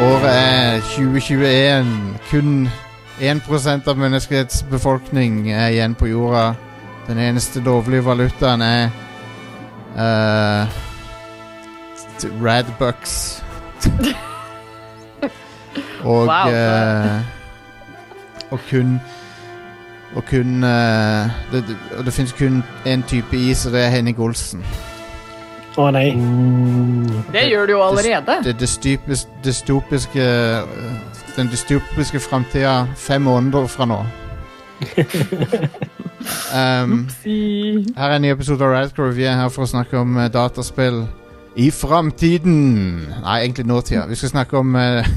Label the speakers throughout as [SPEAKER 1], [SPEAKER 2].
[SPEAKER 1] Året er 2021. Kun 1 av menneskets befolkning er igjen på jorda. Den eneste lovlige valutaen er eh, t- Radbucks. og
[SPEAKER 2] Wow.
[SPEAKER 1] eh, Og kun Og kun eh, Det, det, og det finnes kun én type is, og det er Henning Olsen.
[SPEAKER 3] Å nei.
[SPEAKER 2] Det gjør det jo allerede.
[SPEAKER 1] det dystopiske, dystopiske øh, Den dystopiske framtida fem måneder fra nå. um, her er en ny episode av Radcrow. Vi er her for å snakke om eh, dataspill i framtiden. Nei, egentlig nåtida. Vi skal snakke om eh,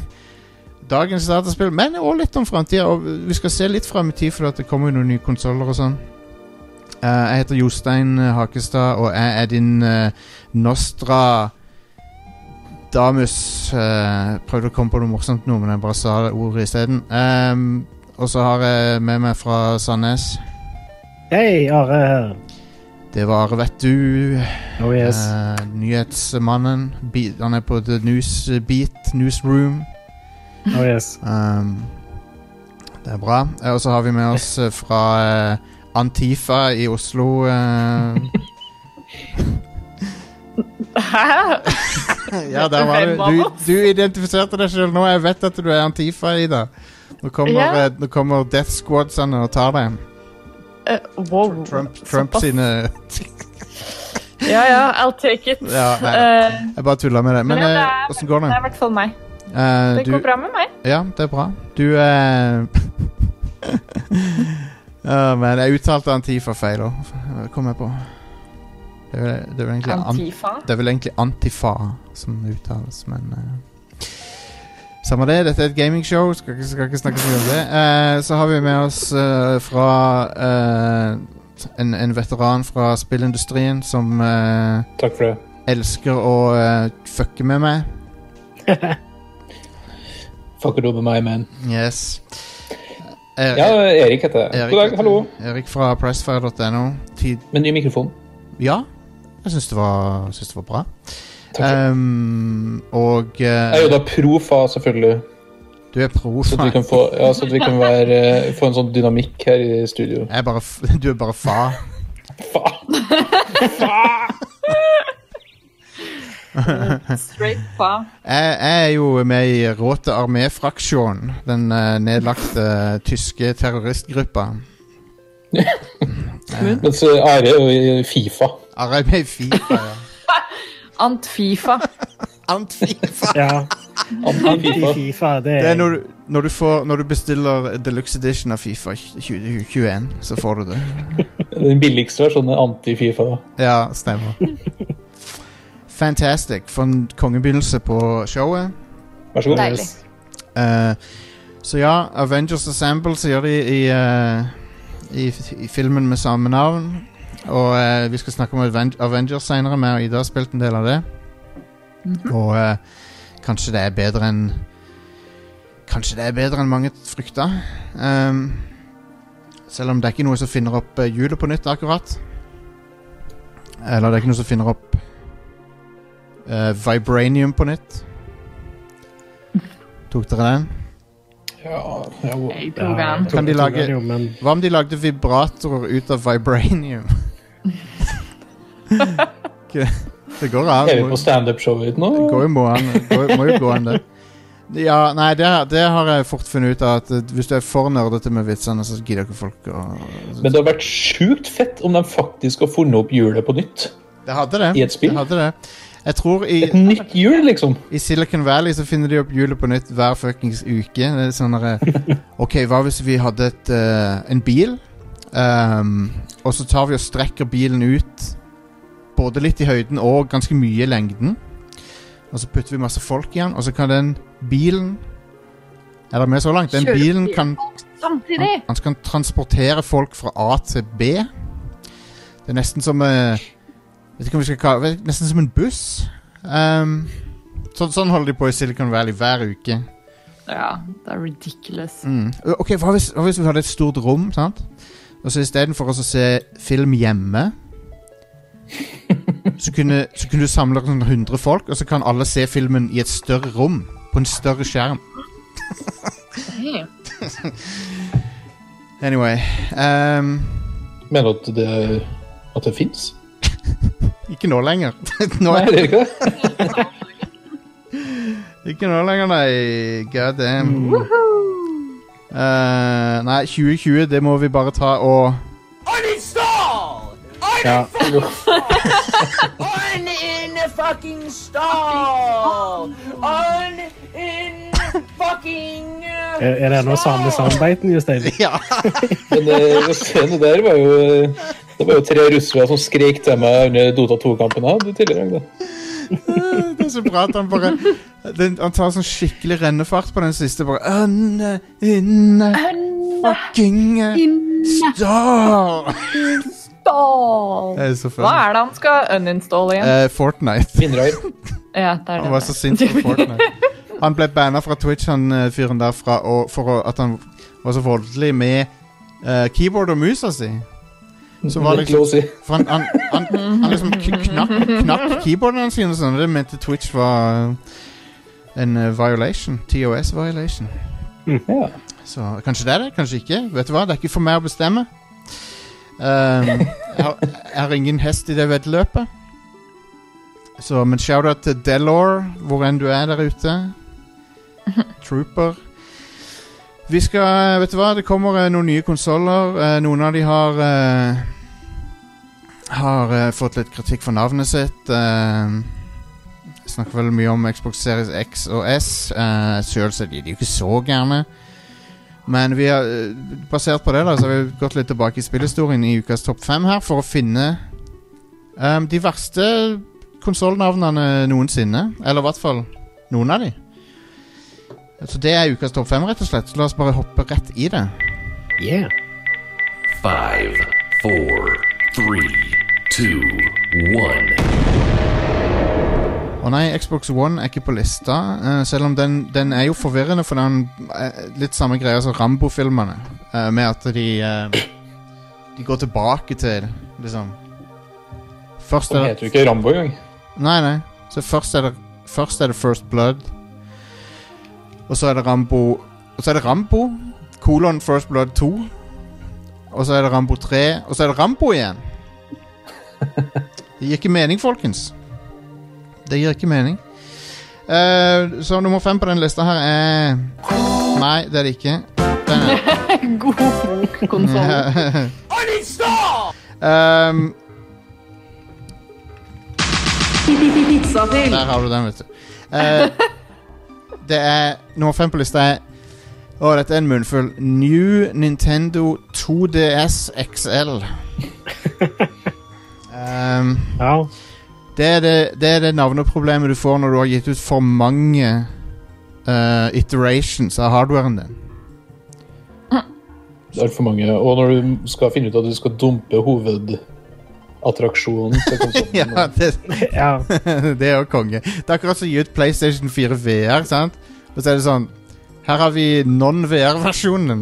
[SPEAKER 1] dagens dataspill, men òg litt om framtida. Og vi skal se litt fram i tid, for at det kommer jo noen nye konsoller og sånn. Eh, jeg heter Jostein eh, Hakestad, og jeg er din eh, Nostra Damus eh, prøvde å komme på noe morsomt nå, men jeg bare sa det ordet isteden. Um, og så har jeg med meg fra Sandnes.
[SPEAKER 3] Hei, Are her.
[SPEAKER 1] Det var Vet du.
[SPEAKER 3] Oh yes.
[SPEAKER 1] eh, nyhetsmannen. Bi- Han er på The News Beat, Newsroom.
[SPEAKER 3] Oh yes.
[SPEAKER 1] Um, det er bra. Eh, Og så har vi med oss eh, fra eh, Antifa i Oslo. eh.
[SPEAKER 2] Hæ?
[SPEAKER 1] ja, der var
[SPEAKER 2] Hvem av
[SPEAKER 1] du.
[SPEAKER 2] oss?
[SPEAKER 1] Du, du identifiserte deg sjøl nå. Jeg vet at du er Antifa, Ida. Nå kommer,
[SPEAKER 2] Ja.
[SPEAKER 1] eh, nå kommer Death Squadsene og tar deg.
[SPEAKER 2] Eh, wow.
[SPEAKER 1] Trump, Trump
[SPEAKER 2] Såpass.
[SPEAKER 1] sine
[SPEAKER 2] Ja, ja, I'll take it.
[SPEAKER 1] Ja, nei,
[SPEAKER 2] Eh,
[SPEAKER 1] Jeg bare tulla med det. Men
[SPEAKER 2] Men ja, det
[SPEAKER 1] eh,
[SPEAKER 2] er-
[SPEAKER 1] åssen går
[SPEAKER 2] det
[SPEAKER 1] det?
[SPEAKER 2] er i hvert fall meg.
[SPEAKER 1] Eh,
[SPEAKER 2] Det
[SPEAKER 1] du,
[SPEAKER 2] går bra med meg.
[SPEAKER 1] ja, det er bra. Du eh, ja, Men jeg uttalte Antifa feil òg, kom jeg på. Det er, vel- det er vel egentlig an,
[SPEAKER 2] Antifa.
[SPEAKER 1] Det er vel egentlig Antifa som uttales, men eh, Samme det, dette er et gamingshow, skal, ikke- skal ikke snakke så mye om det. Eh, så har vi med oss eh, fra eh, en, en veteran fra spillindustrien som eh,
[SPEAKER 4] Takk for det.
[SPEAKER 1] elsker å eh, fucke med meg.
[SPEAKER 4] Fuck it over meg, man.
[SPEAKER 1] Yes. Er,
[SPEAKER 4] Ja, Erik heter jeg. God dag, hallo.
[SPEAKER 1] Erik fra pressfire.no. Tid-
[SPEAKER 4] Med ny mikrofon.
[SPEAKER 1] Ja, jeg syns det, var- syns det var bra.
[SPEAKER 4] Takk for det.
[SPEAKER 1] Ehm, og eh,
[SPEAKER 4] Jeg er jo da profa, selvfølgelig,
[SPEAKER 1] du er pro.
[SPEAKER 4] så at vi
[SPEAKER 1] faen.
[SPEAKER 4] kan få, ja, så at vi kan være, eh, få en sånn dynamikk her i studio.
[SPEAKER 1] Jeg er bare, f- du er bare fa.
[SPEAKER 4] Faen!
[SPEAKER 2] Straight fa.
[SPEAKER 1] Jeg, jeg er jo med i Råte Armé-fraksjon, den eh, nedlagte tyske terroristgruppa.
[SPEAKER 4] Mens eh, Are er jo i Fifa.
[SPEAKER 1] Are jeg med i Fifa? Ja.
[SPEAKER 2] Antfifa.
[SPEAKER 1] Ant-Fifa!
[SPEAKER 3] Ja,
[SPEAKER 4] Anti-Fifa.
[SPEAKER 3] Fifa, det
[SPEAKER 1] Det er
[SPEAKER 3] er
[SPEAKER 1] når du, når du, får, når du bestiller deluxe edition av Fifa 2021, så får du det.
[SPEAKER 4] Den billigste versjonen er anti-Fifa. da.
[SPEAKER 1] Ja, stemmer. Fantastic. For en kongebegynnelse på showet.
[SPEAKER 4] Vær så god.
[SPEAKER 2] Deilig.
[SPEAKER 1] Eh, så ja, Avengers Assemble sier de i, eh, i, i filmen med samme navn. Og eh, vi skal snakke om Aven Avengers seinere. Jeg og Ida har spilt en del av det. Og eh, kanskje det er bedre enn Kanskje det er bedre enn mange frykta. Ehm, selv om det er ikke noe som finner opp eh, hjulet på nytt, akkurat. Eller det er ikke noe som finner opp eh, vibranium på nytt. Tok dere den?
[SPEAKER 4] Ja, ja, wow.
[SPEAKER 2] Jeg
[SPEAKER 3] Ja,
[SPEAKER 2] tok den.
[SPEAKER 1] Kan de
[SPEAKER 3] jeg tok
[SPEAKER 1] lage-
[SPEAKER 3] den jo, men
[SPEAKER 1] Hva om de lagde vibratorer ut av vibranium? Ikke- det går an.
[SPEAKER 4] Er vi på
[SPEAKER 1] Det
[SPEAKER 4] standup-showet nå?
[SPEAKER 1] går jo må an. Det går- må jo gå an, det. Ja, nei, det, det har jeg fort funnet ut av. At eh, hvis du er for nerdete med vitsene, så gidder ikke folk å
[SPEAKER 4] Men det har vært sjukt fett om de faktisk har funnet opp hjulet på nytt.
[SPEAKER 1] Det hadde det.
[SPEAKER 4] I et spill?
[SPEAKER 1] Det hadde det. Jeg tror i,
[SPEAKER 4] Et nytt hjul, liksom.
[SPEAKER 1] i Silicon Valley så finner de opp hjulet på nytt hver fuckings uke. Det er sånn derre, OK, hva hvis vi hadde et, eh, en bil, ehm, og så tar vi og strekker bilen ut både litt i høyden og ganske mye i lengden. Og så putter vi masse folk i den, og så kan den bilen Er dere med så langt? Den
[SPEAKER 2] Kjøre
[SPEAKER 1] bilen
[SPEAKER 2] bilen.
[SPEAKER 1] kan
[SPEAKER 2] Samtidig.
[SPEAKER 1] han skal transportere folk fra A til B. Det er nesten som eh, Vet ikke om vi skal kalle det Nesten som en buss. Ehm, sånn, sånn holder de på i Silicon Valley hver uke.
[SPEAKER 2] Ja, det er ridiculous.
[SPEAKER 1] Mm. Ok, hva hvis, hva hvis vi hadde et stort rom, sant? Og så istedenfor oss å se film hjemme så kunne, så kunne du samle sånn 100 folk, og så kan alle se filmen i et større rom på en større skjerm.
[SPEAKER 2] Hey.
[SPEAKER 1] Anyway ehm,
[SPEAKER 4] Mener du at det, at det fins?
[SPEAKER 1] Ikke nå lenger. nå,
[SPEAKER 4] Nei, det er ikke det.
[SPEAKER 1] ikke nå lenger, nei. God damn.
[SPEAKER 2] Mm.
[SPEAKER 1] Eh, nei, 2020, det må vi bare ta og
[SPEAKER 5] Uninstall!
[SPEAKER 3] Ja.
[SPEAKER 5] Unin fucking stall! Unin fucking
[SPEAKER 3] Er- eh, Er det nå samme soundbiten, Jostein?
[SPEAKER 1] Ja.
[SPEAKER 4] Men eh, den scenen der var jo eh, Det var jo tre russere som skrek til meg under Dota 2-kampen. jeg hadde tidligere i dag, da.
[SPEAKER 1] Det er så bra at han bare den, Han tar sånn skikkelig rennefart på den siste. Bare Ønne, inne, fucking eh, star.
[SPEAKER 2] Uninstall!
[SPEAKER 1] Det er så
[SPEAKER 2] Hva
[SPEAKER 1] funny.
[SPEAKER 2] er det han skal uninstalle igjen?
[SPEAKER 1] Eh, Fortnite.
[SPEAKER 4] Vindreier.
[SPEAKER 2] Ja, det er det.
[SPEAKER 1] Eh, Han var så sint på Fortnite. Han ble banna fra Twitch, han eh, fyren derfra, og for å, at han var så voldelig med eh, keyboard og musa si. Så var liksom-
[SPEAKER 4] Litt lov å si.
[SPEAKER 1] For han, han, han, han liksom kn- knakk, knakk keyboardene sine og sånn, og det mente Twitch var eh, en eh, violation. TOS-violation.
[SPEAKER 4] Ja.
[SPEAKER 1] Så kanskje det er det, kanskje ikke. Vet du hva, Det er ikke for meg å bestemme. Ehm, jeg, har, jeg har ingen hest i det veddeløpet. Så, men shout-out til Delor, hvor enn du er der ute. Trooper. Vi skal Vet du hva, det kommer eh, noen nye konsoller. Eh, noen av de har eh, Har eh, fått litt kritikk for navnet sitt. Uh, snakker vel mye om Xbox Series X og S. Uh, Sjøl er de de er jo ikke så gærne. Men vi har, eh, basert på det da, så har vi gått litt tilbake i spillhistorien i ukas topp fem her for å finne ehm, de verste konsollnavnene noensinne. Eller i hvert fall noen av de. Så det er ukas topp fem, rett og slett. Så la oss bare hoppe rett i det.
[SPEAKER 3] Yeah.
[SPEAKER 6] Five, four, three, two, one.
[SPEAKER 1] Å nei, Xbox One er ikke på lista, eh, selv om den, den er jo forvirrende, for den er litt samme greia som Rambo-filmene, eh, med at de eh, De går tilbake til, liksom Først
[SPEAKER 4] Han
[SPEAKER 1] er det
[SPEAKER 4] heter jo ikke Rambo engang.
[SPEAKER 1] Nei, nei. Så først er det, først er det First Blood. Og så er det Rambo Og så er det Rambo, kolon First Blood 2. Og så er det Rambo 3. Og så er det Rambo igjen! Det gir ikke mening, folkens. Det gir ikke mening. Eh, så nummer fem på den lista her er Nei, det er det ikke. Den er
[SPEAKER 2] God bokkonsoll.
[SPEAKER 1] Um, Der har du den, vet du. Eh, det er Nummer fem på lista er Å, dette er en munnfull. New Nintendo 2DS XL. Um,
[SPEAKER 3] Ja.
[SPEAKER 1] det, er det, det er det navneproblemet du får når du har gitt ut for mange eh, iterations av hardwaren din.
[SPEAKER 4] Det er alt for mange. Og når du skal finne ut at du skal dumpe hovedattraksjonen til konsollen
[SPEAKER 1] Ja, det,
[SPEAKER 3] ja.
[SPEAKER 1] det er jo konge. Det er akkurat som å gi ut PlayStation 4 VR, sant? Og så er det sånn Her har vi non-VR-versjonen.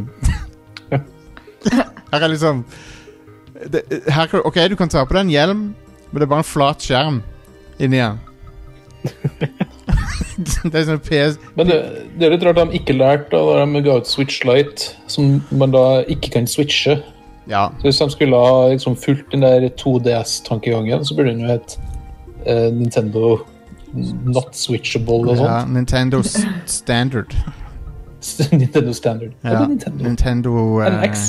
[SPEAKER 1] her er liksom det, her, kan- OK, du kan ta på deg en hjelm, men det er bare en flat skjerm inni den. det er sånn PS...
[SPEAKER 4] Men det, det er litt rart de ikke lærte da de ga ut Switch Lite, som man da ikke kan switche.
[SPEAKER 1] Ja.
[SPEAKER 4] Så Hvis de skulle ha liksom fulgt den der 2DS-tankegangen, så burde den jo hett eh, Nintendo Not Switchable og sånn.
[SPEAKER 1] ja
[SPEAKER 4] sånt.
[SPEAKER 1] Nintendo s- Standard.
[SPEAKER 4] Nintendo Standard. Ja.
[SPEAKER 1] Ja,
[SPEAKER 4] det er Nintendo.
[SPEAKER 1] Nintendo eh,
[SPEAKER 4] NX.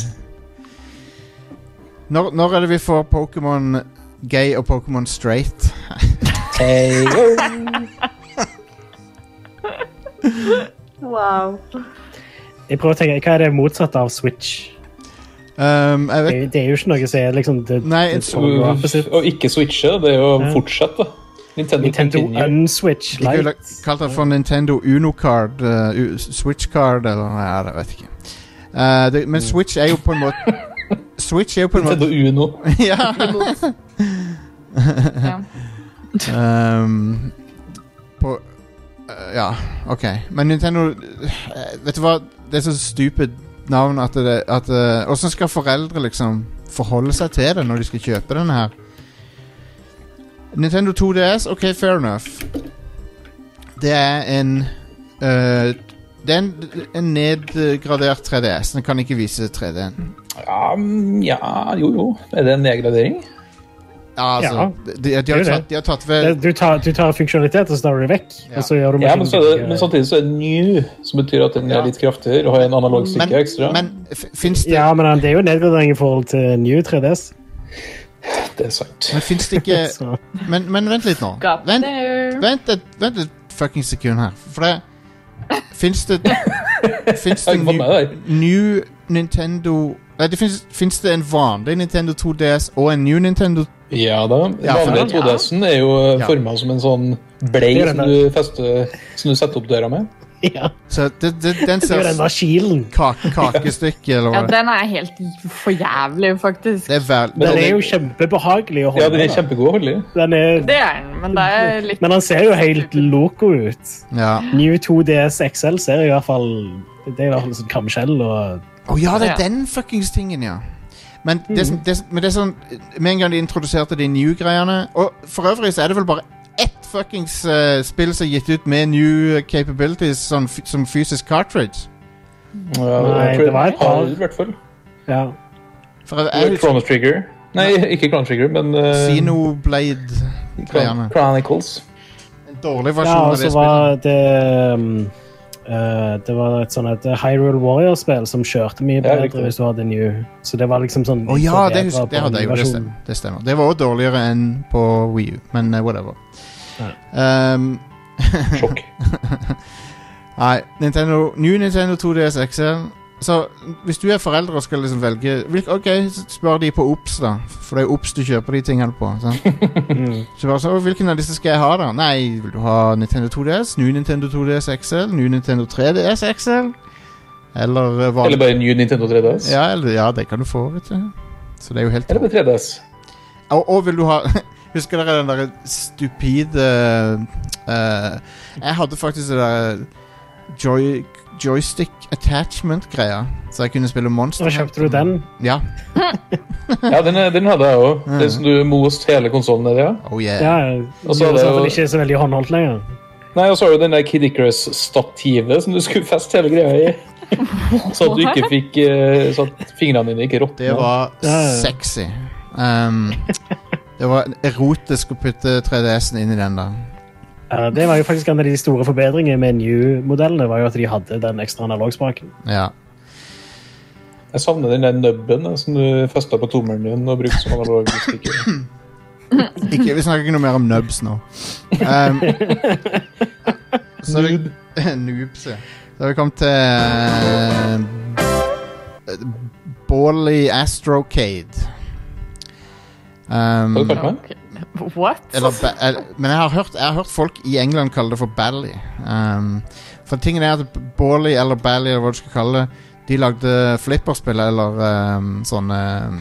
[SPEAKER 1] når, når er det vi får Pokémon gay og Pokémon straight?
[SPEAKER 4] Hey, yo.
[SPEAKER 2] Wow.
[SPEAKER 3] Jeg prøver å tenke, hva er det motsatte av Switch?
[SPEAKER 1] Um, jeg
[SPEAKER 3] Det
[SPEAKER 1] vet
[SPEAKER 3] er, jo- det er jo ikke noe som er liksom det,
[SPEAKER 1] Nei,
[SPEAKER 3] det
[SPEAKER 1] et-
[SPEAKER 3] total opposite.
[SPEAKER 4] og ikke switche, det er jo å
[SPEAKER 3] Ja.
[SPEAKER 4] fortsette, da. Nintendo,
[SPEAKER 3] Nintendo
[SPEAKER 4] Continue.
[SPEAKER 3] Unswitch
[SPEAKER 1] De ville
[SPEAKER 3] Lite.
[SPEAKER 1] kalt det for Nintendo Uno-card, eh, U- Switch-card eller Nei, jeg vet ikke. Eh, det,
[SPEAKER 3] Mm.
[SPEAKER 1] men Switch er jo på en måte Switch er jo på en
[SPEAKER 4] Nintendo
[SPEAKER 1] måte
[SPEAKER 4] Uno.
[SPEAKER 1] Ja!
[SPEAKER 2] Ja.
[SPEAKER 1] Ehm, på eh, Ja, OK. Men Nintendo eh, Vet du hva? Det er så stupid navn at det at, eh, Hvordan skal foreldre liksom forholde seg til det når de skal kjøpe denne her? Nintendo 2DS, OK, fair enough. Det er en Eh, det er en, en nedgradert 3DS. Den kan ikke vise 3D-en.
[SPEAKER 4] Ja, mm, ja, jo, jo. Er det en nedgradering?
[SPEAKER 1] Ja, altså,
[SPEAKER 3] Ja,
[SPEAKER 1] de, de, de,
[SPEAKER 3] er
[SPEAKER 1] har
[SPEAKER 3] jo
[SPEAKER 1] tatt,
[SPEAKER 3] det.
[SPEAKER 1] de har tatt ved
[SPEAKER 3] Det- Eh, Du tar, du tar funksjonalitet, og så tar du det vekk.
[SPEAKER 1] Ja.
[SPEAKER 3] Og så gjør du
[SPEAKER 4] Ja, men, så er det,
[SPEAKER 3] maskinen-
[SPEAKER 4] men samtidig så er den new, som betyr at den
[SPEAKER 1] Ja.
[SPEAKER 4] er litt kraftigere og har en analog
[SPEAKER 1] Men,
[SPEAKER 4] stykke ekstra.
[SPEAKER 1] men fins det,
[SPEAKER 3] Ja, men eh, det er jo en nedgradering i forhold til New 3DS.
[SPEAKER 4] Det er sant.
[SPEAKER 1] men finnes det ikke
[SPEAKER 3] Så.
[SPEAKER 1] men, men vent litt nå.
[SPEAKER 2] Got
[SPEAKER 1] Vent,
[SPEAKER 2] there.
[SPEAKER 1] vent, et, vent et fucking sekund her. For det Fins det Fins det
[SPEAKER 4] Jeg var
[SPEAKER 1] new,
[SPEAKER 4] med der.
[SPEAKER 1] new Nintendo Nei, det fins, fins det en vanlig Nintendo 2DS og en new Nintendo
[SPEAKER 4] Ja da. Den
[SPEAKER 1] Ja, for
[SPEAKER 4] vanlige
[SPEAKER 1] den-
[SPEAKER 4] 2DS-en er jo
[SPEAKER 1] Ja.
[SPEAKER 4] forma som en sånn blei
[SPEAKER 3] Det er den
[SPEAKER 4] som du, fester, som du setter opp døra med.
[SPEAKER 3] Ja,
[SPEAKER 1] Så det, det, den
[SPEAKER 3] det er jo den
[SPEAKER 1] ser
[SPEAKER 3] der kilen.
[SPEAKER 1] kake, kakestykket, eller
[SPEAKER 2] Ja,
[SPEAKER 1] hva det er.
[SPEAKER 2] den er helt for jævlig, faktisk.
[SPEAKER 1] Det er vel...
[SPEAKER 4] Men
[SPEAKER 3] Den er
[SPEAKER 4] den er-
[SPEAKER 3] jo kjempebehagelig å holde.
[SPEAKER 4] Ja, den er
[SPEAKER 3] da.
[SPEAKER 4] kjempegod å holde i.
[SPEAKER 3] Den er-
[SPEAKER 2] Det er den, men det er litt
[SPEAKER 3] men han ser jo helt loco ut.
[SPEAKER 1] Ja.
[SPEAKER 3] New 2DS XL ser i hvert fall Det er i hvert fall sånn kamskjell og
[SPEAKER 1] Å ja, det er
[SPEAKER 2] Ja.
[SPEAKER 1] den fuckings tingen, ja. Men det, som-
[SPEAKER 3] Mm.
[SPEAKER 1] det, som- men det er sånn Med en gang de introduserte de new-greiene Og for øvrig så er det vel bare ett fuckings eh, spill som er gitt ut med new capabilities sånn, fy- som fysisk cartridge.
[SPEAKER 4] Ja,
[SPEAKER 3] Nei, det var et par.
[SPEAKER 4] I hvert fall.
[SPEAKER 3] Ja.
[SPEAKER 1] For
[SPEAKER 4] Det
[SPEAKER 1] jeg
[SPEAKER 4] var
[SPEAKER 1] er jo sånn
[SPEAKER 4] Chrono Trigger. Nei, ikke Chrono Trigger, men eh,
[SPEAKER 1] Xenoblade-greiene.
[SPEAKER 4] Chron- Chronicles.
[SPEAKER 1] En dårlig
[SPEAKER 3] ja,
[SPEAKER 1] versjon
[SPEAKER 3] og
[SPEAKER 1] av det
[SPEAKER 3] så
[SPEAKER 1] spillet.
[SPEAKER 3] var det um, eh, Det var et sånn et Hyrule Warrior-spill som kjørte mye
[SPEAKER 4] Ja,
[SPEAKER 3] bedre
[SPEAKER 4] riktig.
[SPEAKER 3] hvis du hadde New. Så det var liksom sånn
[SPEAKER 1] Å ja, det,
[SPEAKER 3] forbedret
[SPEAKER 1] husker, det
[SPEAKER 3] på
[SPEAKER 1] hadde jeg jo. Det
[SPEAKER 3] animasjonen.
[SPEAKER 1] stemmer. Det, stemmer. det var også dårligere enn på Wii U, men eh, whatever. Um,
[SPEAKER 4] Sjokk.
[SPEAKER 1] Nei, Nintendo, New Nintendo 2DS XL Så hvis du er foreldre og skal liksom velge hvilk- Ok, så spør de på Ops da For det er Ops du kjøper de tingene på sant? Så bare så, «Å, hvilken av disse skal jeg ha da? Nei, vil du ha Nintendo 2DS, New Nintendo 2DS XL New Nintendo 3DS XL Eller eh,
[SPEAKER 4] Eller
[SPEAKER 1] vanlig
[SPEAKER 4] bare New Nintendo 3DS.
[SPEAKER 1] ja, eller, ja, det kan du få, vet du Så det er jo helt
[SPEAKER 4] Eller bare 3DS.
[SPEAKER 1] og, og vil du ha Husker dere den der stupide eh, Jeg hadde faktisk det der joy, joystick attachment-greia. Så jeg kunne spille Monster
[SPEAKER 3] Så kjøpte du den.
[SPEAKER 1] Ja.
[SPEAKER 4] Ja, den, er- den hadde jeg òg. Den som du most hele konsollen ned i. Ja.
[SPEAKER 1] Oh yeah.
[SPEAKER 3] Ja,
[SPEAKER 4] Og så
[SPEAKER 3] så
[SPEAKER 4] er det jo-
[SPEAKER 3] den ikke er så veldig håndholdt lenger.
[SPEAKER 4] Nei, og så har du den der Kid Icarus-stativet som du skulle feste hele greia i. Så at du ikke fikk eh, Så at fingrene dine ikke
[SPEAKER 1] Det
[SPEAKER 4] råtna.
[SPEAKER 1] var
[SPEAKER 3] Ja.
[SPEAKER 1] sexy. Um, det var erotisk å putte 3DS-en inn i den der.
[SPEAKER 3] Ja, Eh, det var jo faktisk en av de store forbedringene med New-modellene, var jo at de hadde den ekstra analogspaken.
[SPEAKER 1] Ja.
[SPEAKER 4] Jeg savner den der nubben eh, som du festa på tommelen din og brukte som analog stikker.
[SPEAKER 1] Ikke, vi snakker ikke noe mer om nubs nå. Um, så er vi, noobs, ja. Så har vi kommet til eh, Bally Astrocade. Um,
[SPEAKER 4] Har du kalt meg?
[SPEAKER 2] What?
[SPEAKER 1] eller, ba- el- men jeg har, hørt, jeg har hørt folk i England kalle det for Bally. Um, for tingen er at Bally eller Bally eller hva du skal kalle det, de lagde flipperspill eller um, sånne um,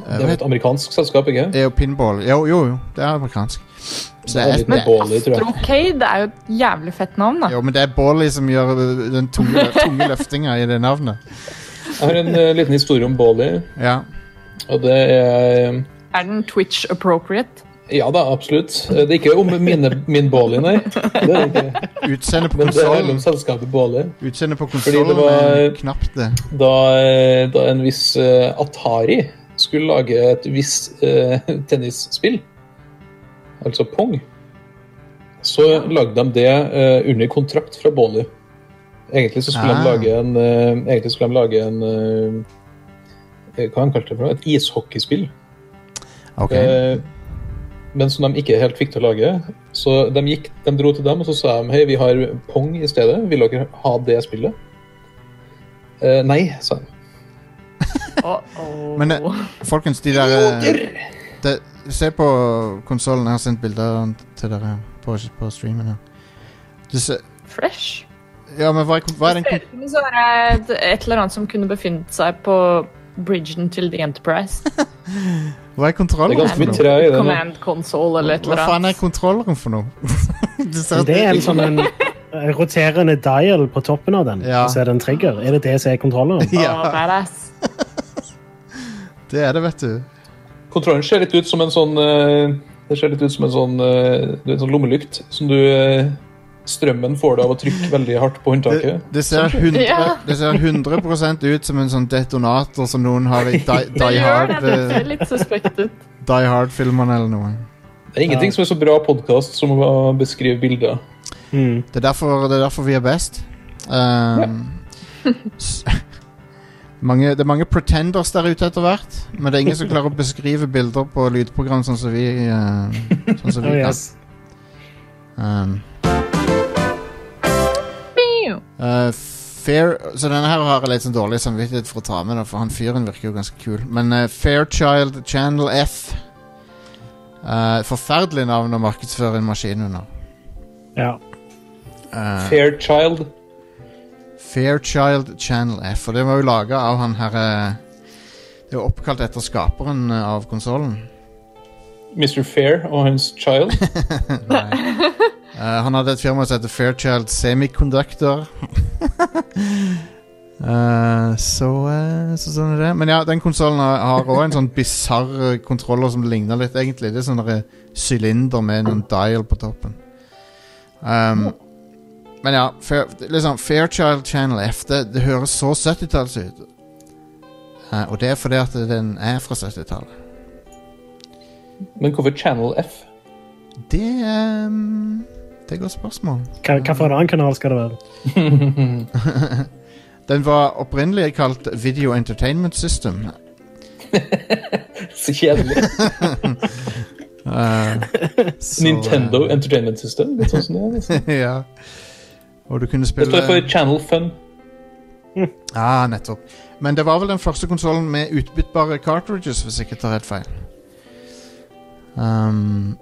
[SPEAKER 4] Det er jo et amerikansk selskap, ikke
[SPEAKER 1] Det er jo pinball. Jo, jo, jo. Det er amerikansk. Så det er,
[SPEAKER 4] Men-
[SPEAKER 1] det,
[SPEAKER 4] Bålig, tror jeg.
[SPEAKER 2] Astrocade er jo et jævlig fett navn, da.
[SPEAKER 1] jo, men det er Bolly som gjør øh, den tunge, tunge løftinga i det navnet.
[SPEAKER 4] Jeg har en eh, liten historie om Bali,
[SPEAKER 1] Ja.
[SPEAKER 4] og det er eh,
[SPEAKER 2] Er den Twitch appropriate?
[SPEAKER 4] Ja da, absolutt. Eh, Det er ikke om mine, min Bali, nei. Det er det ikke.
[SPEAKER 1] Utseendet på
[SPEAKER 4] Men det er
[SPEAKER 1] konsollen
[SPEAKER 4] mellom selskapet Bali.
[SPEAKER 1] Utseendet på
[SPEAKER 4] det
[SPEAKER 1] konsollen
[SPEAKER 4] var-
[SPEAKER 1] er knapt det.
[SPEAKER 4] da, eh, da en viss eh, Atari skulle lage et visst eh, tennisspill, altså pong, så lagde de det eh, under kontrakt fra Bolly. Egentlig så skulle
[SPEAKER 1] Ah.
[SPEAKER 4] de lage en, eh, egentlig skulle de lage en eh, Hva han kalte det? for noe? Et ishockeyspill.
[SPEAKER 1] Ok.
[SPEAKER 4] Eh, men som de ikke helt fikk til å lage. Så de, gikk, de dro til dem og så sa de, hei, vi har Pong i stedet. Vil dere ha det spillet? Eh, nei, sa de.
[SPEAKER 2] Uh -oh.
[SPEAKER 1] Men eh, folkens, de der eh, de, Se på konsollen. Jeg har sendt bilder til dere på, på streamen. her. Du ser-
[SPEAKER 2] Fresh.
[SPEAKER 1] Ja, men hva er, kon- hva er den
[SPEAKER 2] Det ser ut som en sånn, eh, et eller annet som kunne befunnet seg på bridgen til The Enterprise.
[SPEAKER 1] Hva er
[SPEAKER 4] Det er
[SPEAKER 1] kontrolleren
[SPEAKER 4] ganske
[SPEAKER 1] for
[SPEAKER 4] mye
[SPEAKER 1] noe?
[SPEAKER 4] tre i det. nå.
[SPEAKER 2] Command console eller et
[SPEAKER 1] Hva
[SPEAKER 2] eller
[SPEAKER 1] faen
[SPEAKER 2] annet.
[SPEAKER 1] er kontrolleren for noe? Du ser-
[SPEAKER 3] Det er en sånn en en roterende dial på toppen av den,
[SPEAKER 1] Ja.
[SPEAKER 3] og så er det en trigger. Er det det som er kontrolleren?
[SPEAKER 2] Å,
[SPEAKER 1] Ja,
[SPEAKER 2] badass.
[SPEAKER 1] det er det, vet du.
[SPEAKER 4] Kontrollen ser litt ut som en sånn eh, Det ser litt ut som en sånn, eh, du vet, sånn lommelykt som du eh, strømmen får deg av å trykke veldig hardt på
[SPEAKER 1] Det,
[SPEAKER 4] håndtaket.
[SPEAKER 1] det ser 100,
[SPEAKER 2] Ja.
[SPEAKER 1] det ser 100 ut som en sånn detonator som noen har i eh. Die,
[SPEAKER 2] Det
[SPEAKER 1] die
[SPEAKER 2] gjør det, det
[SPEAKER 1] Hard-filmene
[SPEAKER 2] ser litt suspekt ut.
[SPEAKER 1] hard filmene eller noe.
[SPEAKER 4] Det er ingenting som er så bra podkast som å beskrive bilder.
[SPEAKER 3] Mm.
[SPEAKER 1] Det er derfor, det er derfor vi er best. Ehm, s- mange, det er mange pretenders der ute etter hvert, men det er ingen som klarer å beskrive bilder på lydprogram sånn som vi, eh, sånn som
[SPEAKER 3] Oh,
[SPEAKER 1] vi kan.
[SPEAKER 3] yes.
[SPEAKER 1] Ehm, eh, Fair, så denne her har jeg litt sånn dårlig samvittighet for å ta med, da, for han fyren virker jo ganske kul. Men eh, Fairchild Channel F eh, Forferdelig navn å markedsføre en maskin under.
[SPEAKER 3] Ja.
[SPEAKER 1] Eh,
[SPEAKER 4] Fairchild.
[SPEAKER 1] Fairchild Channel F. Og det var jo laga av han herre Det er jo oppkalt etter skaperen eh, av konsollen.
[SPEAKER 4] Mr. Fair og hans child.
[SPEAKER 1] Eh, han hadde et firma som heter Fairchild Semiconductor. Eh, så, eh, så sånn er det. Men ja, den konsollen har òg en sånn bisarr eh, kontroller som ligner litt, egentlig. Det er sånn derre sylinder med noen dial på toppen. Um, men ja, fair, liksom Fairchild Channel F, det, det høres så 70-talls ut. Eh, og det er fordi at den er fra 70-tallet.
[SPEAKER 4] Men hvorfor Channel F?
[SPEAKER 1] Det um, Det er et godt spørsmål.
[SPEAKER 3] Hva, hva for en annen kanal skal det være?
[SPEAKER 1] Den var opprinnelig kalt Video Entertainment System.
[SPEAKER 4] Så kjedelig.
[SPEAKER 1] Eh, Så,
[SPEAKER 4] Nintendo Entertainment System. Litt sånn som det er, nesten.
[SPEAKER 1] eh, ja. Og du kunne
[SPEAKER 4] Det står for
[SPEAKER 1] spille
[SPEAKER 4] Channel Fun.
[SPEAKER 1] Ja, nettopp. Men det var vel den første konsollen med utbyttbare cartridges, hvis jeg ikke tar helt feil. Um,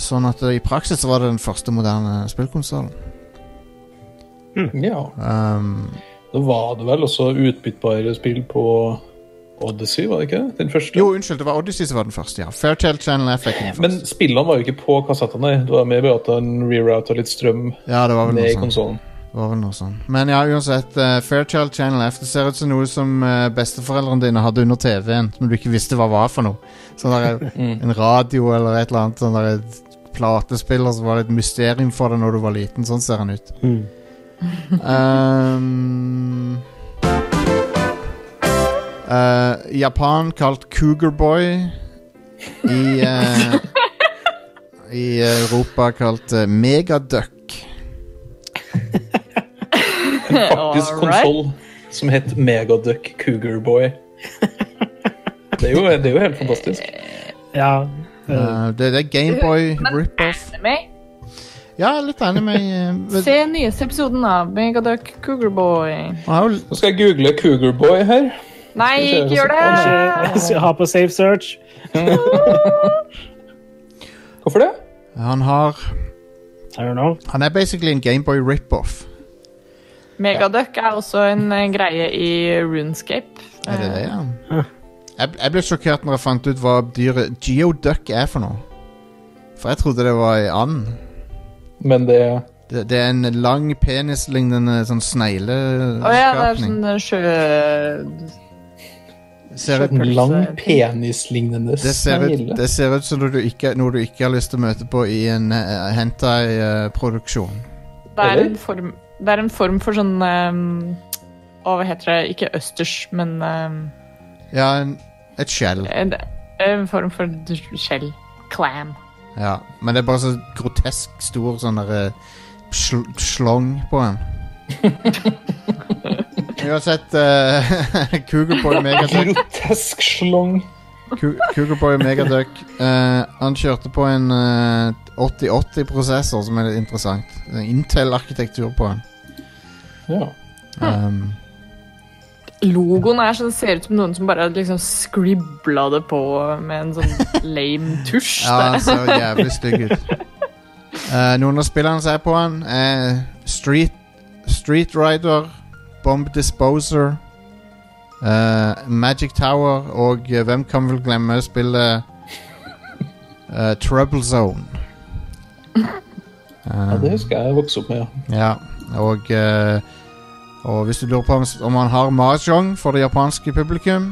[SPEAKER 1] sånn at eh, i praksis så var det den første moderne spillkonsollen.
[SPEAKER 4] Ja.
[SPEAKER 1] Um,
[SPEAKER 4] Da var det vel også utbyttbare spill på Odyssey, var det ikke det? Den første?
[SPEAKER 1] jo, unnskyld, det var Odyssey som var den første, ja. Fairchild Channel F er ikke den
[SPEAKER 4] Men
[SPEAKER 1] første.
[SPEAKER 4] spillene var jo ikke på kassettene. nei. Det var mer bare at den rerouta litt strøm
[SPEAKER 1] Ja, det var vel
[SPEAKER 4] ned i
[SPEAKER 1] noe sånt.
[SPEAKER 4] konsollen.
[SPEAKER 1] Det var vel noe sånt. sånn. Men ja, uansett, eh, Fairchild Channel F Det ser ut som noe som eh, besteforeldrene dine hadde under TV-en, som du ikke visste hva var for noe. Sånn der, En radio eller et eller annet sånn der, et platespiller som var det et mysterium for deg når du var liten. Sånn ser den ut.
[SPEAKER 3] Mm.
[SPEAKER 1] Um, eh, Japan kalt Cougarboy. I, eh, I Europa kalt eh, Megaduck.
[SPEAKER 4] Faktisk
[SPEAKER 2] All right.
[SPEAKER 4] konsoll som het Megaduck Cougar Boy. Det er, jo, det er jo helt fantastisk.
[SPEAKER 3] Ja. eh,
[SPEAKER 1] Eh, det, det er Gameboy rip-off.
[SPEAKER 2] Anime.
[SPEAKER 1] Ja, litt anime. eh, men-
[SPEAKER 2] Se nyeste episoden av Megaduck Cougarboy.
[SPEAKER 1] Han har jo
[SPEAKER 4] Nå skal jeg google Cougar Boy her.
[SPEAKER 2] Nei, ikke gjør det!
[SPEAKER 3] eh, Ha på safe search.
[SPEAKER 4] Hvorfor det?
[SPEAKER 1] Han, har,
[SPEAKER 3] I don't know.
[SPEAKER 1] han er basically en Gameboy rip-off.
[SPEAKER 2] Megaduck er også en eh, greie i Runescape.
[SPEAKER 1] Er det det, ja? Jeg, jeg ble sjokkert når jeg fant ut hva dyret geoduck er for noe. For jeg trodde det var ei and.
[SPEAKER 4] Men det er
[SPEAKER 1] Det, det er en lang penislignende sånn
[SPEAKER 2] Å ja, det er
[SPEAKER 1] snegleskapning.
[SPEAKER 2] sånn eh, sjø...
[SPEAKER 1] Ser ut-
[SPEAKER 4] en lang penislignende
[SPEAKER 1] Det ser, ut,
[SPEAKER 4] snegle.
[SPEAKER 1] det ser ut som noe du, ikke, noe du ikke har lyst til å møte på i en eh, hentai-produksjon.
[SPEAKER 2] Det er
[SPEAKER 4] Eller?
[SPEAKER 2] en form, det er en form for sånn ehm, Å, hva heter det? Ikke østers, men ehm,
[SPEAKER 1] ja, en, et skjell.
[SPEAKER 2] en, en form for d- skjell. Clam.
[SPEAKER 1] Ja. Men det er bare så grotesk stor sånn derre sl slong på den. Uansett uh, Cougarboy Megaduck
[SPEAKER 4] Grotesk slong.
[SPEAKER 1] Cou- Cougarboy Megaduck eh, Han kjørte på en eh, 8080-prosessor, som er litt interessant. En Intel-arkitektur på den.
[SPEAKER 4] Ja.
[SPEAKER 1] Um,
[SPEAKER 2] Logoen er sånn, ser ut som noen som bare hadde liksom skribla det på med en sånn lame tusj.
[SPEAKER 1] ja, han ser jævlig stygg ut. Eh, noen av spillene som er på den, er Street, Street Rider, Bomb Disposer, eh, Magic Tower og eh, hvem kan vel glemme spillet eh, Trouble Zone.
[SPEAKER 4] ja,
[SPEAKER 1] Eh,
[SPEAKER 4] det husker jeg jeg vokste opp med. ja.
[SPEAKER 1] Ja, og eh, Og hvis du lurer på om, om han har mahjong for det japanske publikum,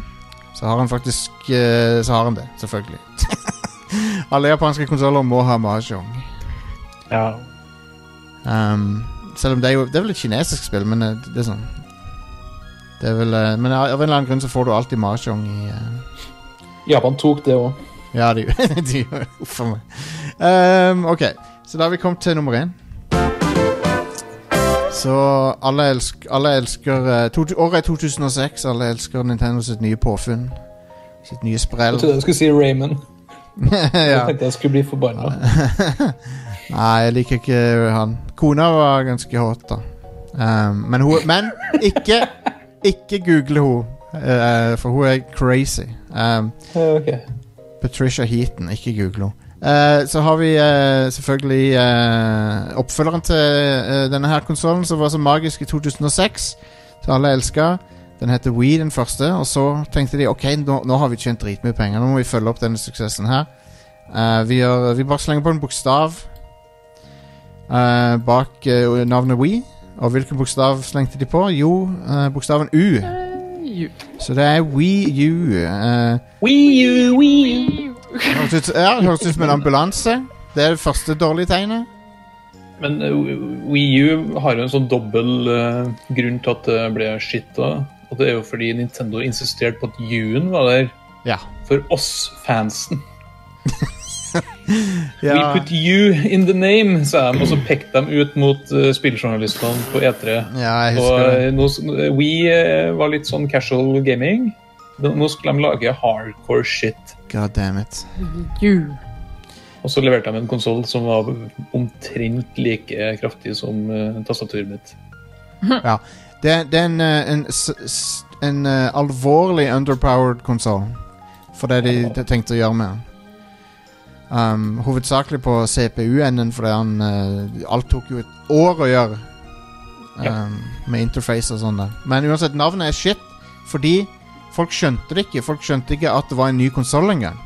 [SPEAKER 1] så har han faktisk eh, Så har han det, selvfølgelig. Alle japanske konsoller må ha mahjong.
[SPEAKER 3] Ja.
[SPEAKER 1] Um, selv om det er jo Det er vel et kinesisk spill, men eh, det er sånn Det er vel eh, Men av av en eller annen grunn så får du alltid mahjong i eh,
[SPEAKER 4] Japan tok det òg.
[SPEAKER 1] Ja, de, de gjør Uff a meg. Ehm, ok, så da har vi kommet til nummer én. Så alle elsker, alle elsker eh, to, Året er 2006. Alle elsker Nintendo sitt nye påfunn. Sitt nye sprell.
[SPEAKER 4] Jeg trodde jeg skulle si Raymond. Jeg
[SPEAKER 1] ja.
[SPEAKER 4] tenkte jeg skulle bli forbanna.
[SPEAKER 1] Nei, jeg liker ikke han. Kona var ganske hot, da. Ehm, men hun Men ikke Ikke google hun eh, for hun er crazy. Ehm,
[SPEAKER 4] Eh, ok.
[SPEAKER 1] Patricia Heaton, ikke google henne. Eh, så har vi eh, selvfølgelig eh, oppfølgeren til eh, denne her konsollen, som var så magisk i 2006. Som alle elska. Den heter Wii, den første. Og så tenkte de ok, nå, nå har vi tjent dritmye penger. Nå må vi følge opp denne suksessen her. Eh, vi, gjør, vi bare slenger på en bokstav eh, bak eh, navnet Wii. Og hvilken bokstav slengte de på? Jo, eh, bokstaven U.
[SPEAKER 2] Ju-
[SPEAKER 1] Så det er Wii U. eh,
[SPEAKER 4] Wii U, Wii U.
[SPEAKER 1] Høres ut, ja, det høres ut som en ambulanse. Det er det første dårlige tegnet.
[SPEAKER 4] Men eh, Wii U har jo en sånn dobbel eh, grunn til at det ble skitt da. Og det er jo fordi Nintendo insisterte på at U-en var der
[SPEAKER 1] Ja.
[SPEAKER 4] for oss fansen. We put U in the name, sa de, og så pekte de ut mot eh, spilljournalistene på E3.
[SPEAKER 1] ja, jeg
[SPEAKER 4] Og
[SPEAKER 1] husker det.
[SPEAKER 4] eh, nå, s- Wii eh, var litt sånn casual gaming. Nå nå skulle de lage hardcore shit.
[SPEAKER 1] God damn it.
[SPEAKER 2] Ju.
[SPEAKER 4] Og så leverte de en konsoll som var omtrent like kraftig som eh, tastaturet mitt.
[SPEAKER 1] Ja. Det, det er en, eh, en, s, s, en eh, alvorlig underpowered konsoll. For det de, de tenkte å gjøre med den. Um, hovedsakelig på CPU-enden, fordi han eh, Alt tok jo et år å gjøre. Um,
[SPEAKER 4] Ja.
[SPEAKER 1] Med interface og sånn der. Men uansett, navnet er shit fordi folk skjønte det ikke. Folk skjønte ikke at det var en ny konsoll engang.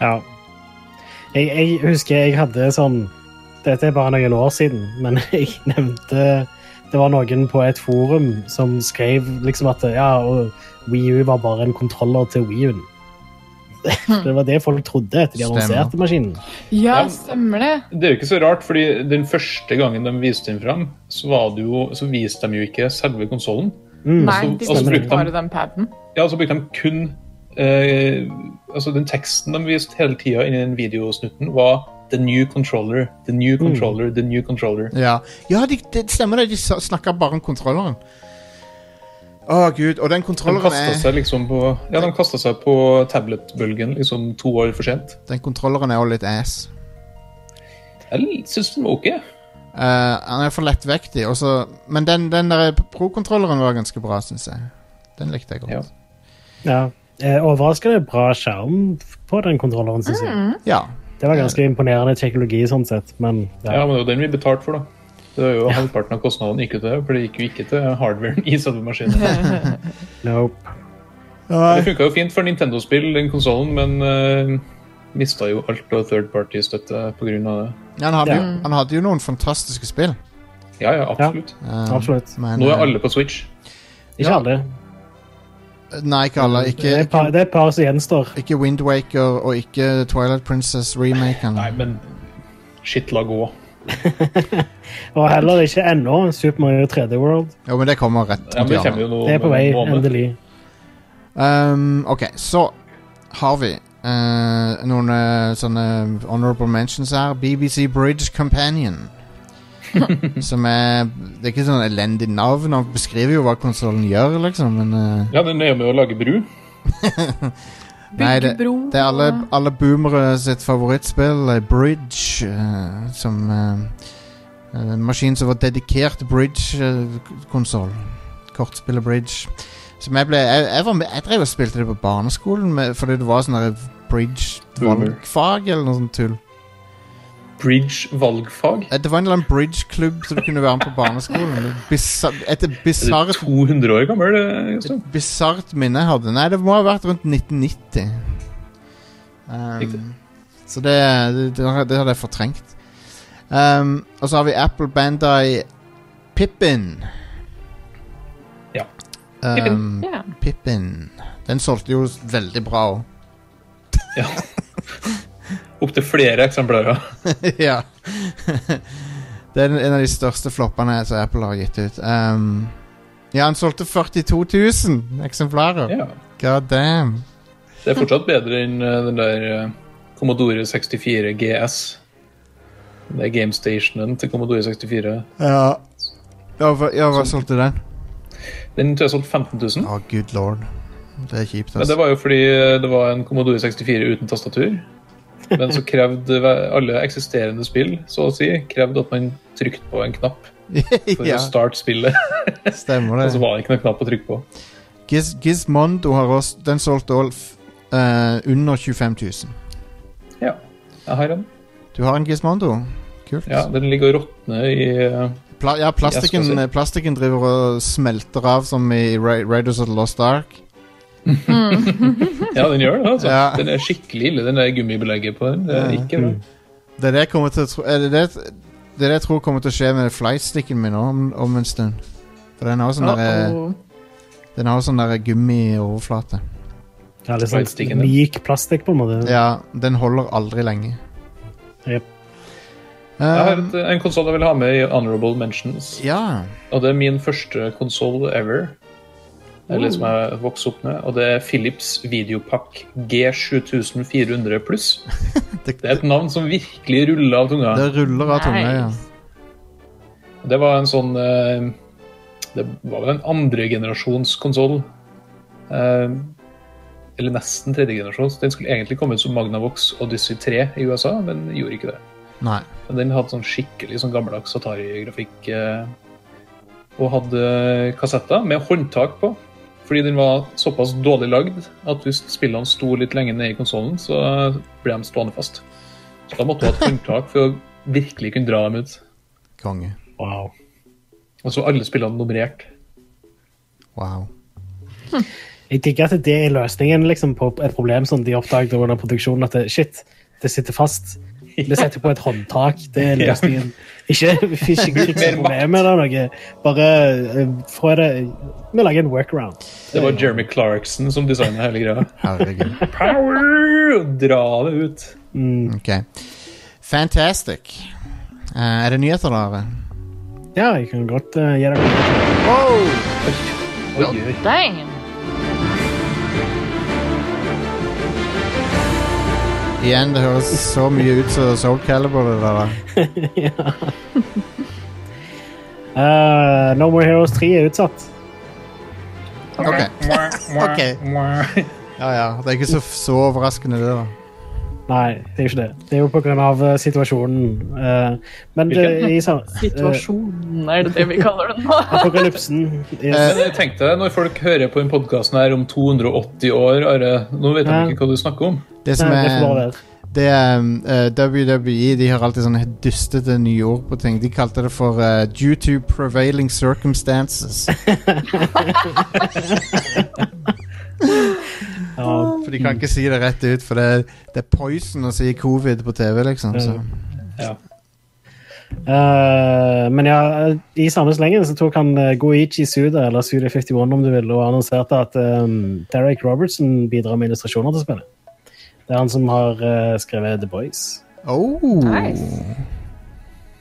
[SPEAKER 3] Ja. Jeg, jeg husker jeg hadde sånn Dette er bare noen år siden, men jeg nevnte Det var noen på et forum som skrev liksom at ja, og Wii U var bare en kontroller til Wii U-en. Det var det folk trodde etter de
[SPEAKER 1] Stemmer.
[SPEAKER 3] annonserte maskinen.
[SPEAKER 2] Ja,
[SPEAKER 4] Ja.
[SPEAKER 2] stemmer det.
[SPEAKER 4] Det er jo ikke så rart, fordi den første gangen de viste den fram, så, var det jo, så viste de jo ikke selve konsollen.
[SPEAKER 3] Mm.
[SPEAKER 2] Nei,
[SPEAKER 4] så-
[SPEAKER 2] de
[SPEAKER 4] og så
[SPEAKER 2] brukte
[SPEAKER 4] brukte
[SPEAKER 2] bare
[SPEAKER 4] de-
[SPEAKER 2] den paden.
[SPEAKER 4] Ja, så brukte de kun eh, Altså, den teksten de viste hele tida inni den videosnutten, var The new controller, the new controller, the new controller.
[SPEAKER 1] Ja, ja de, det stemmer det. De sa- snakker bare om kontrolleren. Å, gud. Og den
[SPEAKER 4] De
[SPEAKER 1] kontrolleren
[SPEAKER 4] kasta
[SPEAKER 1] er
[SPEAKER 4] seg liksom på Ja, de kastet seg på tablet-bølgen liksom to år for sent.
[SPEAKER 1] Den kontrolleren er jo litt ass.
[SPEAKER 4] Jeg syns den var ok.
[SPEAKER 1] Eh, han er for lettvektig. og så- men den, den der pro-kontrolleren var ganske bra, syns jeg. Den likte jeg godt.
[SPEAKER 4] Ja.
[SPEAKER 3] Ja. Eh, Overraskende bra skjerm på den kontrolleren, syns jeg.
[SPEAKER 1] Ja.
[SPEAKER 3] Det var ganske imponerende teknologi sånn sett, men
[SPEAKER 4] Ja,
[SPEAKER 3] ja.
[SPEAKER 4] men det var den vi betalte for, da. Det var jo Halvparten av kostnadene gikk jo til det, for det gikk jo ikke til hardwaren i selve maskinen.
[SPEAKER 3] Nope.
[SPEAKER 4] Det funka jo fint for Nintendo-spill, den konsollen, men uh, mista jo alt av third party-støtte pga. det.
[SPEAKER 1] Ja, han, hadde jo,
[SPEAKER 3] Ja.
[SPEAKER 1] han hadde jo noen fantastiske spill.
[SPEAKER 4] Ja, ja, absolutt.
[SPEAKER 1] Eh,
[SPEAKER 3] Absolutt.
[SPEAKER 1] Men,
[SPEAKER 4] Nå er
[SPEAKER 1] eh,
[SPEAKER 4] alle på Switch.
[SPEAKER 3] Ikke
[SPEAKER 1] Ja.
[SPEAKER 3] alle.
[SPEAKER 1] Nei, ikke alle.
[SPEAKER 3] Det er et
[SPEAKER 1] Ikke,
[SPEAKER 3] par, det er et par som gjenstår.
[SPEAKER 1] ikke Windwaker og ikke Twilight Princess-remaken.
[SPEAKER 4] Nei, men shit, la gå.
[SPEAKER 3] Og heller ikke ennå Super Mario 3D World.
[SPEAKER 1] Jo, men det kommer rett.
[SPEAKER 4] Ja, men det
[SPEAKER 1] rundt hjørnet.
[SPEAKER 4] kommer jo nå
[SPEAKER 3] Det er på
[SPEAKER 4] om
[SPEAKER 3] vei,
[SPEAKER 4] en måned.
[SPEAKER 3] endelig.
[SPEAKER 1] Um, ok, så har vi eh, noen eh, sånne honorable mentions her. BBC Bridge Companion. som er Det er ikke sånn elendig navn. Han beskriver jo hva konsollen gjør, liksom, men eh,
[SPEAKER 4] Ja, den er jo med å lage bru.
[SPEAKER 1] Nei, det,
[SPEAKER 2] Bygge bro.
[SPEAKER 1] det er alle, alle boomere sitt favorittspill, eh, Bridge, eh, som eh, er En maskin som var dedikert Bridge-konsoll. Kortspillet Bridge. Som jeg ble Jeg, jeg, var med, jeg drev og spilte det på barneskolen med, fordi det var sånn der
[SPEAKER 4] Boomer.
[SPEAKER 1] Bridge-valgfag eller noe sånt tull.
[SPEAKER 4] Bridge valgfag.
[SPEAKER 1] Eh, Det var en eller annen bridge-klubb som du kunne være med på barneskolen. Bisar, et
[SPEAKER 4] Er det
[SPEAKER 1] bisart
[SPEAKER 4] 200 år gammel, eh, Jostein?
[SPEAKER 1] bisart minne jeg hadde. Nei, det må ha vært rundt 1990.
[SPEAKER 4] Riktig.
[SPEAKER 1] Um, så det, det, det har- det hadde jeg fortrengt. Um, og så har vi Apple Bandai Pippin.
[SPEAKER 4] Ja.
[SPEAKER 1] Um,
[SPEAKER 2] Ja.
[SPEAKER 1] Pippin. Den solgte jo veldig bra òg.
[SPEAKER 4] Ja. Opptil flere eksemplarer.
[SPEAKER 1] ja. Det er den- en av de største floppene som Apple har gitt ut. Ehm, ja, han solgte 42 000 eksemplarer.
[SPEAKER 4] Ja.
[SPEAKER 1] God damn.
[SPEAKER 4] Det er fortsatt bedre enn eh, den der eh, Commodore 64 GS. Det er gamestationen til Commodore 64.
[SPEAKER 1] Ja. Ja, hva, ja, hva solgte den?
[SPEAKER 4] Den tror jeg solgte 15 000.
[SPEAKER 1] Å, good lord. Det er kjipt,
[SPEAKER 4] Men det
[SPEAKER 1] altså.
[SPEAKER 4] var jo fordi eh, det var en Commodore 64 uten tastatur. Men så krevde ve- alle eksisterende spill så å si, krevde at man trykte på en knapp for
[SPEAKER 1] ja,
[SPEAKER 4] å starte spillet.
[SPEAKER 1] stemmer
[SPEAKER 4] Og så
[SPEAKER 1] det.
[SPEAKER 4] var det ikke noen knapp å trykke på.
[SPEAKER 1] Giz Gizmondo har også Den solgte all f- eh, under 25 000.
[SPEAKER 4] Ja, jeg har den.
[SPEAKER 1] Du har en Gizmondo? Kult.
[SPEAKER 4] Ja, den ligger og råtner i eh,
[SPEAKER 1] Pla ja, plastikken,
[SPEAKER 4] Jeg skal
[SPEAKER 1] plastikken driver og smelter av som i Ra Raiders of the Lost Ark.
[SPEAKER 4] Ja, den gjør det. altså.
[SPEAKER 1] Ja.
[SPEAKER 4] Den er skikkelig ille, den der gummibelegget på den. Det er ikke bra.
[SPEAKER 1] Det er det jeg, kommer til å tro, er det det, det er det jeg tror kommer til å skje med flysticken min nå om, om en stund. For den har jo sånn der,
[SPEAKER 2] Uh-oh.
[SPEAKER 1] den har jo sånn der gummioverflate.
[SPEAKER 3] Ja, litt sånn
[SPEAKER 4] Lightsticken, ja.
[SPEAKER 3] myk plastikk, på en måte.
[SPEAKER 1] Ja, den holder aldri lenge.
[SPEAKER 3] Jep.
[SPEAKER 4] Jeg har
[SPEAKER 1] Um,
[SPEAKER 4] et, en konsoll jeg vil ha med i Honorable Mentions.
[SPEAKER 1] ja.
[SPEAKER 4] Og det er min første konsoll ever. Eller som jeg vokste opp med. Og det er Philips Videopack G7400 pluss.
[SPEAKER 1] Det,
[SPEAKER 4] Det er et navn som virkelig ruller av tunga.
[SPEAKER 1] det ruller av tunga, ja.
[SPEAKER 4] Det var en sånn eh, Det var vel en andregenerasjons konsoll. Eh, eller nesten tredjegenerasjons. Den skulle egentlig komme ut som Magnavox Odyssey 3 i USA, men gjorde ikke det.
[SPEAKER 1] Nei.
[SPEAKER 4] Men den hadde sånn skikkelig sånn gammeldags Atari-grafikk. eh, Og hadde kassetter med håndtak på. Fordi den var såpass dårlig lagd at hvis spillene sto litt lenge nede i konsollen, så ble de stående fast. Så da måtte du ha et håndtak for å virkelig kunne dra dem ut.
[SPEAKER 1] Konge.
[SPEAKER 3] Wow.
[SPEAKER 4] Og så var alle spillene nummerert.
[SPEAKER 1] Wow.
[SPEAKER 3] Jeg digger at det er løsningen liksom, på et problem som de oppdaget under produksjonen. At det, shit, det sitter fast. Vi setter på et håndtak. Det er løsningen. Ikke
[SPEAKER 4] Mer makt.
[SPEAKER 3] problemet eller noe. Bare eh, få det Vi lager en workaround.
[SPEAKER 4] Det var Jeremy Clarkson som designa hele greia.
[SPEAKER 1] Herregud.
[SPEAKER 4] Power! Og Dra det ut.
[SPEAKER 1] Ok. Fantastic. Eh, er det nyheter, da? Are?
[SPEAKER 3] Ja, jeg kan godt eh, gi deg
[SPEAKER 4] Oi, oi.
[SPEAKER 2] Dang!
[SPEAKER 1] Igjen, det høres så mye ut som Soul Calibur. Det der, da.
[SPEAKER 3] Eh, No More Heroes 3 er utsatt.
[SPEAKER 1] Ok. Ok. Ja, ja. Det er ikke så, så overraskende, det, da.
[SPEAKER 3] Nei, det er ikke det. Det er jo på grunn av eh, situasjonen. eh, men det, i sam- eh,
[SPEAKER 2] Situasjonen, er det det vi kaller den nå?
[SPEAKER 3] Apokalypsen.
[SPEAKER 1] Eh,
[SPEAKER 3] Yes.
[SPEAKER 4] Men tenk deg når folk hører på den podkasten her om 280 år, Are. Nå vet de
[SPEAKER 3] Ja.
[SPEAKER 4] ikke hva du snakker om.
[SPEAKER 1] Det som
[SPEAKER 3] Nei, det får bare
[SPEAKER 1] er,
[SPEAKER 3] være.
[SPEAKER 1] det er um, eh, WWE de har alltid sånne dystete nye ord på ting. De kalte det for eh, 'due to prevailing circumstances'.
[SPEAKER 3] Ja.
[SPEAKER 1] For de kan ikke si det rett ut, for det, er- det er poison å si covid på TV, liksom. Så.
[SPEAKER 3] Mm.
[SPEAKER 4] Ja.
[SPEAKER 3] Eh, men ja, i samme slengen så tok han eh, Goichi Suda, eller Suda 51 om du vil, og annonserte at um, Derek Robertson bidrar med illustrasjoner til spillet. Det er han som har eh, skrevet The Boys.
[SPEAKER 1] Oh.
[SPEAKER 2] Nice.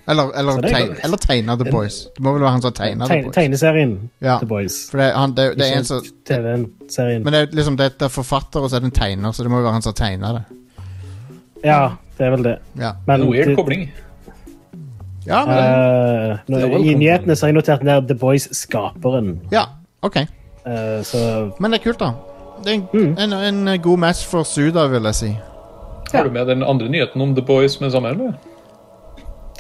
[SPEAKER 1] Eller, eller,
[SPEAKER 3] Så det er
[SPEAKER 1] teg,
[SPEAKER 3] godt.
[SPEAKER 1] eller tegna The Boys. Det må vel være han som tegna The
[SPEAKER 3] Teg
[SPEAKER 1] Boys.
[SPEAKER 3] tegneserien
[SPEAKER 1] Ja.
[SPEAKER 3] The Boys.
[SPEAKER 1] For det, er han, det, det er en som
[SPEAKER 3] Ikke TV-serien.
[SPEAKER 1] Men det er liksom, det er forfatter, og så er det en tegner, så det må jo være han som tegna det.
[SPEAKER 3] Ja, det er vel det.
[SPEAKER 1] Ja,
[SPEAKER 3] Men
[SPEAKER 4] En weird
[SPEAKER 3] det-
[SPEAKER 4] kobling.
[SPEAKER 1] ja men
[SPEAKER 3] eh, nå-
[SPEAKER 4] Det var jo
[SPEAKER 3] I
[SPEAKER 4] kongen.
[SPEAKER 3] nyhetene så har jeg notert ned The Boys-skaperen.
[SPEAKER 1] Ja, ok.
[SPEAKER 3] Eh, så
[SPEAKER 1] Men det er kult, da. Det er en,
[SPEAKER 3] Mm.
[SPEAKER 1] en, en god match for Suda, vil jeg si.
[SPEAKER 4] Har du med den andre nyheten om The Boys med samme, eller?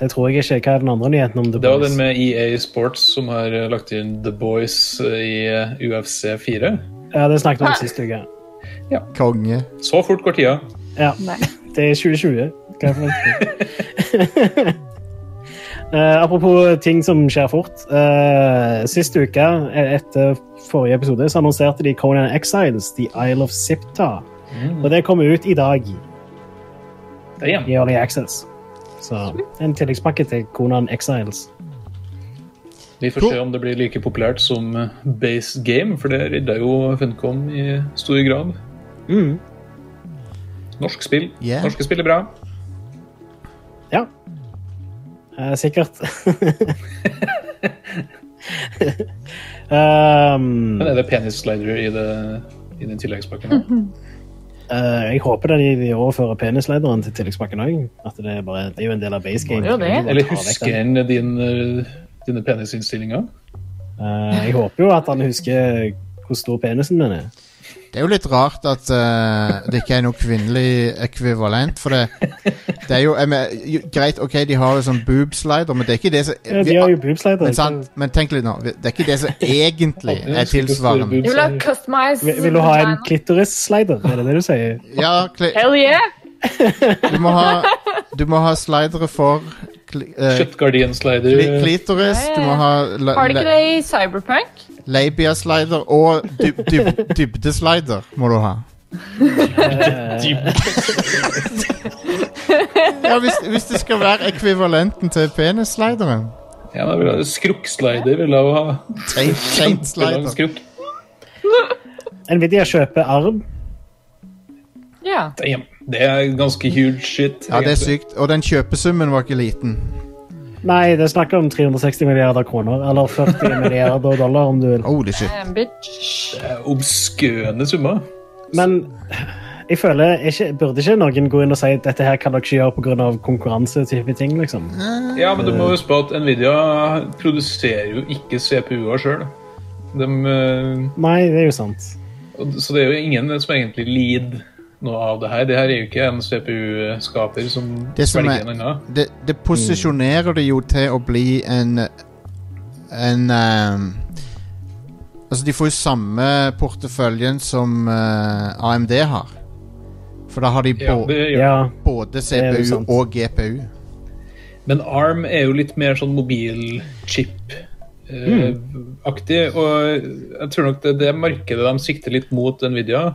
[SPEAKER 3] det tror jeg ikke. Hva er den andre nyheten om The
[SPEAKER 4] Det var
[SPEAKER 3] Boys?
[SPEAKER 4] den med EA Sports som har eh, lagt inn The Boys eh, i eh, UFC 4.
[SPEAKER 3] Ja, det snakket vi om sist uke.
[SPEAKER 1] Konge.
[SPEAKER 4] Så fort går tida.
[SPEAKER 3] Ja.
[SPEAKER 2] Nei.
[SPEAKER 3] Det er 2020. Hva er det for noe? Eh, apropos ting som skjer fort. Eh, sist uke, eh, etter forrige episode, så annonserte de Conan Exiles, The Isle of Sipta. Og det kommer ut i dag
[SPEAKER 4] Det er igjen.
[SPEAKER 3] i Early Access. Så en tilleggspakke til Conan Exiles.
[SPEAKER 4] Vi får se om det blir like populært som eh, Base Game, for det redda jo Funcom i stor grad.
[SPEAKER 3] Mm.
[SPEAKER 4] Norsk spill.
[SPEAKER 1] Yeah.
[SPEAKER 4] Norske spill er bra.
[SPEAKER 3] Ja. Eh, Eh, sikkert. um,
[SPEAKER 4] Men er det penisslider i, det- i den tilleggspakken? nå?
[SPEAKER 3] eh, jeg håper det de, de overfører penislederen til tilleggspakken òg. At det er, bare, det er jo en del av base game.
[SPEAKER 2] Det er jo det.
[SPEAKER 3] Kan ikke bare
[SPEAKER 4] Eller
[SPEAKER 3] ta vekk
[SPEAKER 4] husker
[SPEAKER 3] den.
[SPEAKER 4] han din, eh, dine penisinnstillinger?
[SPEAKER 3] Eh, jeg håper jo at han husker hvor stor penisen min er.
[SPEAKER 1] Det er jo litt rart at eh, det ikke er noe kvinnelig ekvivalent, for det, det er jo jeg mener, jo, Greit, ok, de har jo sånn boobslider, men det er ikke det som
[SPEAKER 3] Ja,
[SPEAKER 1] vi-
[SPEAKER 3] Eh, de har jo boobslider.
[SPEAKER 1] men, sant, men tenk litt nå, vi- det er ikke det som egentlig er tilsvarende.
[SPEAKER 2] Jeg vil ha customize
[SPEAKER 3] Vil, vil du ha en klitorisslider? Er det det du sier?
[SPEAKER 1] Ja, kli,
[SPEAKER 2] Hell yeah!
[SPEAKER 1] du, må ha, du må ha slidere for kli, eh,
[SPEAKER 4] Kjøttgardinslider.
[SPEAKER 1] kli, klitoris, du må ha la-
[SPEAKER 2] Har de ikke
[SPEAKER 1] la-
[SPEAKER 2] det i Cyberpunk?
[SPEAKER 1] labia-slider og dyb, dyb, dybdeslider må du ha. Ja, hvis, hvis det skal være ekvivalenten til penisslideren.
[SPEAKER 4] Ja, da vil jeg ha Skrukkslider vil jeg jo ha.
[SPEAKER 1] Taint-
[SPEAKER 4] Kjempelang
[SPEAKER 1] Taint-slider.
[SPEAKER 4] skrukk.
[SPEAKER 3] Nvidia kjøper arm.
[SPEAKER 2] Ja.
[SPEAKER 4] Damn. Det er ganske huge shit.
[SPEAKER 1] Ja, det er sykt. Og den kjøpesummen var ikke liten.
[SPEAKER 3] Nei, det er snakk om 360 milliarder kroner. Eller 40 milliarder dollar, om du vil.
[SPEAKER 1] Holy shit.
[SPEAKER 2] Eh, Bitch.
[SPEAKER 4] Det er Obskøne summer.
[SPEAKER 3] Men jeg føler ikke, burde ikke noen gå inn og si at dette her kan dere ikke gjøre pga. konkurranse? type ting, liksom?
[SPEAKER 4] Ja, men du må huske på at Nvidia produserer jo ikke CPU-er sjøl.
[SPEAKER 3] Nei, det er jo sant.
[SPEAKER 4] eh, Så det er jo ingen som egentlig lider noe av det her. Det her er jo ikke en CPU-skaper som
[SPEAKER 1] Det som
[SPEAKER 4] svelger
[SPEAKER 1] er-
[SPEAKER 4] en annen.
[SPEAKER 1] Det, det posisjonerer det jo til å bli en En ehm, Altså, de får jo samme porteføljen som eh, AMD har. For da har de
[SPEAKER 4] Ja,
[SPEAKER 1] bå-
[SPEAKER 4] det gjør
[SPEAKER 3] Ja,
[SPEAKER 1] både
[SPEAKER 3] er jo
[SPEAKER 1] CPU
[SPEAKER 3] sant.
[SPEAKER 1] og GPU.
[SPEAKER 4] Men ARM er jo litt mer sånn mobilchip-aktig, og jeg tror nok det er det markedet de sikter litt mot Nvidia.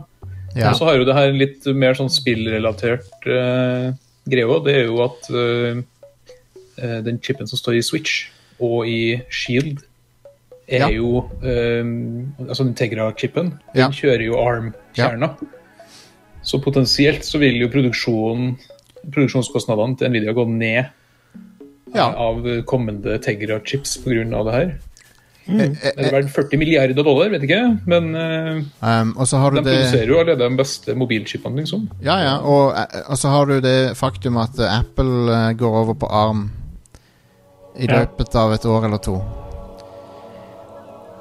[SPEAKER 1] Ja.
[SPEAKER 4] Og så har jo det her en litt mer sånn spillrelatert eh, greie òg. Det er jo at eh, eh, den chipen som står i Switch og i Shield, er
[SPEAKER 1] Ja.
[SPEAKER 4] jo eh, Altså Integra-chipen. Den
[SPEAKER 1] Ja.
[SPEAKER 4] kjører jo ARM-kjerna. Så potensielt så vil jo produksjonen produksjonskostnadene til Nvidia gå ned
[SPEAKER 1] ja.
[SPEAKER 4] av kommende Tegra-chips pga. det her.
[SPEAKER 1] Eh,
[SPEAKER 4] Det er verdt 40 milliarder dollar, vet ikke, men eh,
[SPEAKER 1] ehm, og så har du
[SPEAKER 4] de
[SPEAKER 1] det
[SPEAKER 4] produserer jo allerede de beste mobilchipene, liksom.
[SPEAKER 1] Ja, ja, og, eh, og så har du det faktum at eh, Apple eh, går over på ARM i
[SPEAKER 3] Ja.
[SPEAKER 1] løpet av et år eller to.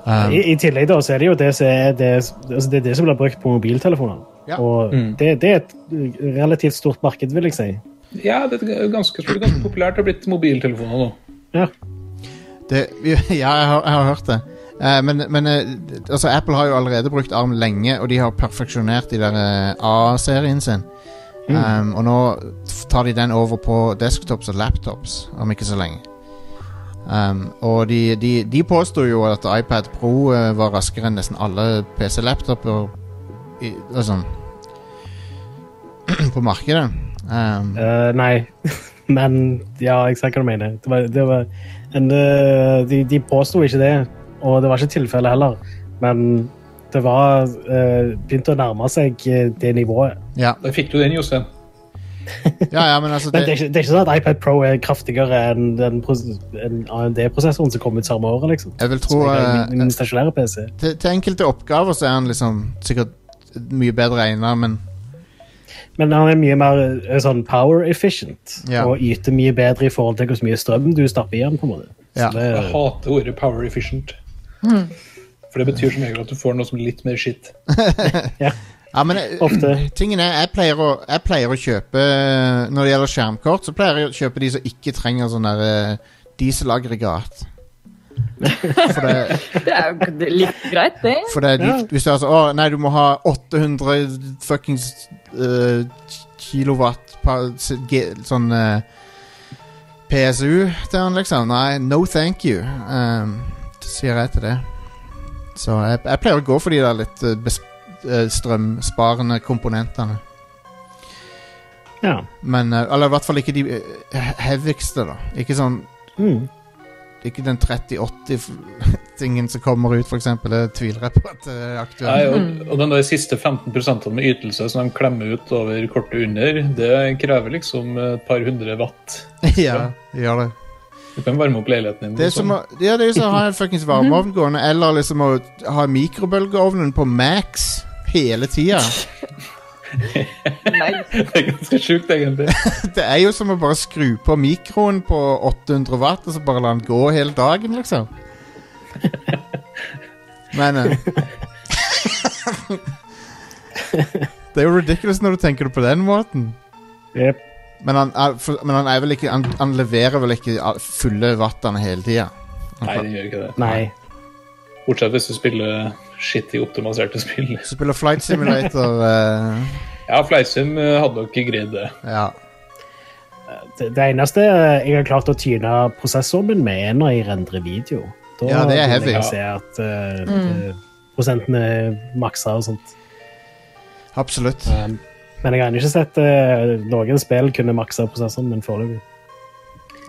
[SPEAKER 1] Um,
[SPEAKER 3] I, I tillegg da, så er det jo det som, er det, altså det, er det som blir brukt på mobiltelefoner.
[SPEAKER 1] Ja.
[SPEAKER 3] Og det, det er et relativt stort marked, vil jeg si.
[SPEAKER 4] Ja, det er ganske, jeg tror det er ganske populært. Det har blitt mobiltelefoner nå.
[SPEAKER 3] Ja.
[SPEAKER 1] Det, ja, jeg har, jeg har hørt det. Eh, men men eh, altså, Apple har jo allerede brukt arm lenge, og de har perfeksjonert de der eh, A-serien sin.
[SPEAKER 3] Mm.
[SPEAKER 1] Um, og nå f- tar de den over på desktops og laptops om ikke så lenge. Um, og de, de, de påsto jo at iPad Pro eh, var raskere enn nesten alle PC-laptoper i- liksom, på markedet. Um,
[SPEAKER 3] Eh, nei, men ja, jeg ser hva du mener. Det var, det var en, eh, de, de påsto ikke det, og det var ikke tilfellet heller. Men det var eh, begynte å nærme seg eh, det nivået.
[SPEAKER 1] ja.
[SPEAKER 4] Der fikk du den, Jostein.
[SPEAKER 1] ja, ja, men altså
[SPEAKER 3] Men det er,
[SPEAKER 1] det,
[SPEAKER 3] ikke, det er ikke sånn at iPad Pro er kraftigere enn den pros- enn AMD-prosessoren som kom ut samme året. liksom.
[SPEAKER 1] Jeg vil tro
[SPEAKER 3] Som er
[SPEAKER 1] eh,
[SPEAKER 3] min, min stasjonære PC.
[SPEAKER 1] til, til enkelte oppgaver så er han liksom sikkert mye bedre egnet, men
[SPEAKER 3] Men han er mye mer eh, sånn power efficient
[SPEAKER 1] Ja.
[SPEAKER 3] og yter mye bedre i forhold til hvor mye strøm du stapper i den. på en måte.
[SPEAKER 1] Ja.
[SPEAKER 3] Så det,
[SPEAKER 4] Jeg hater ordet 'power efficient'. For det betyr som regel at du får noe som er litt mer skitt.
[SPEAKER 1] ja, men eh,
[SPEAKER 3] Ofte.
[SPEAKER 1] tingen er, jeg pleier, å, jeg pleier å kjøpe eh, Når det gjelder skjermkort, så pleier jeg å kjøpe de som ikke trenger sånn der eh, dieselaggregat. For det,
[SPEAKER 2] Det er jo g- litt greit, det.
[SPEAKER 1] for det er dyrt. Hvis du er sånn Å, nei, du må ha 800 fuckings eh, kilowatt per, s- ge- Sånn eh, PSU til han, liksom. Nei, no thank you, ehm, sier jeg til det. Så jeg, jeg pleier å gå for de der litt eh, bes, eh, strømsparende komponentene.
[SPEAKER 3] ja.
[SPEAKER 1] Men, eh, eller i hvert fall ikke de eh, he- heavigste, da. Ikke sånn
[SPEAKER 3] Mm.
[SPEAKER 1] Ikke den 3080-tingen som kommer ut, for eksempel. Det tviler jeg på at det er aktuelt.
[SPEAKER 4] Nei, og, og den der siste 15 med ytelse som de klemmer ut over kortet under, det krever liksom et par hundre watt.
[SPEAKER 1] ja, gjør det.
[SPEAKER 4] Du kan varme opp leiligheten din. liksom.
[SPEAKER 1] Det er som å, ja, det er jo som å ha en fuckings varmeovn gående, eller liksom å ha mikrobølgeovnen på max hele tida.
[SPEAKER 2] Nei.
[SPEAKER 4] Det er ganske sjukt, egentlig.
[SPEAKER 1] Det er jo som å bare skru på mikroen på 800 watt, og så bare la den gå hele dagen, liksom. Men eh, Det er jo ridiculous når du tenker det på den måten.
[SPEAKER 3] Jep.
[SPEAKER 1] Men han, er- for- men han er vel ikke Han, han leverer vel ikke all- fulle wattene hele tida?
[SPEAKER 4] Nei, det gjør ikke det.
[SPEAKER 3] Nei.
[SPEAKER 4] Bortsett hvis du spiller skittig optimiserte spill.
[SPEAKER 1] Spiller flight simulator eh,
[SPEAKER 4] Ja, Fleisum eh, hadde nok ikke greid det.
[SPEAKER 1] Ja.
[SPEAKER 3] Det, det eneste jeg har klart å tyne prosessoren min med, er når jeg rendrer video. Da
[SPEAKER 1] Ja, det er
[SPEAKER 3] vil
[SPEAKER 1] heavy.
[SPEAKER 3] Jeg se at eh, det- prosentene er maksa og sånt.
[SPEAKER 1] Absolutt.
[SPEAKER 4] Um,
[SPEAKER 3] Men jeg har ennå ikke sett eh, noen spill kunne maksa prosessoren min foreløpig.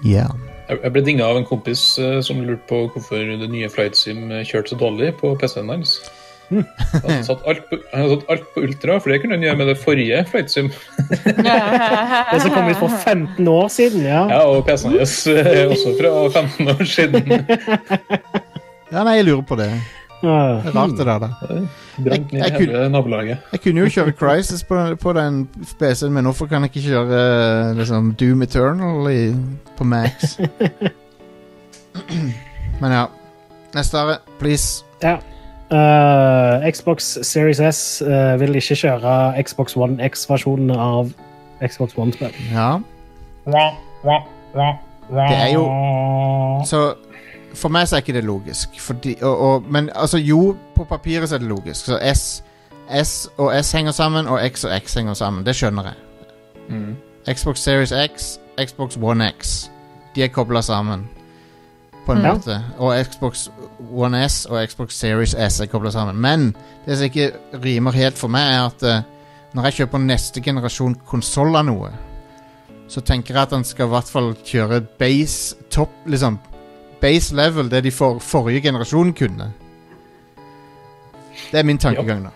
[SPEAKER 1] Yeah.
[SPEAKER 4] Jeg jeg ble dinga av en kompis eh, som lurte på hvorfor det nye FlightSim kjørte så dårlig på PC-en hans.
[SPEAKER 3] Hmm.
[SPEAKER 4] Han hadde satt alt på, han hadde satt alt på ultra, for det kunne han gjøre med det forrige FlightSim.
[SPEAKER 3] Det som kom ut for 15 år siden, ja.
[SPEAKER 4] Ja, og PC-en hans eh, er også fra 15 år siden.
[SPEAKER 1] Ja, nei, jeg lurer på det.
[SPEAKER 3] Ah,
[SPEAKER 1] Det er rart, det der, da.
[SPEAKER 4] Brant
[SPEAKER 1] Jeg-
[SPEAKER 4] ned
[SPEAKER 1] jeg
[SPEAKER 4] hele nabolaget.
[SPEAKER 1] Jeg kunne jo kjøre Crisis på, på den PC-en, men hvorfor kan jeg ikke kjøre eh, liksom, Doom Eternal i, på Max? men ja. Neste are, please.
[SPEAKER 3] ja. Eh, Xbox Series S eh, vil ikke kjøre Xbox One X-versjonen av Xbox One-spill.
[SPEAKER 1] Ja. Det er jo Så for meg så er ikke det logisk. Fordi, og, og, men altså, jo, på papiret så er det logisk. Så S, S og S henger sammen, og X og X henger sammen. Det skjønner jeg. Xbox Series X, Xbox One X. De er kobla sammen. På en
[SPEAKER 3] Ja.
[SPEAKER 1] måte. Og Xbox One S og Xbox Series S er kobla sammen. Men det som ikke rimer helt for meg, er at eh, når jeg kjøper neste generasjon konsoll av noe, så tenker jeg at han skal i hvert fall kjøre base topp, liksom base level, det de for, forrige generasjon kunne. Det er min tankegang nå.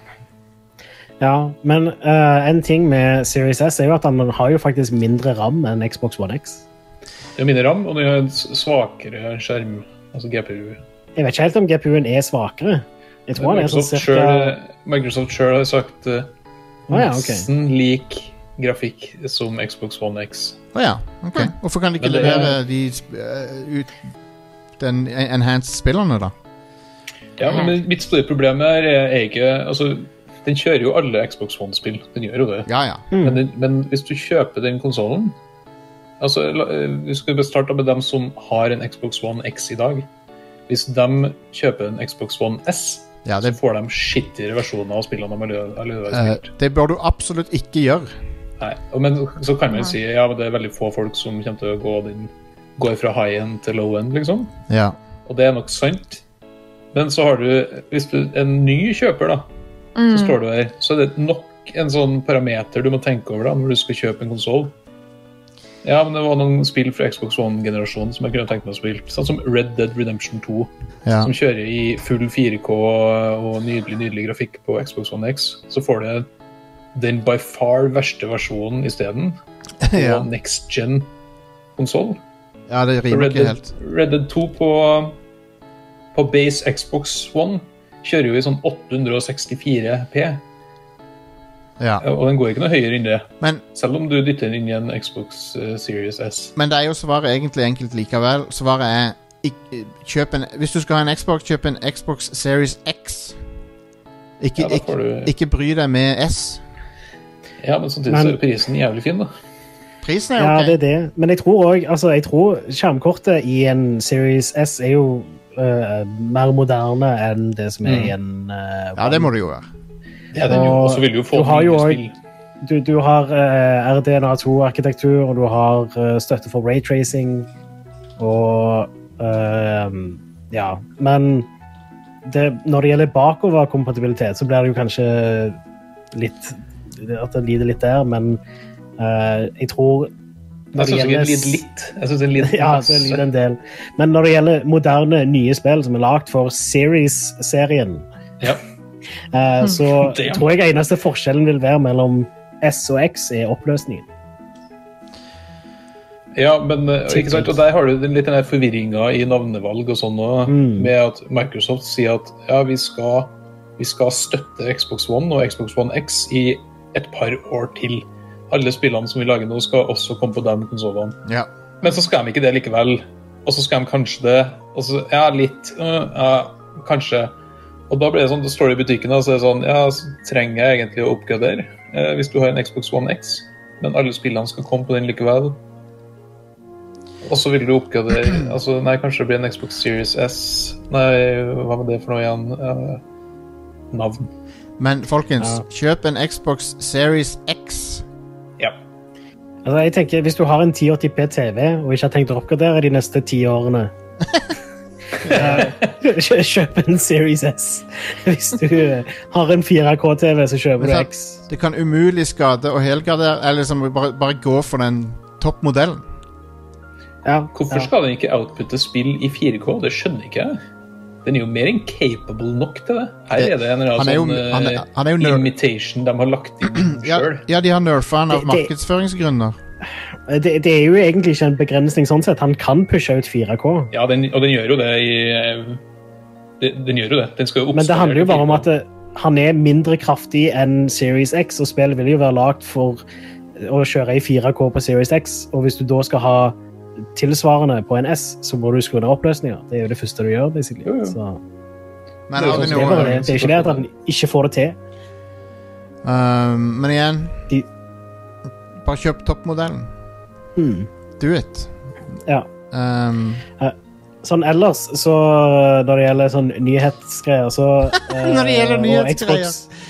[SPEAKER 3] Ja, men eh, en ting med Series S er jo at den har jo faktisk mindre ram enn Xbox One X.
[SPEAKER 4] Det er mindre ram, og den har en s- svakere skjerm, altså GPU.
[SPEAKER 3] Jeg vet ikke helt om GPU-en er svakere. Jeg tror den er sånn
[SPEAKER 4] Microsoft
[SPEAKER 3] cirka
[SPEAKER 4] selv- eh, Microsoft sjøl har sagt eh,
[SPEAKER 3] Å ja, ok.
[SPEAKER 4] nesten lik grafikk som Xbox One X.
[SPEAKER 1] Å ja, ok. Hvorfor kan de ikke
[SPEAKER 4] Men det-
[SPEAKER 1] levere de sp- eh, ut den en- enhanced spillerne, da?
[SPEAKER 4] Ja, men Mitt store problem her er ikke altså, Den kjører jo alle Xbox One-spill. Den gjør jo det.
[SPEAKER 1] Ja ja.
[SPEAKER 4] Men, den, men hvis du kjøper den konsollen altså, la- eh, Vi skulle starte med dem som har en Xbox One X i dag. Hvis de kjøper en Xbox One S,
[SPEAKER 1] ja det,
[SPEAKER 4] så får de skittigere versjoner av spillene de allerede allerede har
[SPEAKER 1] eh,
[SPEAKER 4] spilt.
[SPEAKER 1] det bør du absolutt ikke gjøre.
[SPEAKER 4] Nei, og- Men så kan man jo si ja, men det er veldig få folk som kommer til å gå den, går fra high end til low end, liksom.
[SPEAKER 1] Ja.
[SPEAKER 4] Og det er nok sant. Men så har du, hvis du er en ny kjøper, da, så står du her, så er det nok en sånn parameter du må tenke over da, når du skal kjøpe en konsoll. Ja, men det var noen spill fra Xbox One-generasjonen som jeg kunne tenkt meg å spille. Sånn som Red Dead Redemption 2,
[SPEAKER 1] ja.
[SPEAKER 4] som kjører i full 4K og nydelig, nydelig grafikk på Xbox One X. Så får du den by far verste versjonen isteden, på
[SPEAKER 1] ja.
[SPEAKER 4] next gen-konsoll.
[SPEAKER 1] ja, det rimer
[SPEAKER 4] Red
[SPEAKER 1] ikke
[SPEAKER 4] Dead,
[SPEAKER 1] helt.
[SPEAKER 4] Red Dead 2 på, på base Xbox One kjører jo i sånn 864P,
[SPEAKER 1] Ja.
[SPEAKER 4] og den går ikke noe høyere enn det.
[SPEAKER 1] Men,
[SPEAKER 4] Selv om du dytter den inn i en Xbox eh, Series S.
[SPEAKER 1] men det er jo svaret egentlig enkelt likevel. Svaret er ikk- kjøp en, Hvis du skal ha en Xbox, kjøp en Xbox Series X. Ikke,
[SPEAKER 4] Ja, da
[SPEAKER 1] ikke,
[SPEAKER 4] får du...
[SPEAKER 1] ikke bry deg med S.
[SPEAKER 4] ja, men samtidig så
[SPEAKER 3] Men-
[SPEAKER 4] er prisen jævlig fin, da.
[SPEAKER 1] Prisen er
[SPEAKER 3] Ja,
[SPEAKER 1] ok.
[SPEAKER 3] det er det. Men jeg tror òg altså, jeg tror skjermkortet i en Series S er jo eh, mer moderne enn det som er i en eh,
[SPEAKER 1] Ja, det må det jo være.
[SPEAKER 4] Ja, den jo,
[SPEAKER 3] Og
[SPEAKER 4] og så vil du jo få
[SPEAKER 3] du har
[SPEAKER 4] nye
[SPEAKER 3] jo
[SPEAKER 4] spill.
[SPEAKER 3] Du, du har eh, RDNA2-arkitektur, og du har eh, støtte for raytracing og ehm, Ja. Men det, når det gjelder bakoverkompatibilitet, så blir det jo kanskje litt At det lider litt der, men eh, jeg tror når det
[SPEAKER 4] Jeg syns ikke den
[SPEAKER 3] gjelder-
[SPEAKER 4] lider litt. Jeg synes den lider
[SPEAKER 3] ja,
[SPEAKER 4] masse.
[SPEAKER 3] det lider en del. Men når det gjelder moderne, nye spill som er lagd for Series-serien,
[SPEAKER 4] Ja.
[SPEAKER 3] eh, så
[SPEAKER 4] Damn.
[SPEAKER 3] tror jeg eneste forskjellen vil være mellom S og X, er oppløsningen.
[SPEAKER 4] Ja, men eh, ikke sant, og der har du den- litt den her forvirringa i navnevalg og sånn òg, med at Microsoft sier at ja, vi skal, vi skal støtte Xbox One og Xbox One X i et par år til. Alle spillene som vi lager nå, skal også komme på de konsollene.
[SPEAKER 1] Ja.
[SPEAKER 4] Men så skal de ikke det likevel. Og så skal de kanskje det. Og så, ja, litt. øh, ja, kanskje. Og da blir det sånn, da står det i butikken og så er det sånn Ja, så trenger jeg egentlig å oppgradere eh, hvis du har en Xbox One X, men alle spillene skal komme på den likevel. Og så vil du oppgradere altså, Nei, kanskje det blir en Xbox Series S. Nei, hva var det for noe igjen? Eh, navn.
[SPEAKER 1] Men folkens, kjøp en Xbox Series X.
[SPEAKER 4] Ja.
[SPEAKER 3] Altså, jeg tenker, Hvis du har en 1080p TV og ikke har tenkt å oppgradere de neste ti årene eh, kjø- Kjøp en Series S. Hvis du eh, har en 4K-TV, så kjøper du
[SPEAKER 1] Men
[SPEAKER 3] X.
[SPEAKER 1] Det kan umulig skade og helgardere. Eller liksom bare, bare gå for den toppmodellen.
[SPEAKER 3] Ja,
[SPEAKER 4] Hvorfor
[SPEAKER 3] ja.
[SPEAKER 4] skal den ikke outputte spill i 4K? Det skjønner ikke jeg. Den er jo mer enn capable nok til det. Her
[SPEAKER 1] Det-
[SPEAKER 4] er det en eller
[SPEAKER 1] han
[SPEAKER 4] annen
[SPEAKER 1] er jo-
[SPEAKER 4] sånn eh,
[SPEAKER 1] han er- han er jo nerd.
[SPEAKER 4] imitation de har lagt inn
[SPEAKER 1] Ja,
[SPEAKER 4] sjøl.
[SPEAKER 1] ja, de har nerfa den av
[SPEAKER 3] Det- det-
[SPEAKER 1] markedsføringsgrunner.
[SPEAKER 3] Det, det er jo egentlig ikke en begrensning sånn sett. Han kan pushe ut 4K.
[SPEAKER 4] Ja, den, og den gjør jo det i eh, den, den gjør jo det. Den skal jo
[SPEAKER 3] Men det
[SPEAKER 4] oppskalere
[SPEAKER 3] handler jo bare om
[SPEAKER 4] til
[SPEAKER 3] at eh, han er mindre kraftig enn Series X, og spillet vil jo være lagd for eh, å kjøre i 4K på Series X. Og hvis du da skal ha tilsvarende på en S, så må du skru ned oppløsninga. Det er jo det første du gjør. basically.
[SPEAKER 4] Jo, jo.
[SPEAKER 3] Så
[SPEAKER 1] Men,
[SPEAKER 4] Det er sånn
[SPEAKER 1] har de
[SPEAKER 3] det
[SPEAKER 4] jo
[SPEAKER 3] er,
[SPEAKER 1] noe,
[SPEAKER 3] bare, det. det er ikke det at han ikke får det til.
[SPEAKER 1] Ehm, men igjen
[SPEAKER 3] De-
[SPEAKER 1] Bare kjøp toppmodellen.
[SPEAKER 3] Mm.
[SPEAKER 1] Do it.
[SPEAKER 3] Ja.
[SPEAKER 1] Ehm,
[SPEAKER 3] Sånn ellers, så når det gjelder sånn nyhetsgreier, så eh,
[SPEAKER 1] Når det gjelder
[SPEAKER 3] og
[SPEAKER 1] nyhetsgreier.
[SPEAKER 3] Xbox-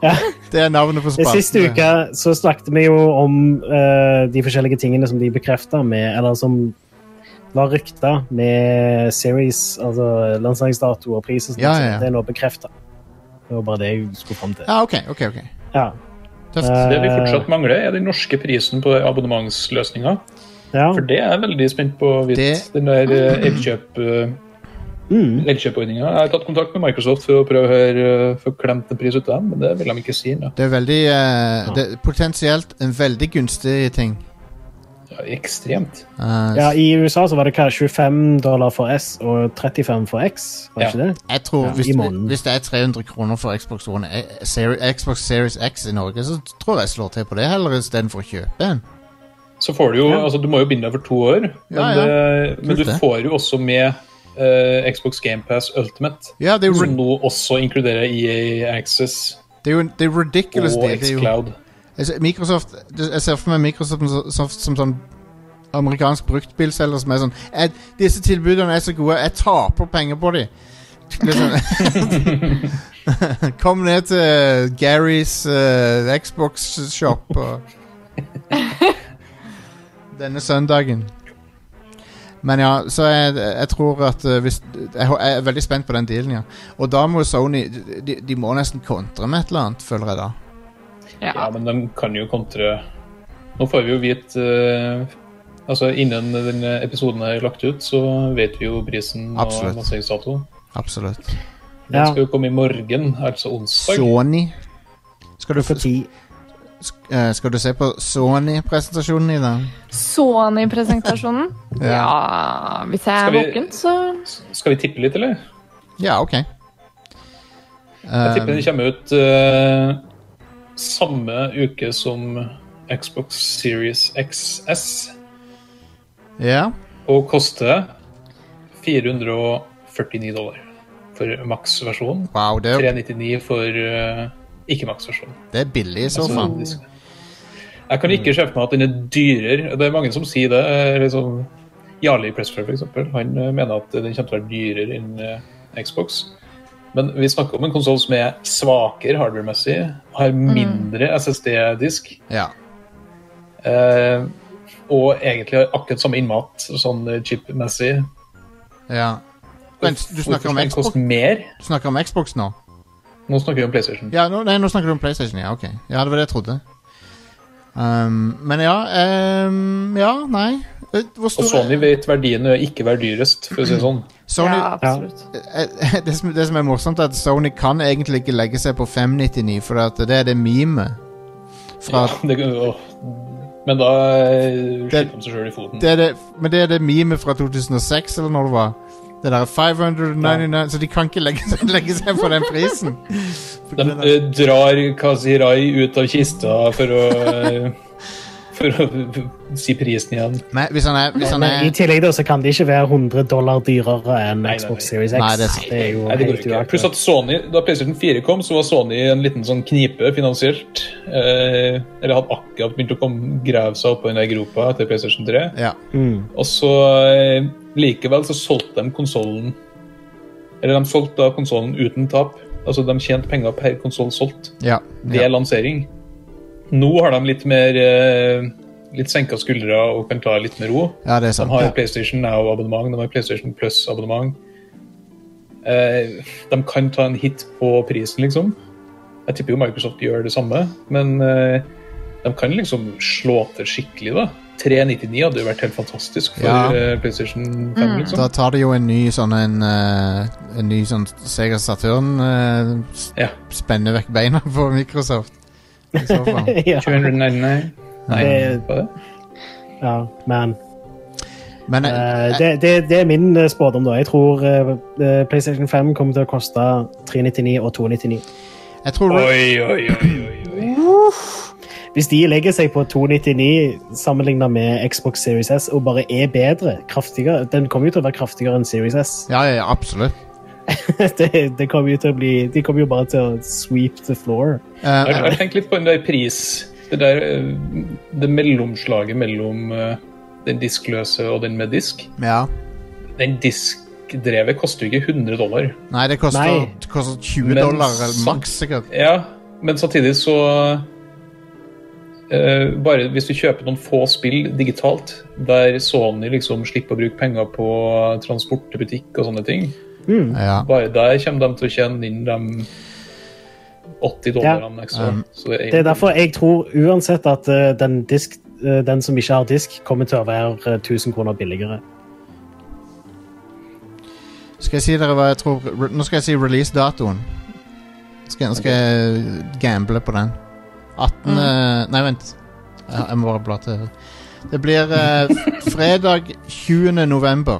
[SPEAKER 1] det er navnet på
[SPEAKER 3] Det
[SPEAKER 1] spalten.
[SPEAKER 3] siste uka så snakket vi jo om eh, de forskjellige tingene som de bekrefta med, eller som var rykta med series, altså lanseringsdato og pris og sånt.
[SPEAKER 1] Ja, ja, ja.
[SPEAKER 3] Det er nå bekrefta. Det var bare det jeg skulle fram til.
[SPEAKER 1] Ja, OK. ok, ok
[SPEAKER 3] Ja.
[SPEAKER 1] Tøft.
[SPEAKER 3] Eh.
[SPEAKER 4] Det vi fortsatt mangler, er den norske prisen på abonnementsløsninga.
[SPEAKER 3] ja.
[SPEAKER 4] For det er jeg veldig spent på, Hvit.
[SPEAKER 1] Det-
[SPEAKER 4] Den der eh, elkjøp... eh,
[SPEAKER 3] Mm.
[SPEAKER 4] Elkjøpordninga. Jeg har tatt kontakt med Microsoft for å prøve å høre, eh, få klemt en pris ut av dem, men det vil de ikke si. nå.
[SPEAKER 1] Det er veldig eh, det er Potensielt en veldig gunstig ting.
[SPEAKER 4] Ja, ekstremt.
[SPEAKER 1] Eh,
[SPEAKER 3] ja, I USA så var det hva, 25 dollar for S og 35 for X, var det
[SPEAKER 4] Ja.
[SPEAKER 3] ikke det?
[SPEAKER 1] Jeg tror
[SPEAKER 3] Ja,
[SPEAKER 1] hvis,
[SPEAKER 3] i måneden.
[SPEAKER 1] hvis det er 300 kroner for Xbox, One, eh, Seri- Xbox Series X i Norge, så tror jeg jeg slår til på det heller istedenfor å kjøpe en.
[SPEAKER 4] Så får du jo Altså, du må jo binde deg for to år, men,
[SPEAKER 1] Ja, ja.
[SPEAKER 4] Det, men du
[SPEAKER 1] det.
[SPEAKER 4] får jo også med eh, Xbox GamePass Ultimate,
[SPEAKER 1] Ja, det er jo,
[SPEAKER 3] Mm.
[SPEAKER 4] som nå også inkluderer EA Access
[SPEAKER 1] det er jo det er ridiculous.
[SPEAKER 4] og
[SPEAKER 1] Det, det er jo,
[SPEAKER 4] Xcloud.
[SPEAKER 1] jeg, ser- Microsoft, det- jeg ser for meg Microsoft som, som, som sånn amerikansk bruktbilselger som er sånn «Eh, Disse tilbudene er så gode, jeg taper penger på dem. Liksom. sånn- Kom ned til Garys eh, Xbox-shop og denne søndagen. Men ja, så jeg, jeg tror at eh, hvis, jeg, hå- jeg er veldig spent på den dealen, ja. Og da må Sony De, de må nesten kontre med et eller annet, føler jeg da.
[SPEAKER 2] Ja.
[SPEAKER 4] Ja, men de kan jo kontre Nå får vi jo vite eh, Altså, innen denne episoden er lagt ut, så vet vi jo prisen
[SPEAKER 1] Absolutt.
[SPEAKER 4] og lanseringsdatoen.
[SPEAKER 1] Absolutt.
[SPEAKER 4] Den
[SPEAKER 3] Ja.
[SPEAKER 4] skal jo komme i morgen, altså onsdag.
[SPEAKER 1] Sony. Skal du,
[SPEAKER 3] For
[SPEAKER 1] få-
[SPEAKER 3] 10.
[SPEAKER 1] sk- eh, skal du se på Sony-presentasjonen i dag?
[SPEAKER 2] Sony-presentasjonen.
[SPEAKER 1] Ja.
[SPEAKER 2] Ja, hvis jeg
[SPEAKER 4] Skal
[SPEAKER 2] er
[SPEAKER 4] vi-
[SPEAKER 2] våken, så
[SPEAKER 4] Skal vi tippe litt, eller?
[SPEAKER 1] Ja, OK.
[SPEAKER 4] Jeg tipper den kommer ut eh, samme uke som Xbox Series XS
[SPEAKER 1] Ja.
[SPEAKER 4] og koster 449 dollar for maks-versjonen.
[SPEAKER 1] Wow, det er,
[SPEAKER 4] 399 for eh, ikke maks-versjonen.
[SPEAKER 1] det er billig i så
[SPEAKER 4] Altså,
[SPEAKER 1] fall.
[SPEAKER 4] disk- Jeg kan ikke se for meg at den er dyrere. Det er mange som sier det. eh, Liksom, Jarle i Pressfair, for eksempel, han eh, mener at den kommer til å være dyrere enn eh, Xbox. Men vi snakker om en konsoll som er svakere hardware-messig, har
[SPEAKER 1] Mm.
[SPEAKER 4] mindre SSD-disk,
[SPEAKER 1] Ja.
[SPEAKER 4] eh, og egentlig har akkurat samme innmat sånn eh, chip-messig.
[SPEAKER 1] ja. Vent, du snakker om,
[SPEAKER 4] Hvorfor skal den
[SPEAKER 1] Xbox,
[SPEAKER 4] koste mer?
[SPEAKER 1] du snakker om Xbox nå?
[SPEAKER 4] Nå snakker vi om PlayStation.
[SPEAKER 1] Ja, nå, nei, nå snakker du om PlayStation, ja. Ok. Ja, det var det jeg trodde. Um, men ja ehm, Ja, nei. Eh, Hvor
[SPEAKER 4] Og
[SPEAKER 1] stor
[SPEAKER 4] Sony vet verdien og ikke være dyrest, for å si det sånn.
[SPEAKER 1] Sony
[SPEAKER 2] Ja, absolutt.
[SPEAKER 1] eh, det, som, det som er morsomt, er at Sony kan egentlig ikke legge seg på 599, for at det er det memet fra
[SPEAKER 4] Ja, det, åh, Men da eh,
[SPEAKER 1] Det-
[SPEAKER 4] skyter de seg sjøl i foten.
[SPEAKER 1] det er det, men det er det memet fra 2006, eller når det var. Det der 599 Så de kan ikke legge seg, legge seg på den prisen. For
[SPEAKER 4] De
[SPEAKER 1] den er-
[SPEAKER 4] eh, drar Kazirai ut av kista for å eh, For å si prisen igjen.
[SPEAKER 1] Nei, hvis han er, hvis han
[SPEAKER 3] Men i
[SPEAKER 1] er
[SPEAKER 3] tillegg da, så kan det ikke være 100 dollar dyrere enn
[SPEAKER 4] Nei, nei,
[SPEAKER 3] Xbox
[SPEAKER 4] nei.
[SPEAKER 3] Series X.
[SPEAKER 1] Nei, det er sant.
[SPEAKER 3] det er jo
[SPEAKER 4] Nei, det går
[SPEAKER 3] helt
[SPEAKER 4] ikke. Pluss
[SPEAKER 3] uaktuelt.
[SPEAKER 4] at Sony, Da PlayStation 4 kom, så var Sony i en liten sånn knipe finansielt. Eh, eller hadde akkurat begynt å komme, grave seg opp under gropa etter PlayStation 3.
[SPEAKER 1] ja.
[SPEAKER 4] Og så eh, likevel så solgte de konsollen Eller de solgte da konsollen uten tap. Altså de tjente penger per konsoll solgt.
[SPEAKER 1] Ja.
[SPEAKER 4] Det
[SPEAKER 1] ja.
[SPEAKER 4] er lansering. Nå har de litt mer eh, Litt senka skuldre og kan ta litt med ro.
[SPEAKER 1] ja, det er
[SPEAKER 4] De
[SPEAKER 1] sant.
[SPEAKER 4] har
[SPEAKER 1] Ja.
[SPEAKER 4] PlayStation Now-abonnement, de har PlayStation Plus-abonnement. Eh, de kan ta en hit på prisen, liksom. Jeg tipper jo Microsoft gjør det samme, men eh, de kan liksom slå til skikkelig, da. 399 hadde jo vært helt fantastisk for
[SPEAKER 1] Ja.
[SPEAKER 4] eh, PlayStation 5, liksom.
[SPEAKER 1] Da tar de jo en ny sånn en, eh, en ny sånn Sega Saturn eh, s-
[SPEAKER 4] Ja.
[SPEAKER 1] Spenner vekk beina på Microsoft. I så fall.
[SPEAKER 3] ja,
[SPEAKER 4] 299. Nei,
[SPEAKER 3] Det-
[SPEAKER 4] hva er det?
[SPEAKER 3] ja, men
[SPEAKER 1] Men eh,
[SPEAKER 3] eh, det, det, det er min eh, spådom, da. Jeg tror eh, eh, PlayStation 5 kommer til å koste 399 og 299.
[SPEAKER 1] jeg tror
[SPEAKER 4] Oi, oi, oi, oi, oi.
[SPEAKER 3] Hvis de legger seg på 299 sammenlignet med Xbox Series S og bare er bedre, kraftigere Den kommer jo til å være kraftigere enn Series S.
[SPEAKER 1] Ja, ja, ja, absolutt.
[SPEAKER 3] det, det kommer jo til å bli, de kommer jo bare til å sweep the floor.
[SPEAKER 1] Eh,
[SPEAKER 4] Jeg har tenkt litt på den der pris Det der eh, Det mellomslaget mellom eh, den diskløse og den med disk.
[SPEAKER 1] ja.
[SPEAKER 4] Den diskdrevet koster jo ikke 100 dollar.
[SPEAKER 1] Nei, det koster,
[SPEAKER 3] Nei.
[SPEAKER 1] det koster 20
[SPEAKER 4] Men
[SPEAKER 1] dollar eller
[SPEAKER 4] så-
[SPEAKER 1] maks, sikkert.
[SPEAKER 4] Ja, men samtidig så eh, Bare hvis du kjøper noen få spill digitalt, der Sony liksom slipper å bruke penger på transport til butikk og sånne ting,
[SPEAKER 1] Ja.
[SPEAKER 4] bare der kommer de til å tjene inn de 80 dollarene ekstra. så det er,
[SPEAKER 3] Det er derfor jeg tror uansett at eh, den, disk, eh, den som ikke har disk, kommer til å være eh, 1000 kroner billigere.
[SPEAKER 1] Skal jeg si dere hva jeg tror re- Nå skal jeg si release-datoen. Skal, nå skal jeg gamble på den. 18 eh, Nei, vent. Jeg, jeg må bare bla til. Det blir eh, f- fredag 20. november.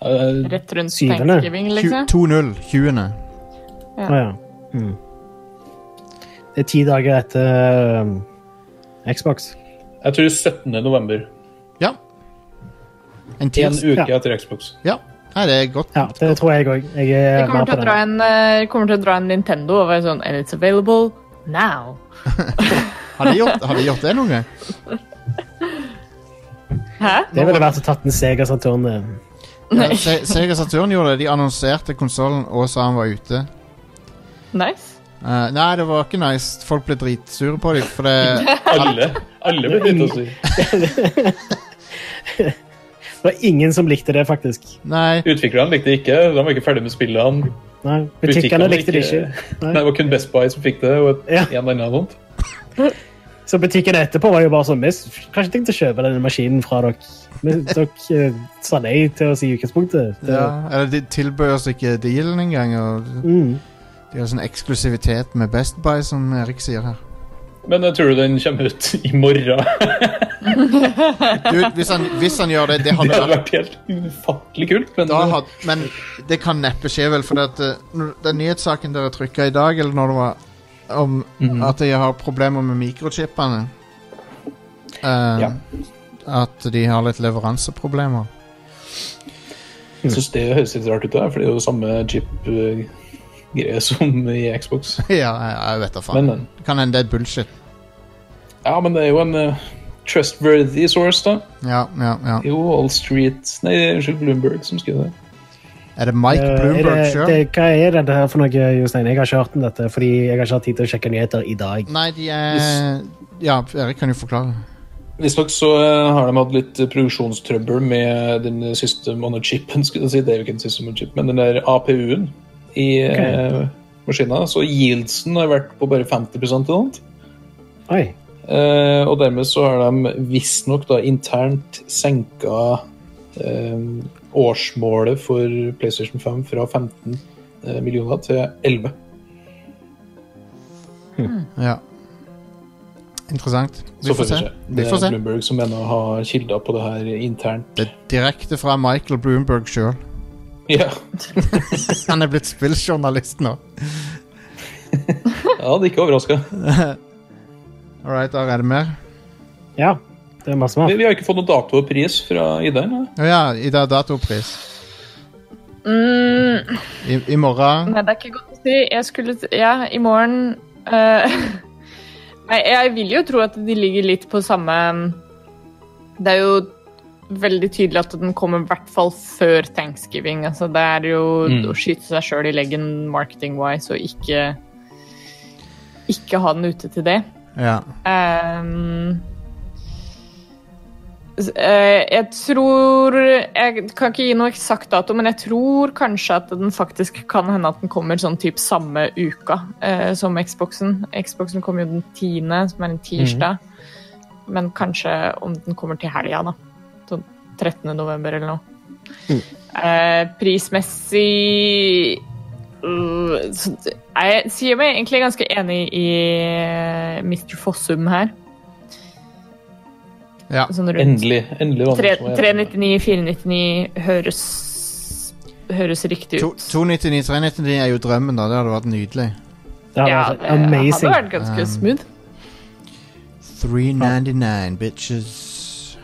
[SPEAKER 4] Eh,
[SPEAKER 2] Rett rundt
[SPEAKER 3] Syvende.
[SPEAKER 2] thanksgiving,
[SPEAKER 1] Tju-
[SPEAKER 2] liksom.
[SPEAKER 1] 2-0. 20.
[SPEAKER 3] Å ja. Mm. Det er ti dager etter eh, Xbox.
[SPEAKER 4] jeg tror 17. november.
[SPEAKER 1] Ja. En
[SPEAKER 4] En
[SPEAKER 1] tirs...
[SPEAKER 4] uke
[SPEAKER 3] Ja.
[SPEAKER 4] etter Xbox.
[SPEAKER 1] Ja. Nei, det er godt.
[SPEAKER 3] Ja, det tror jeg òg. Jeg er
[SPEAKER 2] Jeg kommer
[SPEAKER 3] med
[SPEAKER 2] til,
[SPEAKER 3] på
[SPEAKER 2] å dra
[SPEAKER 3] det.
[SPEAKER 2] en, eh, kommer til å dra en Nintendo og være sånn And it's available now.
[SPEAKER 1] Har de gjort, har de gjort det noen gang?
[SPEAKER 2] Hæ?
[SPEAKER 3] Det ville vært å tatt en Sega Saturn. eh.
[SPEAKER 1] Ja, Se- Sega Saturn gjorde det. De annonserte konsollen og sa han var ute.
[SPEAKER 2] Nice.
[SPEAKER 1] Eh, nei, det var ikke nice. Folk ble dritsure på dem. For det,
[SPEAKER 4] Alle, alle blir bytta si.
[SPEAKER 3] Det var ingen som likte det, faktisk.
[SPEAKER 1] nei,
[SPEAKER 4] Utviklerne likte det ikke, de var ikke ferdig med spillene.
[SPEAKER 3] Nei, Butikkene likte det ikke.
[SPEAKER 4] Nei, Det var kun Best Buy som fikk det, og
[SPEAKER 3] Ja.
[SPEAKER 4] en eller annen sånt.
[SPEAKER 3] Så butikkene etterpå var jo bare sånn Vi har ikke tenkt å kjøpe denne maskinen fra dere. Men dere eh, sa nei til oss i utgangspunktet. Det-
[SPEAKER 1] ja, eller de tilbød oss ikke dealen engang. Og
[SPEAKER 3] Mm.
[SPEAKER 1] de har sånn eksklusivitet med Best Buy, som Erik sier her.
[SPEAKER 4] Men jeg tror du den kommer ut i morgen?
[SPEAKER 1] Du, hvis, han, hvis han gjør det, det
[SPEAKER 4] Det
[SPEAKER 1] hadde
[SPEAKER 4] hadde
[SPEAKER 1] vært
[SPEAKER 4] vært helt ufattelig kult. Men
[SPEAKER 1] da had, Men det kan neppe skje, vel. For at, eh, når- den nyhetssaken dere trykka i dag, eller når det var om at de har problemer med mikrochipene eh,
[SPEAKER 4] Ja.
[SPEAKER 1] At de har litt leveranseproblemer.
[SPEAKER 4] jeg eh, synes det høres litt rart ut, da, for det er jo samme chip-greie som i Xbox.
[SPEAKER 1] ja, jeg, jeg vet da faen.
[SPEAKER 4] Men, men.
[SPEAKER 1] Kan hende det er bullshit.
[SPEAKER 4] Ja, men det er jo en eh, trustworthy source, da.
[SPEAKER 1] Ja, ja, ja.
[SPEAKER 4] Jo, All Street Nei, unnskyld, Bloomberg som skrev det.
[SPEAKER 1] Er det Mike
[SPEAKER 3] Eh,
[SPEAKER 1] Bloomberg
[SPEAKER 3] er det,
[SPEAKER 1] sjøl?
[SPEAKER 3] det, hva er dette her for noe, Jostein? Jeg har ikke hørt om dette, fordi jeg har ikke hatt tid til å sjekke nyheter i dag.
[SPEAKER 1] Nei, de er Ja, Erik kan jo forklare.
[SPEAKER 4] Visstnok så eh, har de hatt litt produksjonstrøbbel med den system on a chipen, skulle jeg si. Det er jo ikke en system on a chip, men den der APU-en i eh, maskina. Så yieldsen har vært på bare 50 eller noe. annet.
[SPEAKER 3] Oi.
[SPEAKER 4] Eh, og dermed så har de visstnok da internt senka eh, årsmålet for PlayStation 5 fra 15 eh, millioner til 11.
[SPEAKER 1] Ja. Interessant. Vi
[SPEAKER 4] Så
[SPEAKER 1] får
[SPEAKER 4] får vi
[SPEAKER 1] se.
[SPEAKER 4] se.
[SPEAKER 1] Vi
[SPEAKER 4] Det
[SPEAKER 1] får
[SPEAKER 4] er
[SPEAKER 1] se.
[SPEAKER 4] Bloomberg som ennå har kilder på det her internt.
[SPEAKER 1] Det er direkte fra Michael Bloomberg sjøl.
[SPEAKER 4] Ja,
[SPEAKER 1] Han er blitt spilljournalist nå.
[SPEAKER 4] ja det er ikke overraska.
[SPEAKER 1] All right, da er det mer.
[SPEAKER 3] Ja, det er masse mer.
[SPEAKER 4] Vi, vi har ikke fått noen dato og pris fra Idar. nei.
[SPEAKER 1] Å ja, i dag er datopris.
[SPEAKER 2] Mm,
[SPEAKER 1] I, I morgen
[SPEAKER 2] Nei, det er ikke godt å si. Jeg skulle t- Ja, i morgen eh, Nei, jeg vil jo tro at de ligger litt på samme mm, Det er jo veldig tydelig at den kommer i hvert fall før thanksgiving. Altså, det er jo
[SPEAKER 4] Mm.
[SPEAKER 2] å skyte seg sjøl i leggen marketing-wise og ikke ikke ha den ute til det.
[SPEAKER 1] Ja.
[SPEAKER 2] Ehm, s- eh, jeg tror Jeg kan ikke gi noe eksakt dato, men jeg tror kanskje at den faktisk kan hende at den kommer sånn typ samme uka eh, som Xboxen. Xboxen kommer jo den tiende, som er en tirsdag. Men kanskje om den kommer til helga, da. Sånn 13. november eller noe. Eh, prismessig Øh, så det- Jeg sier meg egentlig ganske enig i eh, Mr. Fossum her.
[SPEAKER 1] Ja.
[SPEAKER 2] Sånn rundt
[SPEAKER 4] Endelig. endelig var det
[SPEAKER 2] tre-
[SPEAKER 4] noen som var enig.
[SPEAKER 2] 399, 499 høres, høres riktig
[SPEAKER 1] To-
[SPEAKER 2] ut.
[SPEAKER 1] 299, 399 er jo drømmen, da. Det hadde vært nydelig.
[SPEAKER 3] Det hadde
[SPEAKER 2] Ja,
[SPEAKER 3] vært
[SPEAKER 2] det hadde
[SPEAKER 3] amazing.
[SPEAKER 2] vært ganske
[SPEAKER 1] Um,
[SPEAKER 2] smooth.
[SPEAKER 1] 399, bitches.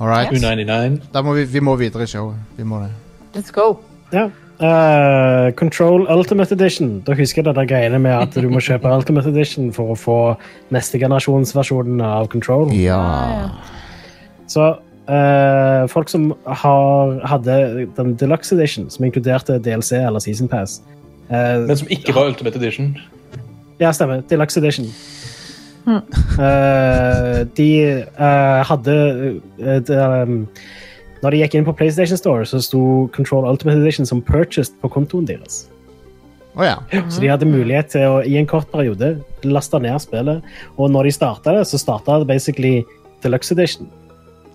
[SPEAKER 1] All right.
[SPEAKER 4] 299.
[SPEAKER 1] Da må vi, vi må videre i showet. Vi må det.
[SPEAKER 2] Let's go.
[SPEAKER 3] Ja. Eh, Control Ultimate Edition. Da husker jeg det der greiene med at du må kjøpe Ultimate Edition for å få neste generasjons versjonen av Control.
[SPEAKER 1] Ja.
[SPEAKER 3] Så eh, folk som har, hadde den Deluxe Edition, som inkluderte DLC eller Season Pass eh,
[SPEAKER 4] Men som ikke var Ultimate Edition.
[SPEAKER 3] Ja, stemmer. Deluxe Edition. Eh, de eh, hadde eh, det, um, Når de gikk inn på PlayStation Store, så sto Control Ultimate Edition som purchased på kontoen deres.
[SPEAKER 1] Å ja.
[SPEAKER 3] Så de hadde mulighet til å i en kort periode laste ned spillet. Og når de starta det, så starta det basically Deluxe Edition.
[SPEAKER 1] Å,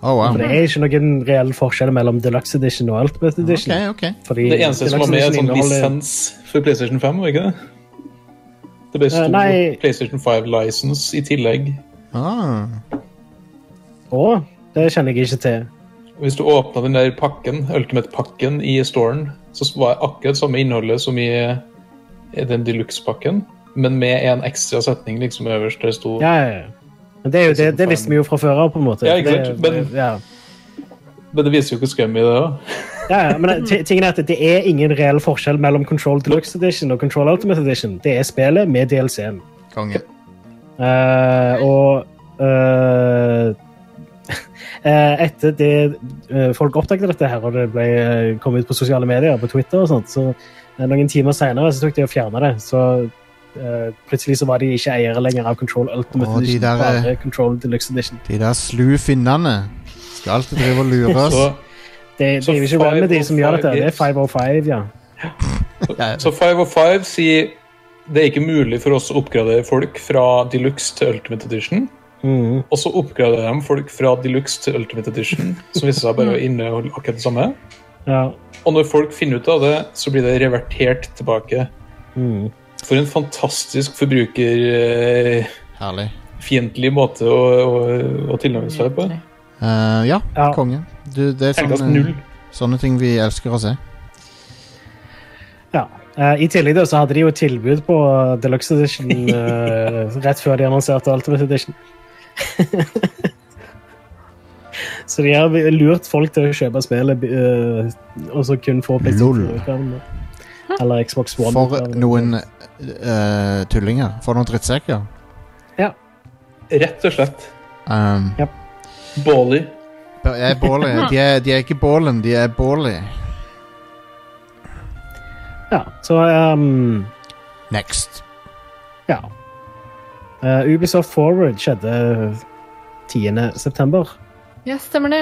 [SPEAKER 1] Oh, wow.
[SPEAKER 3] For det er ikke noen reell forskjell mellom Deluxe Edition og Ultimate
[SPEAKER 1] OK,
[SPEAKER 3] Edition.
[SPEAKER 1] OK.
[SPEAKER 3] Fordi
[SPEAKER 4] Det eneste som var
[SPEAKER 3] Deluxe
[SPEAKER 4] med, er
[SPEAKER 3] Edition
[SPEAKER 4] sånn
[SPEAKER 3] inneholder-
[SPEAKER 4] lisens for PlayStation 5, var ikke det? Det ble stor
[SPEAKER 3] nei.
[SPEAKER 4] PlayStation 5-license i tillegg.
[SPEAKER 1] Ah.
[SPEAKER 3] Å, det kjenner jeg ikke til.
[SPEAKER 4] Hvis du åpna den der pakken, Ultimate-pakken i storen, så var akkurat samme innholdet som i i den deluxe-pakken, men med en ekstra setning liksom øverst der det sto
[SPEAKER 3] Ja, ja, ja. Men det, er jo, det, det visste vi jo fra før av, på en måte.
[SPEAKER 4] Ja, ikke sant?
[SPEAKER 3] Det,
[SPEAKER 4] Men-
[SPEAKER 3] ja.
[SPEAKER 4] Men det viser jo hvor scummy det er.
[SPEAKER 3] Ja, ja, men ti- tingen er at Det er ingen reell forskjell mellom Control Deluxe Edition og Control Ultimate Edition. Det er spillet med DLC-en.
[SPEAKER 1] Konge.
[SPEAKER 3] Eh, og eh, eh, etter det eh, folk oppdaget dette her, og det ble, eh, kom ut på sosiale medier, på Twitter og sånt, så eh, noen timer senere så tok de og fjerna det. Så eh, plutselig så var de ikke eiere lenger av Control Ultimate
[SPEAKER 1] Å, de
[SPEAKER 3] Edition,
[SPEAKER 1] der, eh,
[SPEAKER 3] bare Control Deluxe Edition.
[SPEAKER 1] De der slu finnene skal alltid drive og lure oss.
[SPEAKER 4] Så,
[SPEAKER 3] Det,
[SPEAKER 4] Så
[SPEAKER 3] det er jo ikke Remedy som gjør dette, det er
[SPEAKER 4] 505
[SPEAKER 3] 505, ja.
[SPEAKER 1] Ja,
[SPEAKER 4] så Five of Five sier det er ikke mulig for oss å oppgradere folk fra deluxe til Ultimate Edition.
[SPEAKER 1] Mm.
[SPEAKER 3] Mhm.
[SPEAKER 4] Og så oppgraderer de folk fra deluxe til Ultimate Edition, som viser seg bare å inneholde akkurat det samme.
[SPEAKER 3] ja.
[SPEAKER 4] Og når folk finner ut av det, så blir det revertert tilbake.
[SPEAKER 3] Mm.
[SPEAKER 4] For en fantastisk forbrukerfiendtlig
[SPEAKER 1] Herlig.
[SPEAKER 4] måte å, å, å tilnærme seg på.
[SPEAKER 1] Eh, ja,
[SPEAKER 3] Ja.
[SPEAKER 1] konge. Du, det er
[SPEAKER 4] Terningkast
[SPEAKER 1] sånne,
[SPEAKER 4] null.
[SPEAKER 1] sånne ting vi elsker å se.
[SPEAKER 3] Ja. Eh, I tillegg da, så hadde de jo tilbud på eh, Deluxe Edition eh, rett før de annonserte Ultimate Edition. så de har lurt folk til å kjøpe spillet eh, og så kun få
[SPEAKER 1] Lol.
[SPEAKER 3] PlayStation. Eller Xbox One.
[SPEAKER 1] For
[SPEAKER 3] utgaven.
[SPEAKER 1] noen eh, tullinger. For noen drittsekker.
[SPEAKER 4] Rett og slett.
[SPEAKER 1] Um,
[SPEAKER 4] Båli.
[SPEAKER 1] jeg er Båli. De er, de er ikke Bålen, de er Båli.
[SPEAKER 3] Ja, så ehm,
[SPEAKER 1] Next.
[SPEAKER 3] ja. Eh, Ubisoft Forward skjedde 10. september.
[SPEAKER 2] Ja, stemmer det.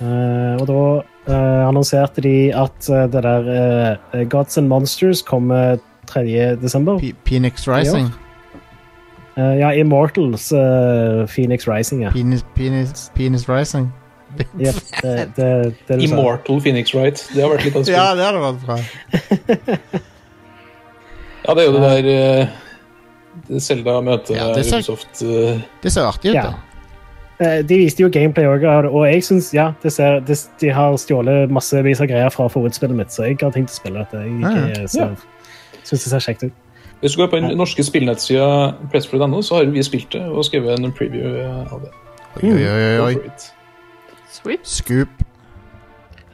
[SPEAKER 3] Eh, og da eh, annonserte de at eh, det der eh, Gods and Monsters kommer 3. desember.
[SPEAKER 1] P Phoenix Rising.
[SPEAKER 3] Eh, ja, Immortals eh, Phoenix Rising, ja.
[SPEAKER 1] Penis, penis, penis Rising.
[SPEAKER 3] Jep, det, det, det du sa.
[SPEAKER 4] Immortal Phoenix Wright. Det har vært litt av et spill.
[SPEAKER 1] Ja, det hadde vært bra.
[SPEAKER 4] Ja, det er jo det der eh, Selda møter
[SPEAKER 1] Ja, det ser-
[SPEAKER 4] Ubisoft eh,
[SPEAKER 1] Det ser artig ut,
[SPEAKER 3] Ja.
[SPEAKER 1] da.
[SPEAKER 3] Eh, De viste jo gameplay òg, og jeg synes, ja, det ser, det, de har stjålet massevis av greier fra forutspillet mitt, så jeg har tenkt å spille dette. Jeg, jeg,
[SPEAKER 4] Ja.
[SPEAKER 3] synes det ser kjekt ut.
[SPEAKER 4] Hvis du går på den norske spillnettsida pressplay.no, så har vi spilt det og skrevet en preview eh, av det.
[SPEAKER 1] Oi, oi, oi,
[SPEAKER 4] Go
[SPEAKER 1] oi.
[SPEAKER 4] for it.
[SPEAKER 2] Sweet.
[SPEAKER 1] Scoop.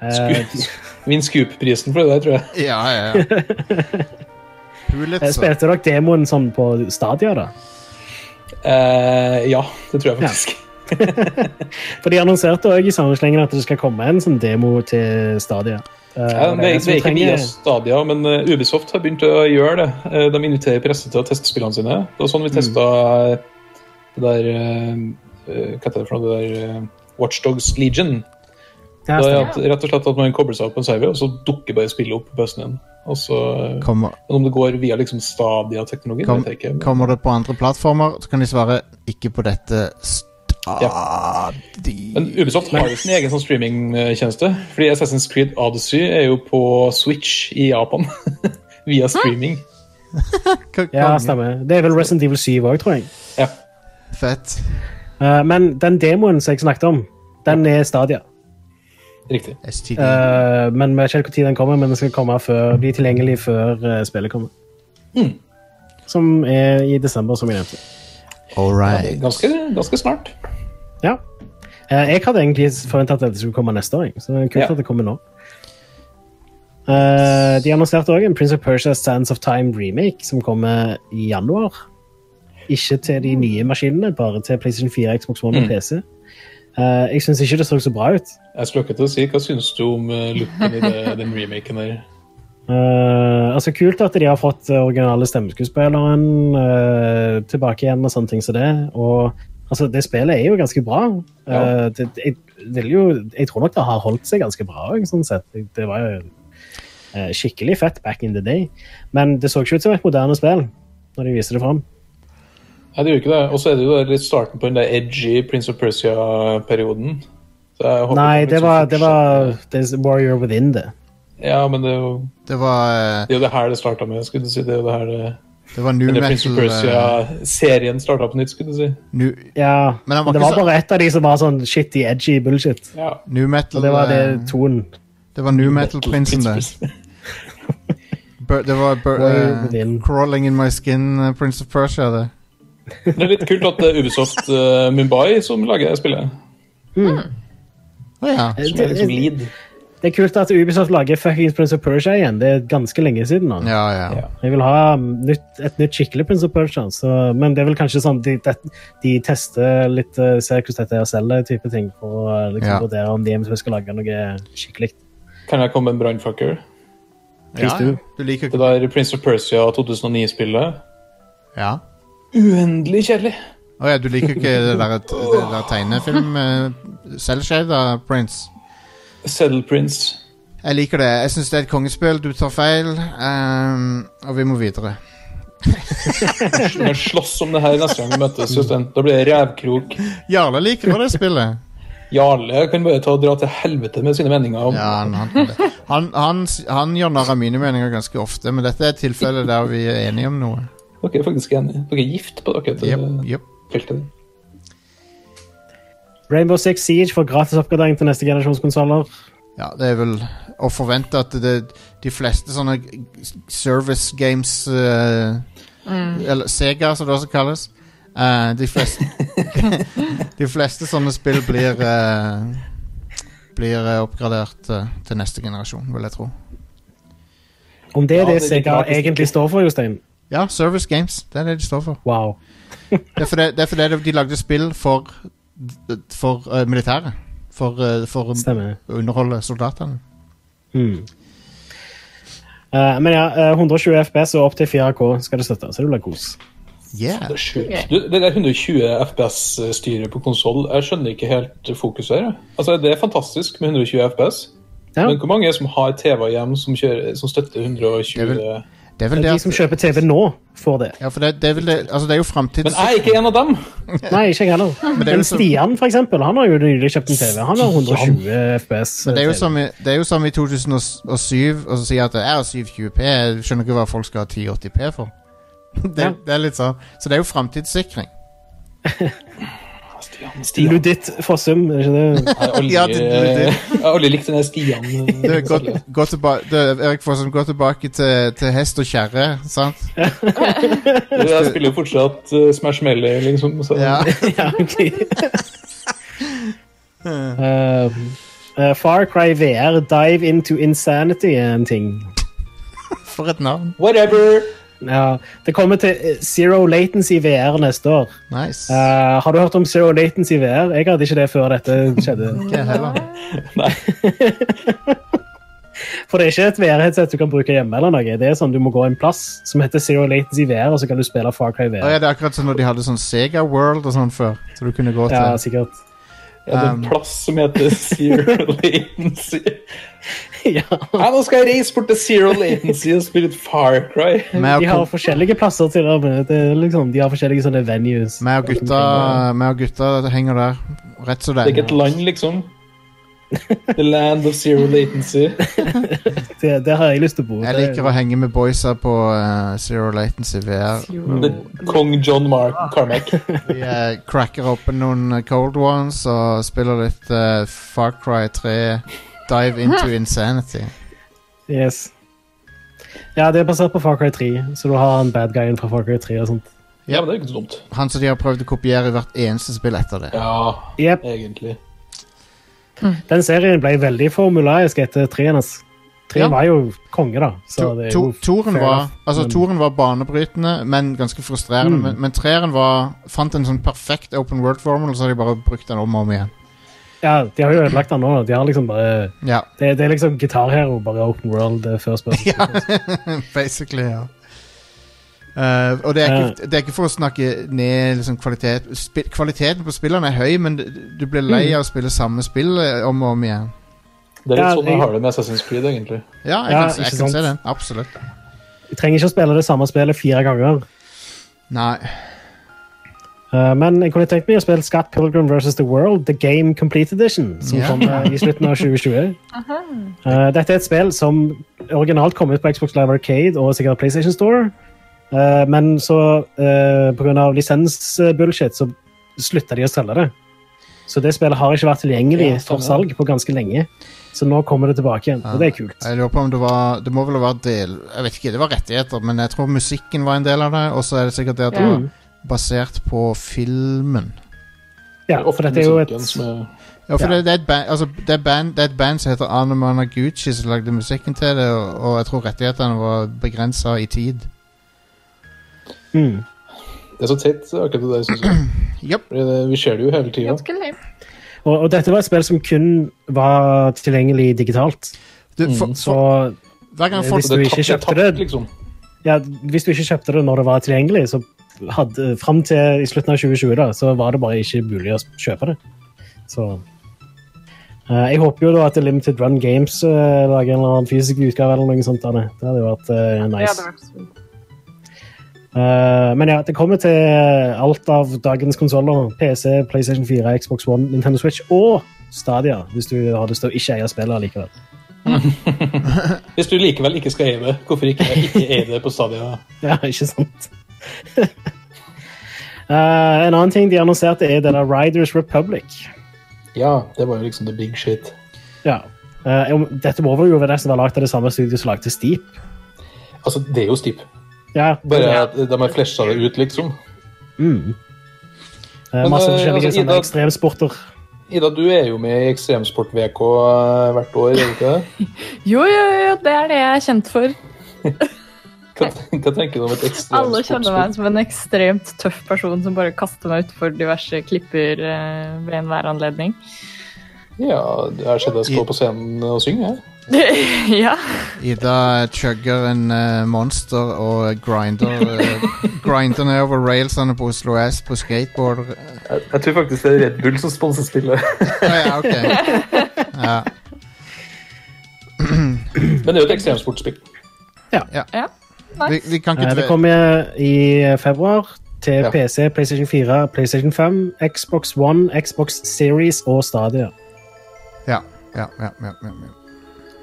[SPEAKER 3] Eh,
[SPEAKER 4] Scoop- Vinn Scoop-prisen for det der, tror jeg.
[SPEAKER 1] Ja, ja, ja.
[SPEAKER 3] eh,
[SPEAKER 1] Pulitzer.
[SPEAKER 3] spilte dere demoen sånn på Stadia, da?
[SPEAKER 4] Eh, ja, det tror jeg faktisk.
[SPEAKER 3] For de annonserte òg i samme slengen at det skal komme en sånn demo til Stadia. Eh,
[SPEAKER 4] Ja,
[SPEAKER 3] og jeg
[SPEAKER 4] det, det er
[SPEAKER 3] som
[SPEAKER 4] ikke
[SPEAKER 3] trenger-
[SPEAKER 4] via Stadia, men eh, Ubisoft har begynt å gjøre det. Eh, de inviterer presse til å teste spillene sine. Det var sånn vi testa det der eh, eh, Hva heter det for noe? Det der Watchdogs Legion.
[SPEAKER 3] Ja,
[SPEAKER 4] Da er
[SPEAKER 3] stemmer.
[SPEAKER 4] at, rett og slett at man kobler seg opp på en server, og så dukker bare spillet opp på pøsen igjen. Og så, eh,
[SPEAKER 1] Kommer,
[SPEAKER 4] men om det går via liksom Stadia-teknologi,
[SPEAKER 1] Kom-
[SPEAKER 4] vet jeg ikke.
[SPEAKER 1] kommer det på andre plattformer, så kan de svare 'ikke på dette stadig'.
[SPEAKER 4] Men Ubisoft har jo sin egen sånn streamingtjeneste. Fordi Assassin's Creed Odyssey er jo på Switch i Japan. Via streaming.
[SPEAKER 1] K-
[SPEAKER 3] ja,
[SPEAKER 1] konge.
[SPEAKER 3] stemmer. Det er vel Resident Evil 7 òg, tror jeg.
[SPEAKER 4] Ja.
[SPEAKER 1] Fett.
[SPEAKER 3] Eh, men den demoen som jeg snakket om, den er Stadia.
[SPEAKER 4] Riktig.
[SPEAKER 1] STD.
[SPEAKER 3] Eh, men vi vet ikke helt når den kommer, men den skal komme før, bli tilgjengelig før eh, spillet kommer. Hmm. Som er i desember, som jeg nevnte.
[SPEAKER 1] All right.
[SPEAKER 4] Ganske, ganske snart.
[SPEAKER 3] Ja. Eh, jeg hadde egentlig forventa at dette skulle komme neste år, jeg, så det er kult
[SPEAKER 4] Ja.
[SPEAKER 3] at det kommer nå. Eh, de annonserte òg en Prince of Persia Sands of Time remake som kommer i januar. Ikke til de nye maskinene, bare til PlayStation 4, Xbox One og PC. Eh, jeg syns ikke det så så bra ut.
[SPEAKER 4] Jeg skulle akkurat til å si, Hva syns du om eh, looken i det, den remaken der?
[SPEAKER 3] Eh, altså Kult at de har fått eh, originale stemmeskuespilleren eh, tilbake igjen og sånne ting som det. Og altså, det spillet er jo ganske bra. Eh,
[SPEAKER 4] Ja.
[SPEAKER 3] det, det- jeg, det er jo, jeg tror nok det har holdt seg ganske bra òg, sånn sett. Det, det var jo eh, skikkelig fett back in the day. Men det så ikke ut som et moderne spill når de viste det fram.
[SPEAKER 4] Nei, det gjør ikke det. Og så er det jo litt starten på den der edgy Prince of Persia-perioden. Så jeg håper
[SPEAKER 3] Nei,
[SPEAKER 4] at
[SPEAKER 3] det
[SPEAKER 4] de liksom
[SPEAKER 3] var, det var
[SPEAKER 4] fortsetter-
[SPEAKER 3] det er Warrior Within, det.
[SPEAKER 4] Ja, men det er jo
[SPEAKER 1] Det var, eh,
[SPEAKER 4] det, er jo det her det starta med. skulle du si. Det er jo det her det,
[SPEAKER 1] det var new
[SPEAKER 4] det Prince of
[SPEAKER 1] metal eh,
[SPEAKER 4] Persia-serien starta på nytt, skulle du si.
[SPEAKER 1] new,
[SPEAKER 3] Ja,
[SPEAKER 1] Men han var
[SPEAKER 3] det
[SPEAKER 1] ikke
[SPEAKER 3] var
[SPEAKER 1] så-
[SPEAKER 3] bare ett av de som var sånn shitty, edgy bullshit.
[SPEAKER 4] Ja.
[SPEAKER 1] new metal
[SPEAKER 3] Og det
[SPEAKER 1] eh,
[SPEAKER 3] var det Mm. tonen.
[SPEAKER 1] det var new metal prinsen, det. Bur- Det var bur-
[SPEAKER 3] Warrior
[SPEAKER 1] eh,
[SPEAKER 3] Within.
[SPEAKER 1] Crawling in my skin, eh, Prince of Persia, det.
[SPEAKER 4] Det er litt kult at det er Ubisoft eh, Mumbai som lager spillet.
[SPEAKER 1] Å ja.
[SPEAKER 3] Eh,
[SPEAKER 4] Som er liksom lead.
[SPEAKER 3] Det er kult at Ubisoft lager fucking Prince of Persia igjen. Det er ganske lenge siden. nå.
[SPEAKER 1] Ja, ja.
[SPEAKER 4] Ja.
[SPEAKER 3] Jeg vil ha nytt, et nytt skikkelig Prince of Persia. Så, men det er vel kanskje sånn de, det- de tester litt, eh, ser hvordan dette er å selge, type ting. For å liksom,
[SPEAKER 1] Ja.
[SPEAKER 3] vurdere om de eventuelt skal lage noe skikkelig.
[SPEAKER 4] Kan jeg komme med en brannfucker?
[SPEAKER 1] ja, ja.
[SPEAKER 3] du.
[SPEAKER 1] Du liker
[SPEAKER 4] Det der Prince of Persia 2009-spillet.
[SPEAKER 1] Ja.
[SPEAKER 4] Uendelig kjedelig!
[SPEAKER 1] Å ja, du liker ikke det der, det der tegnefilm eh, Selvshada, Prince?
[SPEAKER 4] Settle Prince.
[SPEAKER 1] Jeg liker det. Jeg syns det er et kongespill. Du tar feil. ehm, og vi må videre.
[SPEAKER 4] Når jeg slåss om det her neste gang vi møtes, Jostein. Da blir det revkrok.
[SPEAKER 1] Jarle liker også det spillet.
[SPEAKER 4] Jarle kan bare ta og dra til helvete med sine meninger. Om.
[SPEAKER 1] Ja, han, han, kan det. han, han, s- han gjør narr av mine meninger ganske ofte, men dette er et tilfelle der vi er enige om noe.
[SPEAKER 4] Dere er faktisk enige. Dere er gift på dere. til
[SPEAKER 1] Jep, jep.
[SPEAKER 4] feltet.
[SPEAKER 3] Rainbow Six Siege får gratisoppgradering til neste generasjons konsoller.
[SPEAKER 1] Ja, det er vel å forvente at det, de fleste sånne g- service games eh, Eller Sega, som det også kalles. eh, de, fleste, de fleste sånne spill blir eh, Blir eh, oppgradert eh, til neste generasjon, vil jeg tro.
[SPEAKER 3] Om det er
[SPEAKER 4] Ja,
[SPEAKER 3] det,
[SPEAKER 4] det er
[SPEAKER 3] Sega
[SPEAKER 4] gratis-
[SPEAKER 3] egentlig står for, Jostein.
[SPEAKER 1] Ja, Service Games. Det er det de står for.
[SPEAKER 3] Wow.
[SPEAKER 1] Det er fordi, det er fordi de lagde spill for, for eh, militæret. For, eh, for å
[SPEAKER 3] Stemmer.
[SPEAKER 1] underholde soldatene.
[SPEAKER 3] Mm. Eh, men ja, eh, 120 FPS og opp til 4K skal det støtte, så det blir kos.
[SPEAKER 1] Yeah.
[SPEAKER 4] Det er sjukt. Du, det der 120 FPS-styret på konsoll, jeg skjønner ikke helt fokuset her. jeg. Altså, det er fantastisk med 120 FPS,
[SPEAKER 3] Ja.
[SPEAKER 4] men hvor mange er det som har TV hjem som, kjører, som støtter 120
[SPEAKER 1] Det er Det er vel det
[SPEAKER 3] De
[SPEAKER 1] at
[SPEAKER 3] som kjøper TV nå, får det.
[SPEAKER 1] ja, for det, det, er vel det, altså det er jo
[SPEAKER 4] Men
[SPEAKER 1] framtids...
[SPEAKER 4] jeg er ikke en av dem!
[SPEAKER 3] Nei, ikke jeg heller. Men,
[SPEAKER 1] det er jo sånn- så-
[SPEAKER 3] Stian, for eksempel, han har jo nylig kjøpt en TV. Han har 120 FPS.
[SPEAKER 1] Det er jo sånn- som
[SPEAKER 3] TV.
[SPEAKER 1] i, det er jo som i 2007 og så sier at jeg har 720p. Jeg skjønner ikke hva folk skal ha 1080p for. Det,
[SPEAKER 3] Ja.
[SPEAKER 1] det er litt sånn. Så det er jo framtidssikring.
[SPEAKER 4] Stian, Stian.
[SPEAKER 3] Luditt Fossum, er ikke det?
[SPEAKER 4] Jeg har aldri,
[SPEAKER 1] Ja, det- det- det-
[SPEAKER 4] jeg har aldri likt den der Stian.
[SPEAKER 1] Du, gå, gå tilba du, Erik Fossum, gå tilbake til, til hest og kjerre, sant?
[SPEAKER 4] Jeg spiller jo fortsatt eh, Smash Melee, liksom. Så.
[SPEAKER 1] Ja.
[SPEAKER 3] ja, ok. Eh, eh, Far Cry VR, Dive Into Insanity er en ting.
[SPEAKER 1] For et navn.
[SPEAKER 4] Whatever!
[SPEAKER 3] Ja, det kommer til eh, Zero Latency VR neste år.
[SPEAKER 1] Nice.
[SPEAKER 3] Eh, har du hørt om Zero Latency VR? Jeg hadde ikke det før dette skjedde.
[SPEAKER 1] Ikke jeg heller.
[SPEAKER 3] For det er ikke et VR-headset du kan bruke hjemme. eller noe. Det er sånn Du må gå en plass som heter Zero Latency VR, og så kan du spille Far Cry
[SPEAKER 1] Å,
[SPEAKER 3] VR.
[SPEAKER 1] ja, det er akkurat som når de hadde sånn Sega World og sånn før. Så du kunne gå til
[SPEAKER 3] Ja, sikkert.
[SPEAKER 4] Jeg hadde
[SPEAKER 1] Um.
[SPEAKER 4] en plass som heter Zero Latency.
[SPEAKER 3] ja.
[SPEAKER 4] Ja, nå skal jeg reise bort til Zero Latency og spille et Far Cry.
[SPEAKER 1] Meg
[SPEAKER 3] De har
[SPEAKER 1] og,
[SPEAKER 3] forskjellige plasser til å møte. Liksom, de har forskjellige sånne venues.
[SPEAKER 1] ko- meg og, gutta, meg og gutta henger der. Rett som det
[SPEAKER 4] Det er ikke
[SPEAKER 1] er.
[SPEAKER 4] et land, liksom. The land of zero latency.
[SPEAKER 3] Det, der har jeg lyst til å bo.
[SPEAKER 1] Jeg liker å henge med boysa på eh, Zero Latency VR.
[SPEAKER 4] The Kong John Mark Carmack.
[SPEAKER 1] Vi eh, cracker opp noen eh, cold ones og spiller litt eh, Far Cry 3 Dive into insanity.
[SPEAKER 3] Yes. Ja, det er basert på Far Cry 3, så du har han bad guyen fra Far Cry 3 og sånt.
[SPEAKER 4] Ja, men det er jo ikke så dumt.
[SPEAKER 1] Han som de har prøvd å kopiere i hvert eneste spill etter det.
[SPEAKER 4] Ja,
[SPEAKER 3] Jep,
[SPEAKER 4] egentlig.
[SPEAKER 3] Den serien ble veldig formulaisk etter 3 ass. 3
[SPEAKER 1] Ja.
[SPEAKER 3] var jo konge, da. Så
[SPEAKER 1] To,
[SPEAKER 3] det er
[SPEAKER 1] to,
[SPEAKER 3] jo
[SPEAKER 1] toren,
[SPEAKER 3] fair
[SPEAKER 1] var,
[SPEAKER 3] enough,
[SPEAKER 1] altså,
[SPEAKER 3] men-
[SPEAKER 1] toren var banebrytende, men ganske frustrerende.
[SPEAKER 3] Mm.
[SPEAKER 1] Men, men treeren var, fant en sånn perfekt open world-formel, så har de bare brukt den om og om igjen.
[SPEAKER 3] Ja, de har jo ødelagt den nå. De har liksom bare
[SPEAKER 1] Ja,
[SPEAKER 3] Det, det er liksom Guitar Hero, bare Open World eh, First Person.
[SPEAKER 1] basically, ja. Eh, og det er, ikke,
[SPEAKER 3] Ja.
[SPEAKER 1] det er ikke for å snakke ned liksom, kvalitet Spi Kvaliteten på spillene er høy, men du- du blir
[SPEAKER 3] Mm.
[SPEAKER 1] lei av å spille samme spill eh, om og om igjen.
[SPEAKER 4] Det er
[SPEAKER 3] Ja,
[SPEAKER 4] litt sånn
[SPEAKER 3] jeg-
[SPEAKER 4] jeg har det med Assassin's Creed, egentlig.
[SPEAKER 1] Ja, jeg
[SPEAKER 3] Ja,
[SPEAKER 1] kan, jeg
[SPEAKER 3] ikke
[SPEAKER 1] kan se
[SPEAKER 3] sant?
[SPEAKER 1] den. Absolutt.
[SPEAKER 3] Du trenger ikke å spille det samme spillet fire ganger.
[SPEAKER 1] Nei.
[SPEAKER 3] Eh, men jeg kunne tenkt meg å spille Scott Pilgrim vs. The World, The Game Complete Edition, som
[SPEAKER 1] Ja.
[SPEAKER 3] kommer i slutten av 2020. Eh, dette er et spill som originalt kom ut på Xbox Live Arcade og sikkert PlayStation Store, Eh, men så eh, på grunn av lisensbullshit så slutta de å selge det. Så det spillet har ikke vært tilgjengelig
[SPEAKER 4] Ja,
[SPEAKER 3] for
[SPEAKER 4] stemmer.
[SPEAKER 3] salg på ganske lenge. Så nå kommer det tilbake igjen, og det er kult.
[SPEAKER 1] Jeg lurer på om det var Det må vel være del Jeg vet ikke, det var rettigheter, men jeg tror musikken var en del av det. Og så er det sikkert det at det
[SPEAKER 2] Ja.
[SPEAKER 1] var basert på filmen.
[SPEAKER 3] Ja, for dette er jo et
[SPEAKER 4] Musikken som er-
[SPEAKER 1] Ja, for
[SPEAKER 3] Ja.
[SPEAKER 1] Det, det, er et band, altså, det, er band, det er et band som heter Anne Managuchi, som lagde musikken til det, og, og jeg tror rettighetene var begrensa i tid.
[SPEAKER 3] mm.
[SPEAKER 4] Det er så teit, akkurat det der, synes jeg.
[SPEAKER 1] Yep.
[SPEAKER 4] Fordi det- Vi ser det jo hele tida.
[SPEAKER 2] Ganske lame.
[SPEAKER 3] og, og dette var et spill som kun var tilgjengelig digitalt.
[SPEAKER 1] Du, for,
[SPEAKER 3] Mm, Så
[SPEAKER 1] for, hver gang folk
[SPEAKER 3] Hvis du ikke kjøpte det-
[SPEAKER 4] liksom.
[SPEAKER 3] ja, hvis du ikke kjøpte det når det var tilgjengelig, så hadde, fram til i slutten av 2020 da, så var det bare ikke mulig å kjøpe det. Så eh, Jeg håper jo da at Limited Run Games eh, lager en eller annen fysisk utgave eller noe sånt. Anne. Det hadde jo vært eh,
[SPEAKER 2] Ja,
[SPEAKER 3] nice.
[SPEAKER 2] det var absolutt.
[SPEAKER 3] Eh, men ja, det kommer til eh, alt av dagens konsoller. PC, PlayStation 4, Xbox One, Nintendo Switch og Stadia, hvis du har lyst til å ikke eie spillet allikevel.
[SPEAKER 4] Hvis du likevel ikke skal eie det, hvorfor ikke ikke eie det på Stadia?
[SPEAKER 3] Ja, ikke sant? Eh, en annen ting de annonserte, er det der Riders Republic.
[SPEAKER 4] Ja, det var jo liksom the big shit.
[SPEAKER 3] Ja. Eh, om- dette må vel jo nesten være lagd av det samme studioet som lagde Steep.
[SPEAKER 4] Altså, det er jo Steep.
[SPEAKER 3] Ja.
[SPEAKER 4] Bare at de har flesja det ut, liksom.
[SPEAKER 3] Mm. Eh,
[SPEAKER 4] Men,
[SPEAKER 3] masse
[SPEAKER 4] eh,
[SPEAKER 3] forskjellige
[SPEAKER 4] altså,
[SPEAKER 3] sånne
[SPEAKER 4] Ida-
[SPEAKER 3] ekstremsporter.
[SPEAKER 4] Ida, du er jo med i Ekstremsport-VK eh, hvert år, er du ikke det?
[SPEAKER 2] Jo, jo, jo, det er det jeg er kjent for.
[SPEAKER 4] Hva, hva tenker du om et
[SPEAKER 2] Alle kjenner
[SPEAKER 4] ekstremsportspill?
[SPEAKER 2] meg som en ekstremt tøff person som bare kaster meg utfor diverse klipper eh, ved enhver anledning.
[SPEAKER 4] Ja, jeg har sett deg stå på scenen og synge. jeg.
[SPEAKER 2] ja.
[SPEAKER 1] Ida chugger en eh, monster og grinder eh, Grinder nedover railsene på Oslo S på skateboard.
[SPEAKER 4] Jeg, jeg tror faktisk det er Red Bull som sponser spillet.
[SPEAKER 1] Å ja, ok. Ja,
[SPEAKER 4] Men det er jo et ekstremsportspill.
[SPEAKER 1] vi, vi kan ikke
[SPEAKER 3] Eh, det
[SPEAKER 1] dve-
[SPEAKER 3] kommer i februar til
[SPEAKER 4] Ja.
[SPEAKER 3] PC, PlayStation 4, PlayStation 5, Xbox One, Xbox Series og Stadia.
[SPEAKER 1] ja, ja, ja, ja, ja, ja.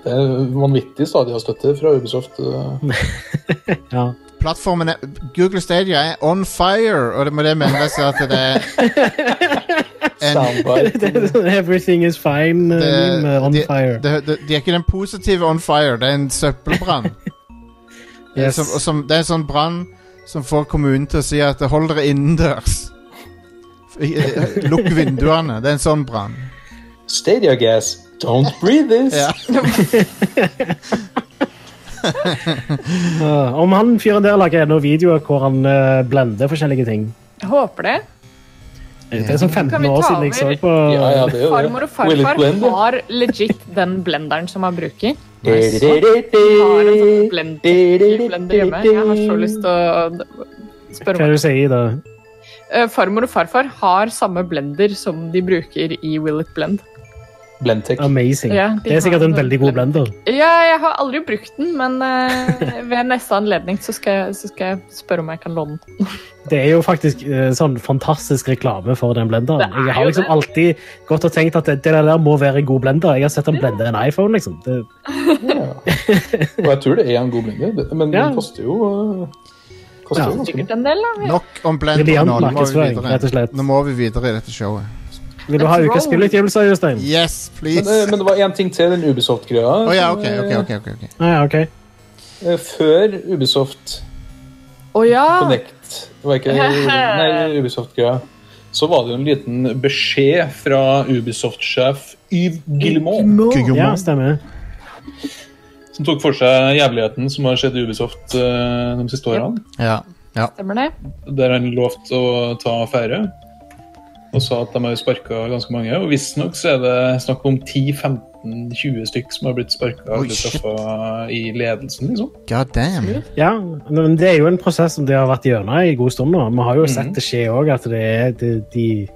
[SPEAKER 4] Det er vanvittig stadig av støtte fra Ubisoft. eh.
[SPEAKER 3] Ja.
[SPEAKER 1] Plattformen er, Google Stadia er on fire, og det med det menes at det er en,
[SPEAKER 4] Soundbite.
[SPEAKER 3] Det er sånn Everything is fine eh,
[SPEAKER 1] det-
[SPEAKER 3] med on
[SPEAKER 1] de,
[SPEAKER 3] fire.
[SPEAKER 1] De, de, de er ikke den positive on fire, det er en søppelbrann. Det er
[SPEAKER 3] Yes.
[SPEAKER 1] som, og som, det er en sånn brann som får kommunen til å si at hold dere innendørs. F- i- eh, Lukk vinduene. Det er en sånn brann.
[SPEAKER 4] Stadia gas. Don't breathe this.
[SPEAKER 1] Ja.
[SPEAKER 3] Ja, om han fyren der lager ennå videoer hvor han eh, blender forskjellige ting.
[SPEAKER 2] Jeg håper det.
[SPEAKER 3] Det er sånn
[SPEAKER 2] Kan
[SPEAKER 3] 15
[SPEAKER 2] vi
[SPEAKER 3] år
[SPEAKER 2] ta
[SPEAKER 3] siden jeg så
[SPEAKER 2] over?
[SPEAKER 3] på
[SPEAKER 4] Ja, ja, det er jo det.
[SPEAKER 2] Farmor og
[SPEAKER 4] Will it
[SPEAKER 2] farfar har
[SPEAKER 4] blend?
[SPEAKER 2] sånn legit den blenderen som han bruker. Har en sånn
[SPEAKER 4] Nice.
[SPEAKER 2] blend- blender hjemme. Jeg har så lyst til å spørre
[SPEAKER 3] hva
[SPEAKER 2] om
[SPEAKER 3] du sier da.
[SPEAKER 2] Eh, Farmor og farfar har samme blender som de bruker i Will it blend.
[SPEAKER 4] Blendtech.
[SPEAKER 3] Amazing.
[SPEAKER 2] Ja, de
[SPEAKER 3] det er sikkert
[SPEAKER 2] har
[SPEAKER 3] en
[SPEAKER 2] sånn
[SPEAKER 3] veldig god
[SPEAKER 2] blend-
[SPEAKER 3] blender.
[SPEAKER 2] Ja, jeg har aldri brukt den, men eh, ved neste anledning så skal, jeg, så skal jeg spørre om jeg kan låne den.
[SPEAKER 3] Det er jo faktisk eh, sånn fantastisk reklame for den blenderen.
[SPEAKER 2] Det er
[SPEAKER 3] Jeg har
[SPEAKER 2] jo
[SPEAKER 3] liksom
[SPEAKER 2] det.
[SPEAKER 3] alltid gått og tenkt at det, det der må være en god blender. Jeg har sett han blende en iPhone, liksom. Det,
[SPEAKER 4] Ja. Og jeg tror det er en god blender, det- men
[SPEAKER 3] Ja.
[SPEAKER 4] den koster jo eh, koster
[SPEAKER 3] Ja.
[SPEAKER 4] jo ganske mye.
[SPEAKER 2] Sikkert en del, da.
[SPEAKER 1] Nok om blender
[SPEAKER 3] Briljant
[SPEAKER 1] nå. Nå må, vi
[SPEAKER 3] markedsføring,
[SPEAKER 1] videre.
[SPEAKER 3] rett og slett.
[SPEAKER 1] nå må vi videre i dette showet.
[SPEAKER 3] Vil du ha
[SPEAKER 2] Let's
[SPEAKER 3] ukas
[SPEAKER 2] roll.
[SPEAKER 3] spillutgivelser, Jostein?
[SPEAKER 1] Yes,
[SPEAKER 4] Men,
[SPEAKER 1] please.
[SPEAKER 4] eh,
[SPEAKER 1] Å
[SPEAKER 4] men det var én ting til den Ubisoft-greia.
[SPEAKER 1] ja,
[SPEAKER 4] som,
[SPEAKER 1] ok, ok,
[SPEAKER 4] eh,
[SPEAKER 1] ok. ok, ok.
[SPEAKER 3] Ah, ja, ok.
[SPEAKER 4] eh, Før Ubisoft
[SPEAKER 2] Å ja!
[SPEAKER 4] Connect det var ikke Nei, Ubisoft-greia. Så var det jo en liten beskjed fra Ubisoft-sjef Yves Guillemot,
[SPEAKER 1] Kygo
[SPEAKER 3] Ja,
[SPEAKER 1] Mo.
[SPEAKER 3] stemmer.
[SPEAKER 4] som tok for seg jævligheten som har skjedd i Ubisoft eh, de siste årene.
[SPEAKER 1] Ja. ja.
[SPEAKER 2] Stemmer det?
[SPEAKER 4] der han lovte å ta affære. Og sa at de har sparka ganske mange. Og visstnok så er det snakk om 10-15-20 stykk som har blitt sparka
[SPEAKER 1] Oi,
[SPEAKER 4] eller
[SPEAKER 1] shit.
[SPEAKER 4] straffa i ledelsen, liksom.
[SPEAKER 1] God damn.
[SPEAKER 3] Ja, men det er jo en prosess som de har vært gjennom i god stund nå. Vi
[SPEAKER 2] Mhm.
[SPEAKER 3] har jo sett det skje òg, at det er, de, de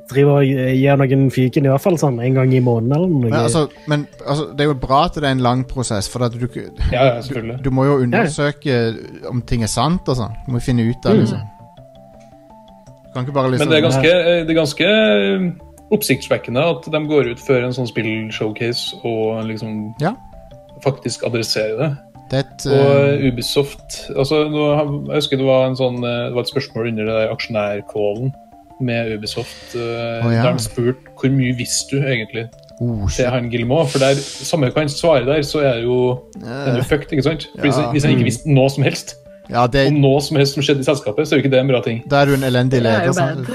[SPEAKER 3] driver og gir noen fyken i hvert fall sånn en gang i måneden eller noe.
[SPEAKER 1] Men, altså, men altså, det er jo bra at det er en lang prosess, for at du, ikke-
[SPEAKER 4] Ja, ja, selvfølgelig.
[SPEAKER 1] du må jo undersøke om ting er sant og sånn. Du må finne ut av liksom. Du kan ikke bare liksom
[SPEAKER 4] Men det er ganske, eh, det er ganske eh, oppsiktsvekkende at de går ut før en sånn spillshowcase og liksom
[SPEAKER 1] Ja.
[SPEAKER 4] faktisk adresserer det.
[SPEAKER 1] Det er et, eh,
[SPEAKER 4] Og eh, Ubisoft altså, nå, Jeg husker det var, en sånn, eh, det var et spørsmål under det der aksjonærkålen med Ubisoft. eh,
[SPEAKER 1] Å, ja.
[SPEAKER 4] Der de spurte hvor mye visste du egentlig
[SPEAKER 1] eh, oh,
[SPEAKER 4] til
[SPEAKER 1] shit.
[SPEAKER 4] han Guillemot? For der, samme hva han svarer der, så er det jo den er jo fucked, ikke sant? For hvis,
[SPEAKER 1] ja. Mm.
[SPEAKER 4] hvis han ikke visste noe som helst
[SPEAKER 1] Ja, det,
[SPEAKER 4] om noe som helst som skjedde i selskapet, så er jo ikke det en bra ting.
[SPEAKER 1] da er du en elendig
[SPEAKER 2] er
[SPEAKER 1] leder.
[SPEAKER 2] jo
[SPEAKER 1] sant?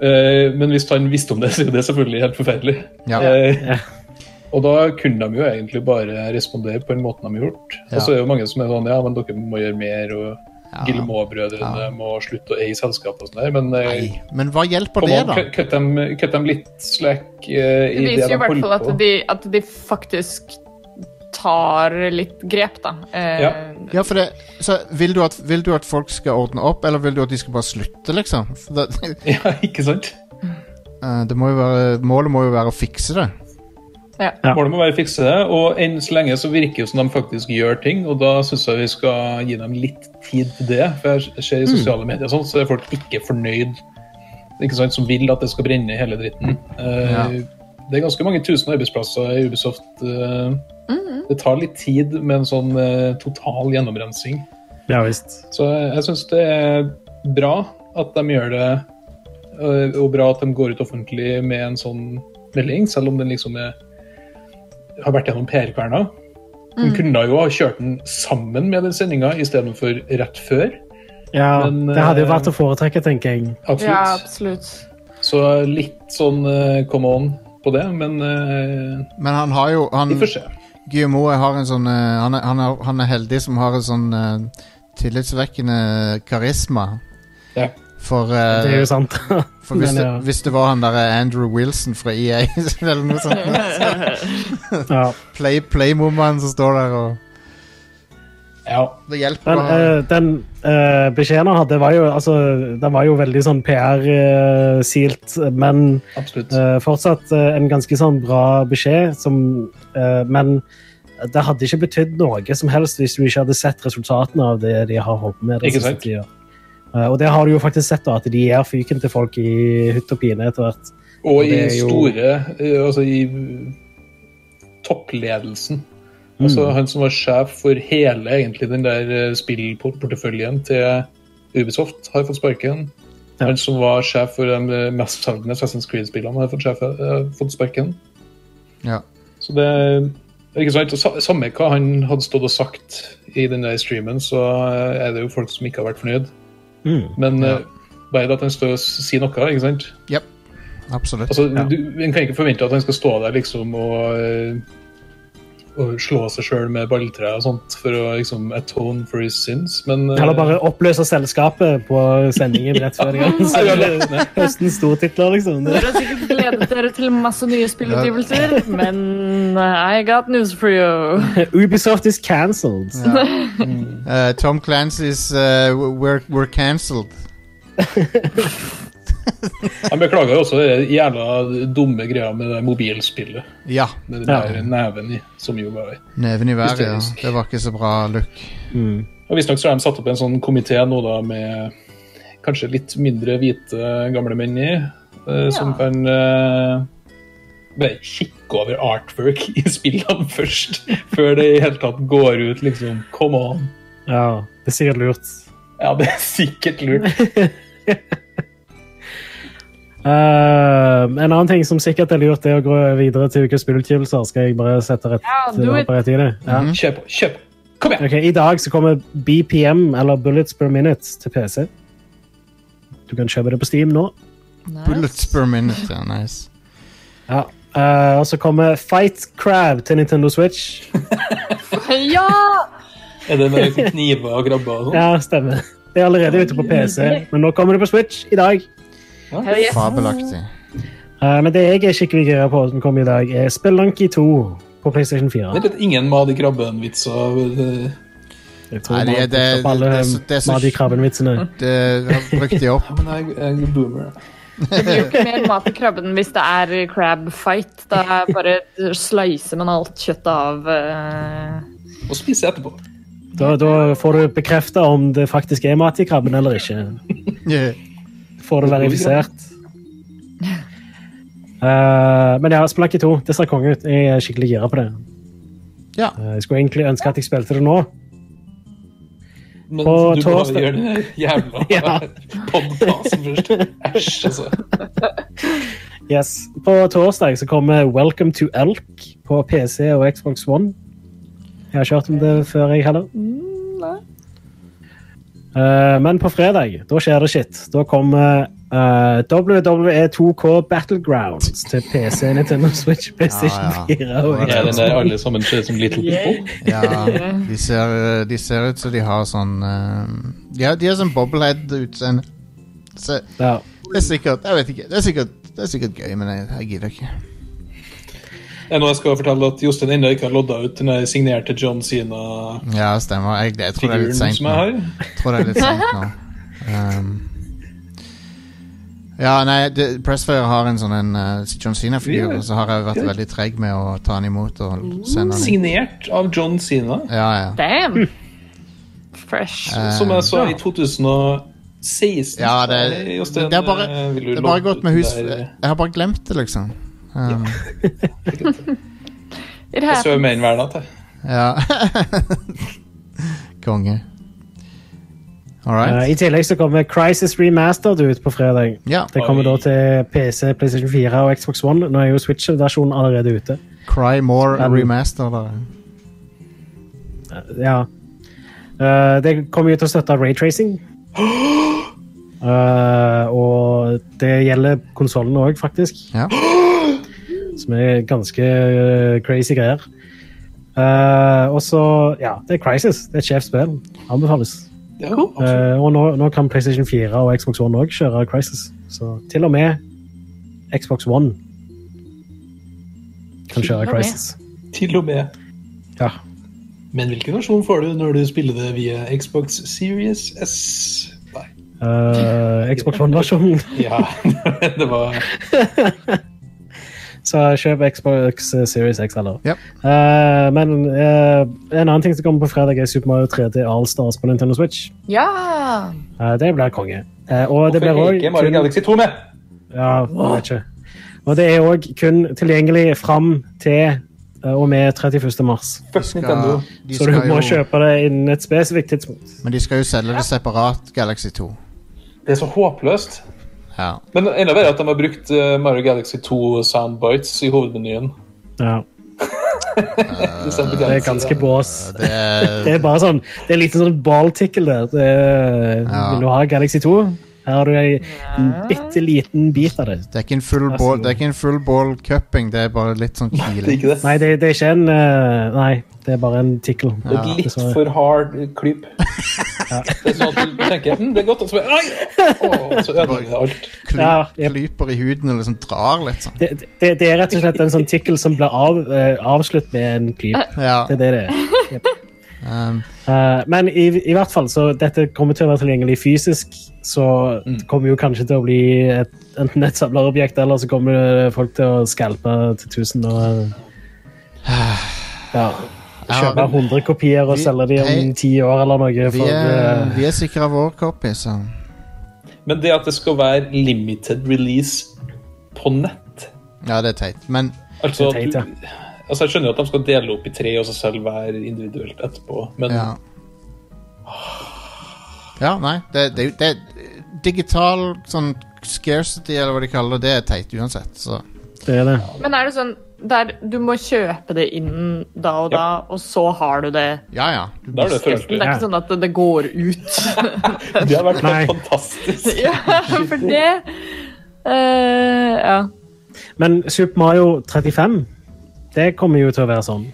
[SPEAKER 4] Eh, Men hvis han visste om det, så er jo det selvfølgelig helt forferdelig.
[SPEAKER 1] Ja.
[SPEAKER 4] Eh, Og da kunne de jo egentlig bare respondere på den måten de har gjort. Og så er det jo mange som er sånn ja, men dere må gjøre mer, og
[SPEAKER 1] Ja.
[SPEAKER 4] Guillemot-brødrene må slutte å eie selskapet og sånn der, men eh,
[SPEAKER 1] Nei, Men hva hjelper
[SPEAKER 4] Come
[SPEAKER 1] det,
[SPEAKER 4] on,
[SPEAKER 1] da?
[SPEAKER 4] cut- cut dem, cut dem litt slack eh,
[SPEAKER 2] Det
[SPEAKER 4] i det
[SPEAKER 2] viser
[SPEAKER 4] de
[SPEAKER 2] jo i hvert fall
[SPEAKER 4] holder
[SPEAKER 2] at
[SPEAKER 4] på.
[SPEAKER 2] de, at de faktisk tar litt grep, da. Eh,
[SPEAKER 4] Ja.
[SPEAKER 1] Ja, for det, så vil, du at, vil du at folk skal ordne opp, eller vil du at de skal bare slutte, liksom? For Det,
[SPEAKER 4] Ja, ikke sant?
[SPEAKER 1] eh, det må jo være, målet må jo være å fikse det.
[SPEAKER 3] Ja.
[SPEAKER 4] Målet må være å fikse det, og enn så lenge så virker det som de faktisk gjør ting, og da syns jeg vi skal gi dem litt tid til det. For jeg ser i sosiale medier og sånn, så er folk ikke fornøyd, ikke sant, som vil at det skal brenne hele dritten. Eh,
[SPEAKER 1] Ja.
[SPEAKER 4] Det er ganske mange tusen arbeidsplasser i Ubisoft. eh, Det tar litt tid med en sånn eh, total gjennomrensing.
[SPEAKER 3] Ja visst.
[SPEAKER 4] Så jeg syns det er bra at de gjør det, øh, og bra at de går ut offentlig med en sånn melding, selv om den liksom er, har vært gjennom PR-kverna. Hun kunne jo ha kjørt den sammen med den sendinga istedenfor rett før.
[SPEAKER 3] Ja,
[SPEAKER 4] Men,
[SPEAKER 3] det hadde jo
[SPEAKER 4] eh,
[SPEAKER 3] vært å foretrekke, tenker jeg.
[SPEAKER 2] ja,
[SPEAKER 4] Absolutt.
[SPEAKER 2] absolutt.
[SPEAKER 4] Så litt sånn øh, come on på det, men øh,
[SPEAKER 1] Men han har jo han,
[SPEAKER 4] vi får se.
[SPEAKER 1] Guillermo har en sånn eh, han er, han, er, han er heldig som har en sånn eh, tillitsvekkende karisma.
[SPEAKER 4] Ja.
[SPEAKER 1] For, eh,
[SPEAKER 3] Det er jo sant.
[SPEAKER 1] for hvis,
[SPEAKER 3] Men,
[SPEAKER 1] det,
[SPEAKER 3] ja.
[SPEAKER 1] hvis det var han derre Andrew Wilson fra EA eller noe sånt,
[SPEAKER 3] ja.
[SPEAKER 1] play, Playmoman som står der og
[SPEAKER 4] ja.
[SPEAKER 1] Det hjelper.
[SPEAKER 3] Men
[SPEAKER 1] å ha-
[SPEAKER 3] eh, den eh, beskjeden han hadde, var jo, altså, den var jo veldig sånn PR-silt, men
[SPEAKER 4] Absolutt.
[SPEAKER 3] eh, fortsatt eh, en ganske sånn bra beskjed, som, eh, men det hadde ikke betydd noe som helst hvis du ikke hadde sett resultatene av det de har holdt på med. den
[SPEAKER 4] Ikke
[SPEAKER 3] siste
[SPEAKER 4] sant?
[SPEAKER 3] tiden. Eh, og det har du jo faktisk sett, da, at de gir fyken til folk i hytt og pine etter hvert.
[SPEAKER 4] Og
[SPEAKER 3] Og det
[SPEAKER 4] i
[SPEAKER 3] er jo-
[SPEAKER 4] store eh, Altså i toppledelsen. Altså
[SPEAKER 3] Mm.
[SPEAKER 4] Han som var sjef for hele egentlig den der eh, spillporteføljen til Ubisoft, har fått sparken.
[SPEAKER 3] Ja.
[SPEAKER 4] Han som var sjef for de eh, mestselgende Assassin's Creed-spillene, har fått, sjef, eh, fått sparken.
[SPEAKER 1] Ja.
[SPEAKER 4] Så det er ikke sant. Og sa- Samme hva han hadde stått og sagt i den der streamen, så eh, er det jo folk som ikke har vært fornøyd.
[SPEAKER 3] Mm.
[SPEAKER 4] Men
[SPEAKER 1] Ja.
[SPEAKER 4] eh, bare det at han står og s- sier noe, ikke sant.
[SPEAKER 1] Yep. Absolutt.
[SPEAKER 4] Altså, du, En kan ikke forvente at han skal stå der liksom og, eh, og slå seg sjøl med balltre og sånt for å liksom atone for his sins, men eh,
[SPEAKER 3] Eller bare oppløse selskapet på sendingen rett før de
[SPEAKER 4] Nei, det er lett, nei.
[SPEAKER 3] Høsten stortitler, liksom. Det-
[SPEAKER 2] Dere har sikkert gledet dere til masse nye spillutgivelser, men eh, I got news for you.
[SPEAKER 3] Ubisoft is cancelled.
[SPEAKER 1] Ja. Eh, Tom Clancy's eh, We're, we're Cancelled.
[SPEAKER 4] Han beklager jo også det jævla dumme greia med det mobilspillet.
[SPEAKER 1] Ja.
[SPEAKER 4] Med den
[SPEAKER 3] Ja.
[SPEAKER 4] der neven i, som jo var
[SPEAKER 1] Neven i været, ja.
[SPEAKER 4] Hysterisk.
[SPEAKER 1] Det var ikke så bra look.
[SPEAKER 3] Mm.
[SPEAKER 4] Og Visstnok så har de satt opp en sånn komité nå da med kanskje litt mindre hvite gamle menn i, eh, som
[SPEAKER 2] Ja.
[SPEAKER 4] kan eh, bare kikke over artwork i spillene først, før det i hele tatt går ut, liksom. Come on.
[SPEAKER 3] Ja, det er sikkert lurt.
[SPEAKER 4] Ja, det er sikkert lurt.
[SPEAKER 3] Eh, en annen ting som sikkert er lurt, er å gå videre til ukens spillutgivelser. Skal jeg bare sette rett,
[SPEAKER 2] Ja, do it.
[SPEAKER 3] på rett i det? Ja.
[SPEAKER 4] Kjør på, kjør på. Kom igjen!
[SPEAKER 3] Ok, I dag så kommer BPM, eller Bullets Per Minute, til PC. Du kan kjøpe det på Steam nå.
[SPEAKER 1] Bullets per minute. Ja, nice.
[SPEAKER 3] Ja. Eh, og så kommer Fight Crab til Nintendo Switch.
[SPEAKER 2] Ja!
[SPEAKER 4] Er det med liksom kniver og krabber og sånn?
[SPEAKER 3] Ja, stemmer. Det er allerede ute på PC, men nå kommer det på Switch i dag.
[SPEAKER 2] Hell yes.
[SPEAKER 1] Fabelaktig.
[SPEAKER 3] Eh, men det jeg er skikkelig gira på, som kommer i dag, er Spelunky 2 på PlayStation 4.
[SPEAKER 4] Det er litt ingen mat i krabben-vitser. eh,
[SPEAKER 3] Jeg tror
[SPEAKER 1] Nei, det-
[SPEAKER 3] man har
[SPEAKER 1] det-
[SPEAKER 3] brukt opp alle
[SPEAKER 1] det er så- det er så-
[SPEAKER 3] Madi Krabben-vitsene.
[SPEAKER 1] Det har brukt de opp.
[SPEAKER 4] Men jeg jeg er en boomer. da.
[SPEAKER 2] Det blir jo ikke mer mat i krabben hvis det er crab fight. Da er bare slice man alt kjøttet av eh,
[SPEAKER 4] Og spiser etterpå.
[SPEAKER 3] Da, da får du bekrefta om det faktisk er mat i krabben eller ikke.
[SPEAKER 1] Yeah.
[SPEAKER 3] Får det verifisert. Eh, men ja, Spelunky 2, det ser konge ut. Jeg er skikkelig gira på det.
[SPEAKER 1] Ja.
[SPEAKER 3] Eh, jeg skulle egentlig ønske at jeg spilte det nå.
[SPEAKER 4] Men
[SPEAKER 3] På
[SPEAKER 4] du må
[SPEAKER 3] torsdag.
[SPEAKER 4] gjøre den der jævla
[SPEAKER 3] Ja.
[SPEAKER 4] podcasten først. Æsj, altså.
[SPEAKER 3] Yes. På torsdag så kommer Welcome to Elk på PC og Xbox One. Jeg har ikke hørt om det før, jeg heller. Eh, men på fredag, da skjer det shit. Da kommer eh, WWE 2K Battlegrounds til PC, Nintendo Switch, PlayStation
[SPEAKER 1] Ja, ja.
[SPEAKER 3] 4 og
[SPEAKER 1] Ja,
[SPEAKER 4] Ja, den
[SPEAKER 3] Xbox
[SPEAKER 4] der
[SPEAKER 3] One.
[SPEAKER 4] alle sammen ser ut som Little People.
[SPEAKER 1] Ja, de ser, de ser ut som de har sånn eh, De har, de har sånn bobblehead-utseende. Så
[SPEAKER 3] Ja.
[SPEAKER 1] det er sikkert Jeg vet ikke. Det er sikkert, det er sikkert gøy, men jeg, jeg gidder ikke.
[SPEAKER 4] Det er nå jeg skal fortelle at Jostein ennå ikke har lodda ut den der signerte John Sina-figuren
[SPEAKER 1] Ja, stemmer. Jeg, jeg
[SPEAKER 4] Sånn
[SPEAKER 1] tror det er litt seint
[SPEAKER 4] som
[SPEAKER 1] nå.
[SPEAKER 4] jeg har.
[SPEAKER 1] Jeg tror det er litt sent nå. Um, ja, nei, det, Pressfire har en sånn en eh, John Cena-figur,
[SPEAKER 4] Ja.
[SPEAKER 1] og så har jeg vært
[SPEAKER 4] Ja.
[SPEAKER 1] veldig treg med å ta han imot og sende han inn.
[SPEAKER 4] Signert av John Sina,
[SPEAKER 1] Ja, ja.
[SPEAKER 2] Damn! Fresh.
[SPEAKER 4] som jeg sa i 2016.
[SPEAKER 1] Eh, ja det,
[SPEAKER 4] Nei,
[SPEAKER 1] det,
[SPEAKER 4] Jostein,
[SPEAKER 1] er bare,
[SPEAKER 4] eh, vil du
[SPEAKER 1] det er bare
[SPEAKER 4] lodde
[SPEAKER 1] gått
[SPEAKER 4] ut
[SPEAKER 1] med hus
[SPEAKER 4] den der- eh,
[SPEAKER 1] Jeg har bare glemt det, liksom. Um,
[SPEAKER 2] It
[SPEAKER 4] Jeg sover
[SPEAKER 2] happens.
[SPEAKER 4] mer enn hver natt, jeg.
[SPEAKER 1] Ja. Konge. All right.
[SPEAKER 3] Eh, I tillegg så kommer Crisis Remastered ut på fredag.
[SPEAKER 1] Ja.
[SPEAKER 3] Det kommer da
[SPEAKER 4] Oi.
[SPEAKER 3] til PC, PlayStation 4 og Xbox One. Nå er jo Switch-versjonen allerede ute.
[SPEAKER 1] Cry More
[SPEAKER 3] Um,
[SPEAKER 1] Remaster, da.
[SPEAKER 3] Ja. Eh, det kommer jo til å støtte raytracing. Eh, og det gjelder konsollen òg, faktisk.
[SPEAKER 1] Ja.
[SPEAKER 3] Som er ganske eh, crazy greier. Eh, og så Ja, det er Crisis. Det er et skjevt spill. Anbefales.
[SPEAKER 4] Ja, absolutt.
[SPEAKER 3] Eh, og nå, nå kan PlayStation 4 og Xbox One òg kjøre Crisis. Så til og med Xbox One kan
[SPEAKER 2] Til og
[SPEAKER 3] kjøre
[SPEAKER 2] med.
[SPEAKER 3] Crisis.
[SPEAKER 4] Til og med.
[SPEAKER 3] Eh, Ja.
[SPEAKER 4] Men hvilken versjon får du når du spiller det via Xbox Series S? Nei.
[SPEAKER 3] Eh, Xbox One-versjonen
[SPEAKER 4] Ja, det var
[SPEAKER 3] Så kjøp Xbox Series X, eller?
[SPEAKER 1] Yep.
[SPEAKER 3] Eh, men eh, en annen ting som kommer på fredag, er Super Mario 3D Allstars på Nintendo Switch.
[SPEAKER 2] Ja!
[SPEAKER 3] Eh, det blir konge. Eh, og det blir
[SPEAKER 4] Hvorfor er
[SPEAKER 3] òg
[SPEAKER 4] ikke Mario
[SPEAKER 3] kun,
[SPEAKER 4] Galaxy 2 med?
[SPEAKER 3] ja, jeg vet ikke. Og det er også kun tilgjengelig fram til eh, og med 31. mars.
[SPEAKER 1] De
[SPEAKER 4] Fuck Nintendo.
[SPEAKER 1] skal, de
[SPEAKER 3] Så du
[SPEAKER 1] skal
[SPEAKER 3] må
[SPEAKER 1] jo,
[SPEAKER 3] kjøpe det innen et spesifikt tidspunkt.
[SPEAKER 1] men de skal jo selge det separat, Galaxy 2.
[SPEAKER 4] Det er så håpløst.
[SPEAKER 1] Ja.
[SPEAKER 4] Men enda verre er at de har brukt eh, Mario Galaxy 2 soundbites i hovedmenyen.
[SPEAKER 3] Ja,
[SPEAKER 1] Eh,
[SPEAKER 4] Det er
[SPEAKER 3] det er ganske bås.
[SPEAKER 1] Det er,
[SPEAKER 3] Det er bare sånn, det er en liten sånn balltikkel der. Det er,
[SPEAKER 1] Ja.
[SPEAKER 3] Vil du ha Galaxy 2? Her har du en bitte liten bit av det.
[SPEAKER 1] det er ikke en full ball, det er ikke en full ball cupping, det er bare litt sånn
[SPEAKER 4] Det er
[SPEAKER 1] kiling.
[SPEAKER 4] ikke det.
[SPEAKER 3] Nei, det, det er ikke en eh, Nei, det er bare en tikkel.
[SPEAKER 4] Det er et litt for hard klyp. Det er sånn at du tenker hm, det er godt, og så bare Ai! Å, så ødelegger det alt.
[SPEAKER 1] Kly,
[SPEAKER 3] Ja, jeg-
[SPEAKER 1] klyper i huden og liksom drar litt sånn.
[SPEAKER 3] Det, det, det er rett og slett en sånn tikkel som blir av, eh, avslutt med en klyp.
[SPEAKER 1] Ja,
[SPEAKER 3] Det er det det er. Jep.
[SPEAKER 1] um,
[SPEAKER 3] Eh, men i, i hvert fall, så dette kommer til å være tilgjengelig fysisk, så
[SPEAKER 1] Mm.
[SPEAKER 3] det kommer jo kanskje til å bli et, enten et samlerobjekt, eller så kommer det folk til å skalpe til tusen og ja,
[SPEAKER 1] Ja,
[SPEAKER 3] kjøpe 100 kopier og
[SPEAKER 1] vi-
[SPEAKER 3] selge de om
[SPEAKER 1] hei,
[SPEAKER 3] ti år eller noe.
[SPEAKER 1] vi,
[SPEAKER 3] For,
[SPEAKER 1] er,
[SPEAKER 3] eh,
[SPEAKER 1] vi er sikre av vår liksom. copy, så
[SPEAKER 4] Men det at det skal være limited release på nett
[SPEAKER 1] Ja, det er teit. Men
[SPEAKER 4] Altså,
[SPEAKER 3] Det er teit,
[SPEAKER 4] at du- altså Jeg skjønner jo at de skal dele opp i tre og så selge hver individuelt etterpå, men
[SPEAKER 1] ja. Ja, nei. Det, det, det Digital sånn scarcity, eller hva de kaller det, det er teit uansett. Så
[SPEAKER 3] det er det.
[SPEAKER 2] Men er det sånn der du må kjøpe det innen da og da, og så har du det
[SPEAKER 1] ja, ja. Du,
[SPEAKER 4] da er det
[SPEAKER 2] resten? Det
[SPEAKER 4] følelsen.
[SPEAKER 2] er ikke sånn at det går ut.
[SPEAKER 4] Det har vært
[SPEAKER 3] Nei.
[SPEAKER 4] helt fantastisk.
[SPEAKER 2] ja, for det eh, Ja.
[SPEAKER 3] Men Super Mario 35, det kommer jo til å være sånn.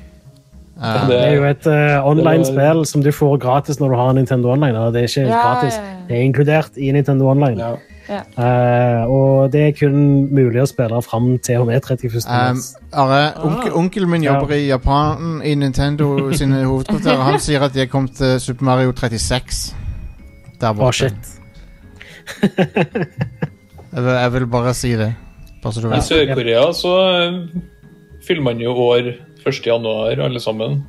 [SPEAKER 1] eh,
[SPEAKER 4] Det
[SPEAKER 3] Det er jo et eh, online-spill
[SPEAKER 4] Det
[SPEAKER 3] som du får gratis når du har Nintendo Online. Da. Det er ikke
[SPEAKER 2] Ja,
[SPEAKER 3] gratis,
[SPEAKER 2] ja, ja.
[SPEAKER 3] det er inkludert i Nintendo Online.
[SPEAKER 4] Ja.
[SPEAKER 3] Eh, og det er kun mulig å spille fram til og med 31.
[SPEAKER 1] Um,
[SPEAKER 3] mars.
[SPEAKER 1] Are, onkel, onkelen min jobber i Japan, i Nintendo sine hovedkvarterer. Han sier at de er kommet til Super Mario 36. Der
[SPEAKER 3] Å,
[SPEAKER 1] borte.
[SPEAKER 3] Ah, shit.
[SPEAKER 1] Jeg, vil, jeg vil bare si det. Bare så du
[SPEAKER 4] I
[SPEAKER 1] vet.
[SPEAKER 4] Sør-Korea så eh, fyller man jo år 1. januar, alle sammen.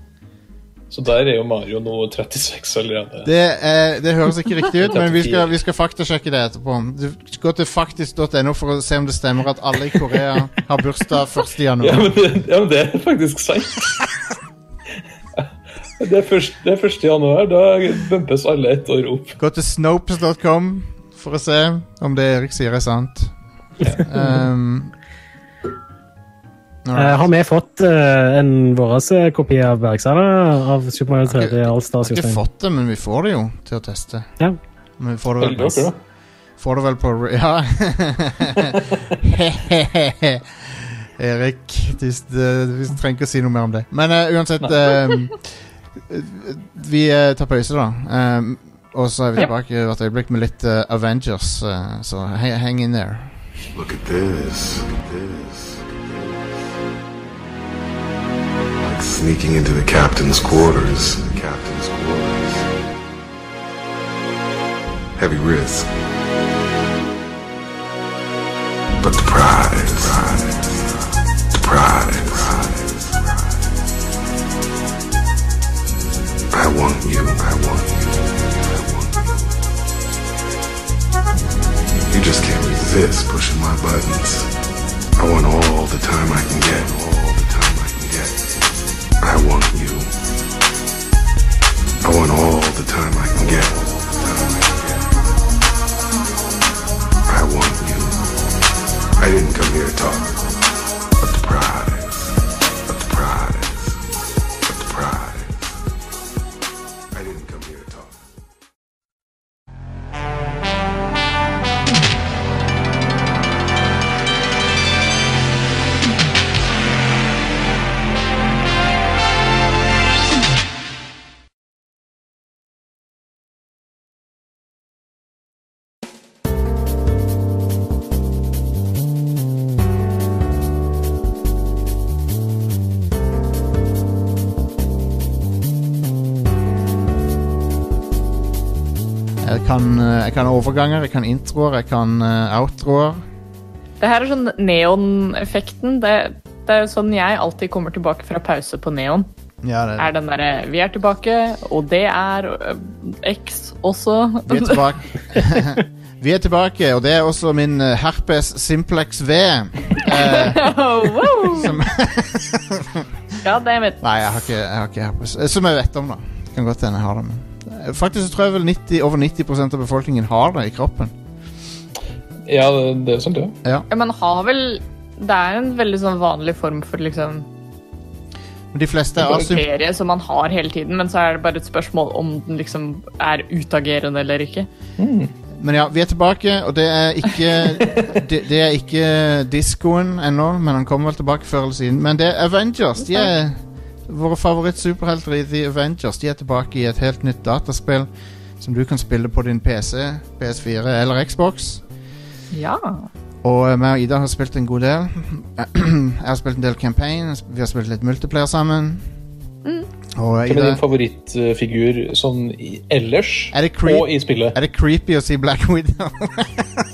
[SPEAKER 4] Så der er jo Mario nå 36 allerede.
[SPEAKER 1] Det, eh, det høres ikke riktig ut, men vi skal, vi skal faktasjekke det etterpå. Du, gå til faktisk.no for å se om det stemmer at alle i Korea har bursdag 1.
[SPEAKER 4] Ja,
[SPEAKER 1] januar.
[SPEAKER 4] men det, ja, men det er faktisk sant. Det er, først, det er 1. januar. Da bumpes alle ett år opp.
[SPEAKER 1] Gå til snopes.com for å se om det Erik sier er sant. Um,
[SPEAKER 3] Eh, har vi fått eh, en vår kopi av Bergsala av Super Mario 3D All Stars?
[SPEAKER 1] Vi har ikke
[SPEAKER 3] Jostein?
[SPEAKER 1] fått det, men vi får det jo til å teste.
[SPEAKER 3] Ja.
[SPEAKER 1] Men vi får det
[SPEAKER 4] Veldig
[SPEAKER 1] vel
[SPEAKER 4] dere,
[SPEAKER 1] på,
[SPEAKER 4] da.
[SPEAKER 1] får det vel på Ja. Erik, du, du, vi trenger ikke å si noe mer om det. Men eh, uansett eh, Vi eh, tar pause, da. Eh, og så er vi
[SPEAKER 2] Ja.
[SPEAKER 1] tilbake hvert øyeblikk med litt eh, Avengers, eh, så he- hang in there.
[SPEAKER 7] Look at this. Look at this. Like sneaking into the captain's quarters. The captain's quarters. Heavy risk. But the prize. The prize. I want you. I want you. I want you. You just can't resist pushing my buttons. I want all the time I can get. All the time I can get. I want you. I want all the time I can get. All the time I can get. I want you. I didn't come here to talk. But the pride is. But the pride is. But the pride is. I didn't come here to talk.
[SPEAKER 1] Jeg kan, eh, jeg kan overganger, jeg kan introer, jeg kan eh, outroer.
[SPEAKER 2] Det her er sånn neon-effekten. Det, det er jo sånn jeg alltid kommer tilbake fra pause på neon.
[SPEAKER 1] Ja, det
[SPEAKER 2] Er den derre Vi er tilbake, og det er ø, X også.
[SPEAKER 1] Vi er tilbake. Vi er tilbake, og det er også min eh, herpes simplex V. Eh,
[SPEAKER 2] wow. God damn it.
[SPEAKER 1] Nei, jeg har ikke, jeg har ikke herpes. Eh, Som jeg vet om, da. Kan godt hende jeg har det, men eh, Faktisk så tror jeg vel 90, over 90 av befolkningen har det i kroppen.
[SPEAKER 4] Ja, det, det er sant, det.
[SPEAKER 2] Ja, Man har vel Det er en veldig sånn vanlig form for liksom
[SPEAKER 1] Men de fleste er asymp...
[SPEAKER 2] bakterie som man har hele tiden, men så er det bare et spørsmål om den liksom er utagerende eller ikke.
[SPEAKER 1] Men ja, vi er tilbake, og det er ikke Det, det er ikke diskoen ennå, men han kommer vel tilbake før eller siden. Men det er Avengers. De er våre favorittsuperhelter i The Avengers. De er tilbake i et helt nytt dataspill som du kan spille på din PC, PS4 eller Xbox.
[SPEAKER 2] Ja.
[SPEAKER 1] Og eh, meg og Ida har spilt en god del. Jeg har spilt en del campaign, vi har spilt litt multiplayer sammen. Og eh,
[SPEAKER 4] Hvem er
[SPEAKER 1] Ida
[SPEAKER 4] din favorittfigur sånn i, ellers
[SPEAKER 1] Er det creep?
[SPEAKER 4] og i spillet?
[SPEAKER 1] Er det creepy å si Black Widow?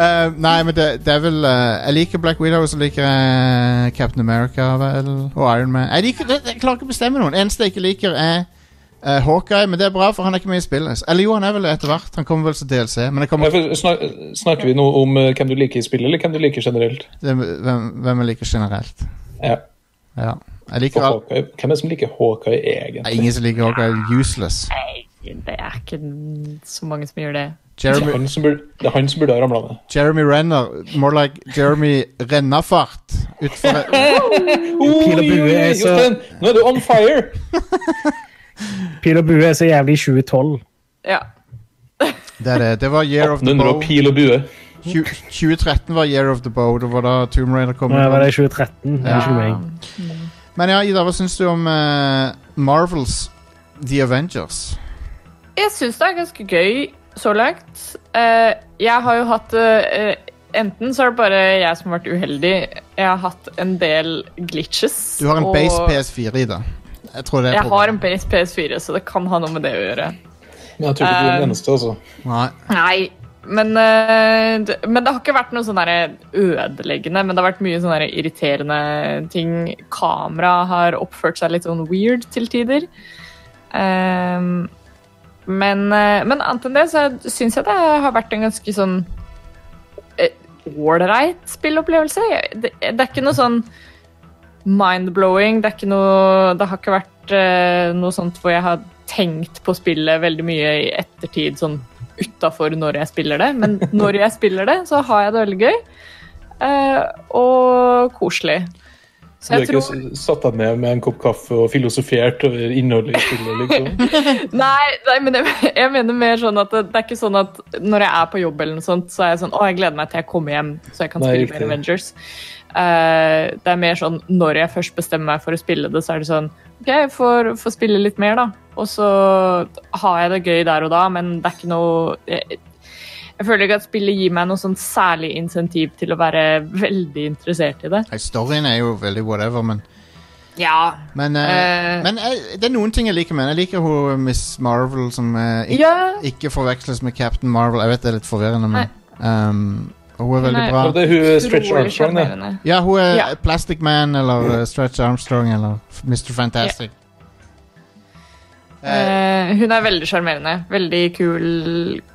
[SPEAKER 1] Eh, nei, men det, det er vel eh, Jeg liker Black Widow, og så liker jeg Captain America vel, og Iron Man. Jeg, liker, jeg, jeg klarer ikke å bestemme noen. Eneste jeg ikke liker, er eh, Hawkeye, men det er bra, for han er ikke med i spillet. Eller jo, han er vel det etter hvert. Han kommer vel til DLC. Men jeg
[SPEAKER 4] Ja,
[SPEAKER 1] kommer,
[SPEAKER 4] for snak, snakker vi noe om eh, hvem du liker i spillet, eller hvem du liker generelt?
[SPEAKER 1] det, hvem, hvem jeg liker generelt.
[SPEAKER 4] Ja,
[SPEAKER 1] Ja. Jeg
[SPEAKER 4] for
[SPEAKER 1] liker all,
[SPEAKER 4] Hawkeye. Hvem er det som liker Hawkeye
[SPEAKER 1] Nei,
[SPEAKER 4] egentlig?
[SPEAKER 1] Ingen som liker Hawkeye. Useless.
[SPEAKER 2] Nei, det er ikke så mange som gjør det.
[SPEAKER 4] Det er
[SPEAKER 1] Jeremy,
[SPEAKER 4] han som burde, det er han som burde ha ramla ned.
[SPEAKER 1] Jeremy Renner. More like Jeremy Rennafart. Utfor
[SPEAKER 3] Pil og bue er så,
[SPEAKER 4] Jostein, nå er du on fire!
[SPEAKER 3] pil og bue er så jævlig i 2012.
[SPEAKER 2] Ja.
[SPEAKER 1] Det er det. Det var Year of the
[SPEAKER 4] 1800
[SPEAKER 1] Bow.
[SPEAKER 4] og pil og bue.
[SPEAKER 1] 20- 2013 var Year of the Bow. Det var da Tomb Raider kom.
[SPEAKER 3] Nå var Eh, det 2013. det er ikke meg.
[SPEAKER 1] Men ja, Ida, hva syns du om eh, Marvels The Avengers?
[SPEAKER 2] Jeg syns det er ganske gøy så langt. Eh, jeg har jo hatt eh, Enten så er det bare jeg som har vært uheldig. Jeg har hatt en del glitches.
[SPEAKER 1] Du har en
[SPEAKER 2] og-
[SPEAKER 1] base PS4, Ida. Jeg tror det er
[SPEAKER 2] Jeg har
[SPEAKER 1] problemet.
[SPEAKER 2] en base PS4, så det kan ha noe med det å gjøre.
[SPEAKER 4] Men jeg tror ikke du er den eneste, altså.
[SPEAKER 1] Nei.
[SPEAKER 2] Nei, men, eh, det- men det har ikke vært noe sånn der ødeleggende. Men det har vært mye sånne der irriterende ting. Kamera har oppført seg litt sånn weird til tider. Ehm, men, eh, men annet enn det så syns jeg det har vært en ganske sånn eh, ålreit spillopplevelse. Jeg- Det, det er ikke noe sånn mind-blowing. Det er ikke noe Det har ikke vært eh, noe sånt hvor jeg har tenkt på spillet veldig mye i ettertid, sånn utafor når jeg spiller det. Men når jeg spiller det, så har jeg det veldig gøy. eh, og koselig.
[SPEAKER 4] Du
[SPEAKER 2] Så
[SPEAKER 4] har
[SPEAKER 2] jeg
[SPEAKER 4] ikke
[SPEAKER 2] tror
[SPEAKER 4] s- satt deg ned med en kopp kaffe og filosofert over innholdet i spillet, liksom?
[SPEAKER 2] Nei, nei men jeg, jeg mener mer sånn at det, det er ikke sånn at når jeg er på jobb eller noe sånt, så er jeg sånn Å, jeg gleder meg til jeg kommer hjem, så jeg kan
[SPEAKER 4] Nei,
[SPEAKER 2] spille
[SPEAKER 4] riktig.
[SPEAKER 2] mer Avengers. Eh, det er mer sånn når jeg først bestemmer meg for å spille det, så er det sånn OK, jeg får, får spille litt mer, da. Og så har jeg det gøy der og da, men det er ikke noe jeg, jeg føler ikke at spillet gir meg noe sånn særlig insentiv til å være veldig interessert i det.
[SPEAKER 1] Nei, Storyen er jo veldig whatever, men
[SPEAKER 2] Ja.
[SPEAKER 1] Men, eh,
[SPEAKER 2] Eh.
[SPEAKER 1] men eh, det er noen ting jeg liker med den. Jeg liker hun eh, Miss Marvel som eh, ikke,
[SPEAKER 2] Ja.
[SPEAKER 1] ikke forveksles med Captain Marvel. Jeg vet det er litt forvirrende, men um, Hun er veldig
[SPEAKER 2] Nei.
[SPEAKER 1] bra.
[SPEAKER 4] Og det er hun Stretch
[SPEAKER 2] Utrolig
[SPEAKER 4] Armstrong, det.
[SPEAKER 2] sjarmerende.
[SPEAKER 1] Ja, hun er
[SPEAKER 2] Ja.
[SPEAKER 1] Plastic Man eller eh, Stretch Armstrong eller F- Mr. Fantastic. Eh,
[SPEAKER 2] Eh, hun er veldig sjarmerende. Veldig kul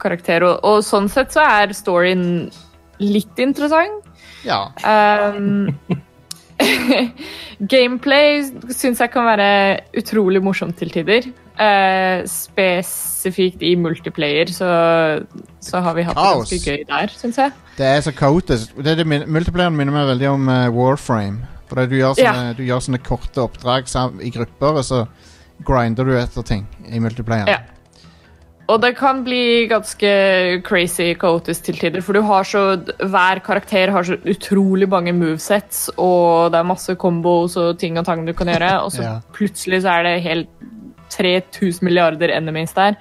[SPEAKER 2] karakter. Og, og sånn sett så er storyen litt interessant.
[SPEAKER 1] ja.
[SPEAKER 2] Um, gameplay syns jeg kan være utrolig morsomt til tider. Eh, spesifikt i multiplayer, så, så har vi hatt det
[SPEAKER 1] Kaos.
[SPEAKER 2] ganske gøy der, syns jeg.
[SPEAKER 1] Det er så kaotisk. Det er det, min- multiplayeren minner meg veldig om eh, Warframe. For det, du, gjør sånne,
[SPEAKER 2] Ja.
[SPEAKER 1] du gjør sånne korte oppdrag sam- i grupper, og så grinder du etter ting i multiplayeren.
[SPEAKER 2] Ja. Og det kan bli ganske crazy kaotisk til tider, for du har så Hver karakter har så utrolig mange movesets, og det er masse combos og ting og tang du kan gjøre, og så
[SPEAKER 1] Ja.
[SPEAKER 2] plutselig så er det helt 3000 milliarder enemies der.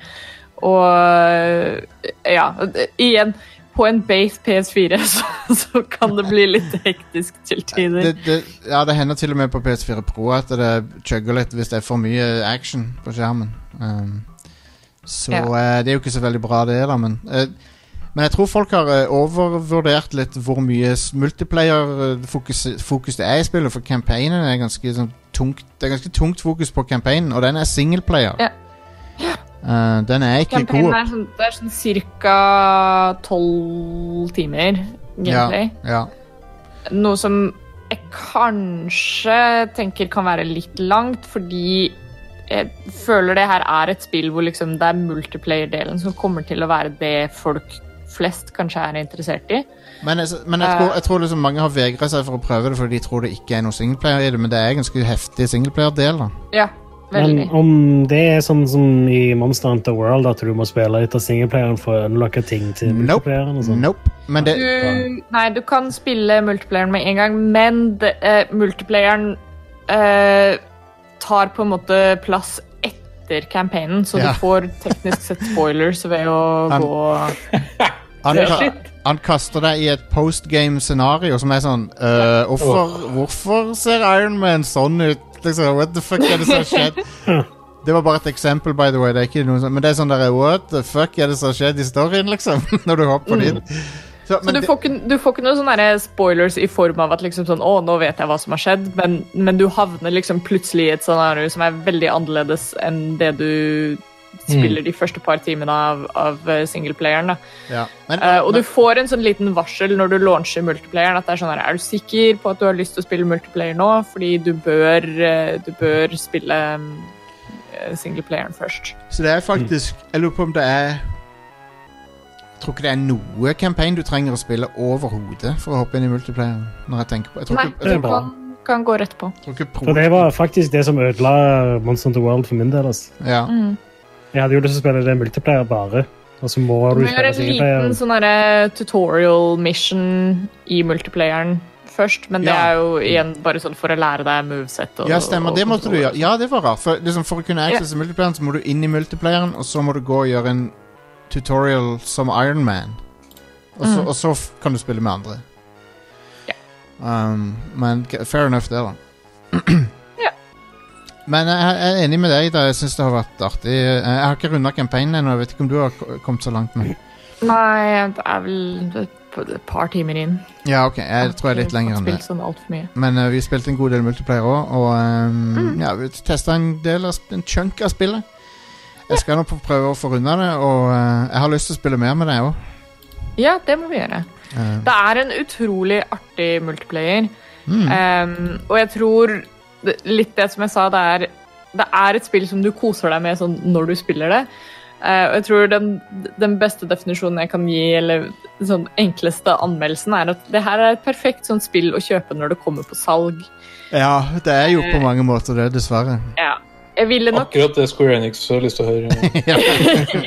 [SPEAKER 2] Og ja, det- igjen på en base PS4 så, så kan det bli litt hektisk til tider.
[SPEAKER 1] Det, det, ja, det hender til og med på PS4 Pro at det chugger litt hvis det er for mye action på skjermen. Um, så
[SPEAKER 2] Ja.
[SPEAKER 1] eh, det er jo ikke så veldig bra, det, da, men eh, Men jeg tror folk har eh, overvurdert litt hvor mye multiplayer-fokus det er i spillet, for campaignen er ganske sånn tungt Det er ganske tungt fokus på campaignen, og den er singleplayer.
[SPEAKER 2] Ja.
[SPEAKER 1] Eh, den er ikke
[SPEAKER 2] Campaignen
[SPEAKER 1] god.
[SPEAKER 2] er sånn, det er sånn ca. tolv timer gameplay.
[SPEAKER 1] Ja, ja.
[SPEAKER 2] noe som jeg kanskje tenker kan være litt langt, fordi jeg føler det her er et spill hvor liksom det er multiplayer-delen som kommer til å være det folk flest kanskje er interessert i.
[SPEAKER 1] Men, jeg, men
[SPEAKER 2] Eh.
[SPEAKER 1] jeg, tror, jeg tror liksom mange har vegra seg for å prøve det fordi de tror det ikke er noe singleplayer i det, men det er en ganske heftig singleplayer-del. da.
[SPEAKER 2] Ja, veldig.
[SPEAKER 3] Men om det er sånn som i Monster Hunter World, at du må spille litt av singleplayeren for å unlocke ting til
[SPEAKER 1] Nope.
[SPEAKER 3] multiplayeren og sånn.
[SPEAKER 1] nope. Men det,
[SPEAKER 2] Du, nei, du kan spille multiplayeren med en gang, men det, eh, multiplayeren eh, tar på en måte plass etter campaignen, så
[SPEAKER 1] Ja.
[SPEAKER 2] du får teknisk sett spoilers ved å
[SPEAKER 1] Han-
[SPEAKER 2] gå
[SPEAKER 1] han,
[SPEAKER 2] Det er
[SPEAKER 1] ka-
[SPEAKER 2] shit.
[SPEAKER 1] han kaster deg i et postgame-scenario som er sånn øh, hvorfor, hvorfor ser Iron Man sånn ut? Liksom, what the fuck er det som har skjedd? Det var bare et eksempel, by the way. Det er ikke noe sånn, men det er sånn der, what the fuck er det som har skjedd i storyen, liksom? Når du hopper dit. Så,
[SPEAKER 2] Så
[SPEAKER 1] men
[SPEAKER 2] du
[SPEAKER 1] det-
[SPEAKER 2] får, ikke, du får ikke noen sånne der spoilers i form av at liksom sånn, å, nå vet jeg hva som har skjedd, men, men du havner liksom plutselig i et scenario som er veldig annerledes enn det du spiller de første par timene av, av eh, singleplayeren. da.
[SPEAKER 1] ja. men,
[SPEAKER 2] Eh, og du får en sånn liten varsel når du launcher multiplayeren. at det Er sånn her, er du sikker på at du har lyst til å spille multiplayer nå? Fordi du bør, eh, du bør spille eh, singleplayeren først.
[SPEAKER 1] Så det er faktisk
[SPEAKER 3] Mm.
[SPEAKER 1] Jeg lurer på om det er Jeg tror ikke det er noe campaign du trenger å spille overhodet for å hoppe inn i multiplayer. Når jeg tenker på Jeg tror
[SPEAKER 2] Nei,
[SPEAKER 1] ikke,
[SPEAKER 3] det
[SPEAKER 1] jeg
[SPEAKER 3] er
[SPEAKER 1] tror,
[SPEAKER 3] bra.
[SPEAKER 2] kan, kan gå rett på.
[SPEAKER 1] jeg tror ikke pro,
[SPEAKER 3] For det var faktisk det som ødela Monster Hunter World for min del. Altså.
[SPEAKER 1] ja.
[SPEAKER 3] Jeg hadde jo lyst til å spille det multiplayer bare, og så må
[SPEAKER 2] Du
[SPEAKER 3] du
[SPEAKER 2] må gjøre
[SPEAKER 3] spille
[SPEAKER 2] en
[SPEAKER 3] singleplayer.
[SPEAKER 2] liten sånn derre tutorial mission i multiplayeren først, men det
[SPEAKER 1] Ja.
[SPEAKER 2] er jo igjen bare sånn for å lære deg moveset. Og,
[SPEAKER 1] ja, stemmer.
[SPEAKER 2] og
[SPEAKER 1] Det måtte du
[SPEAKER 2] kontroller.
[SPEAKER 1] gjøre. Ja, det var rart. For, liksom, for å kunne accesse multiplayeren, så må du inn i multiplayeren, og så må du gå og gjøre en tutorial som Iron Man. Og så, og så f- kan du spille med andre.
[SPEAKER 2] Mm. Ja.
[SPEAKER 1] Um, men g- fair enough, det, da.
[SPEAKER 2] Ja.
[SPEAKER 1] Men eh, jeg jeg er enig med deg. da Jeg syns det har vært artig. Jeg jeg har ikke runda campaignen ennå. Jeg vet ikke om du har k- kommet så langt med
[SPEAKER 2] Nei, det er vel et par timer inn.
[SPEAKER 1] Ja, ok. Jeg tror jeg er litt lenger enn det.
[SPEAKER 2] Spilt sånn alt for mye.
[SPEAKER 1] Men eh, vi spilte en god del multiplayer òg, og ehm,
[SPEAKER 2] Mm.
[SPEAKER 1] ja, vi testa en del av sp- en chunk av spillet. Jeg skal nå få prøve å få runda det, og eh, jeg har lyst til å spille mer med deg òg.
[SPEAKER 2] Ja, det må vi gjøre. Det er en utrolig artig multiplayer. Ehm, og jeg tror det- litt det som jeg sa, det er, det er et spill som du koser deg med sånn, når du spiller det. Eh, og jeg tror den, den beste definisjonen jeg kan gi, eller sånn enkleste anmeldelsen, er at det her er et perfekt sånn spill å kjøpe når det kommer på salg.
[SPEAKER 1] Ja, det er jo på
[SPEAKER 2] Eh.
[SPEAKER 1] mange måter det, dessverre.
[SPEAKER 2] Ja. Jeg ville nok
[SPEAKER 4] Akkurat det Square Enix har lyst til å høre.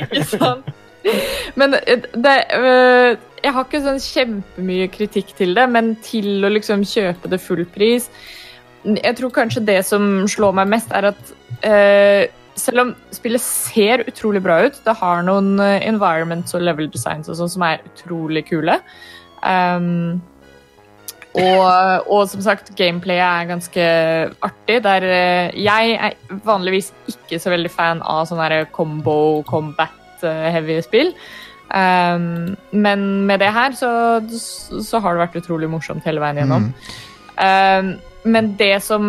[SPEAKER 2] ikke sant? Men eh, det øh, Jeg har ikke sånn kjempemye kritikk til det, men til å liksom kjøpe det full pris Jeg tror kanskje det som slår meg mest, er at eh, selv om spillet ser utrolig bra ut, det har noen eh, environments og level designs og sånn som er utrolig kule. ehm, og, og som sagt, gameplayet er ganske artig. Der eh, jeg er vanligvis ikke så veldig fan av sånne her combo, combat-heavy spill. Um, men med det her så, så har det vært utrolig morsomt hele veien gjennom. Um, men det som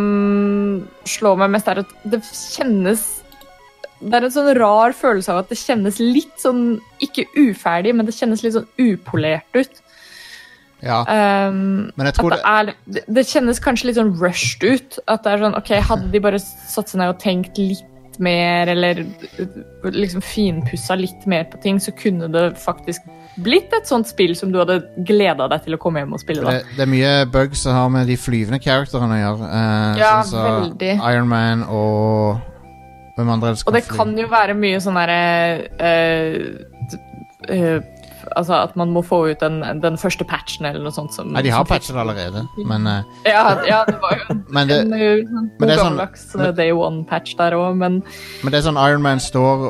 [SPEAKER 2] slår meg mest, er at det kjennes Det er en sånn rar følelse av at det kjennes litt sånn Ikke uferdig, men det kjennes litt sånn upolert ut.
[SPEAKER 1] Ja,
[SPEAKER 2] Um,
[SPEAKER 1] men jeg
[SPEAKER 2] at
[SPEAKER 1] tror
[SPEAKER 2] det,
[SPEAKER 1] det
[SPEAKER 2] er, det, det kjennes kanskje litt sånn rushed ut. At det er sånn, ok, Hadde de bare satt seg ned og tenkt litt mer, eller liksom finpussa litt mer på ting, så kunne det faktisk blitt et sånt spill som du hadde gleda deg til å komme hjem og spille.
[SPEAKER 1] det,
[SPEAKER 2] da.
[SPEAKER 1] det er mye bugs som har med de flyvende characterene å gjøre. eh,
[SPEAKER 2] Ja,
[SPEAKER 1] sånn som
[SPEAKER 2] veldig.
[SPEAKER 1] Iron Man og Hvem andre er det som
[SPEAKER 2] Og det
[SPEAKER 1] fly?
[SPEAKER 2] kan jo være mye sånn derre eh, eh, Altså at man må få ut den, den første patchen eller noe sånt. Som,
[SPEAKER 1] Nei, de har
[SPEAKER 2] som fikk-
[SPEAKER 1] patchet allerede,
[SPEAKER 2] Mm.
[SPEAKER 1] men, eh,
[SPEAKER 2] Ja, ja, det var jo en,
[SPEAKER 1] men det,
[SPEAKER 2] en, en,
[SPEAKER 1] men det er sånn-
[SPEAKER 2] gammeldags eh, day one-patch der òg, men
[SPEAKER 1] Men det er sånn Iron Man står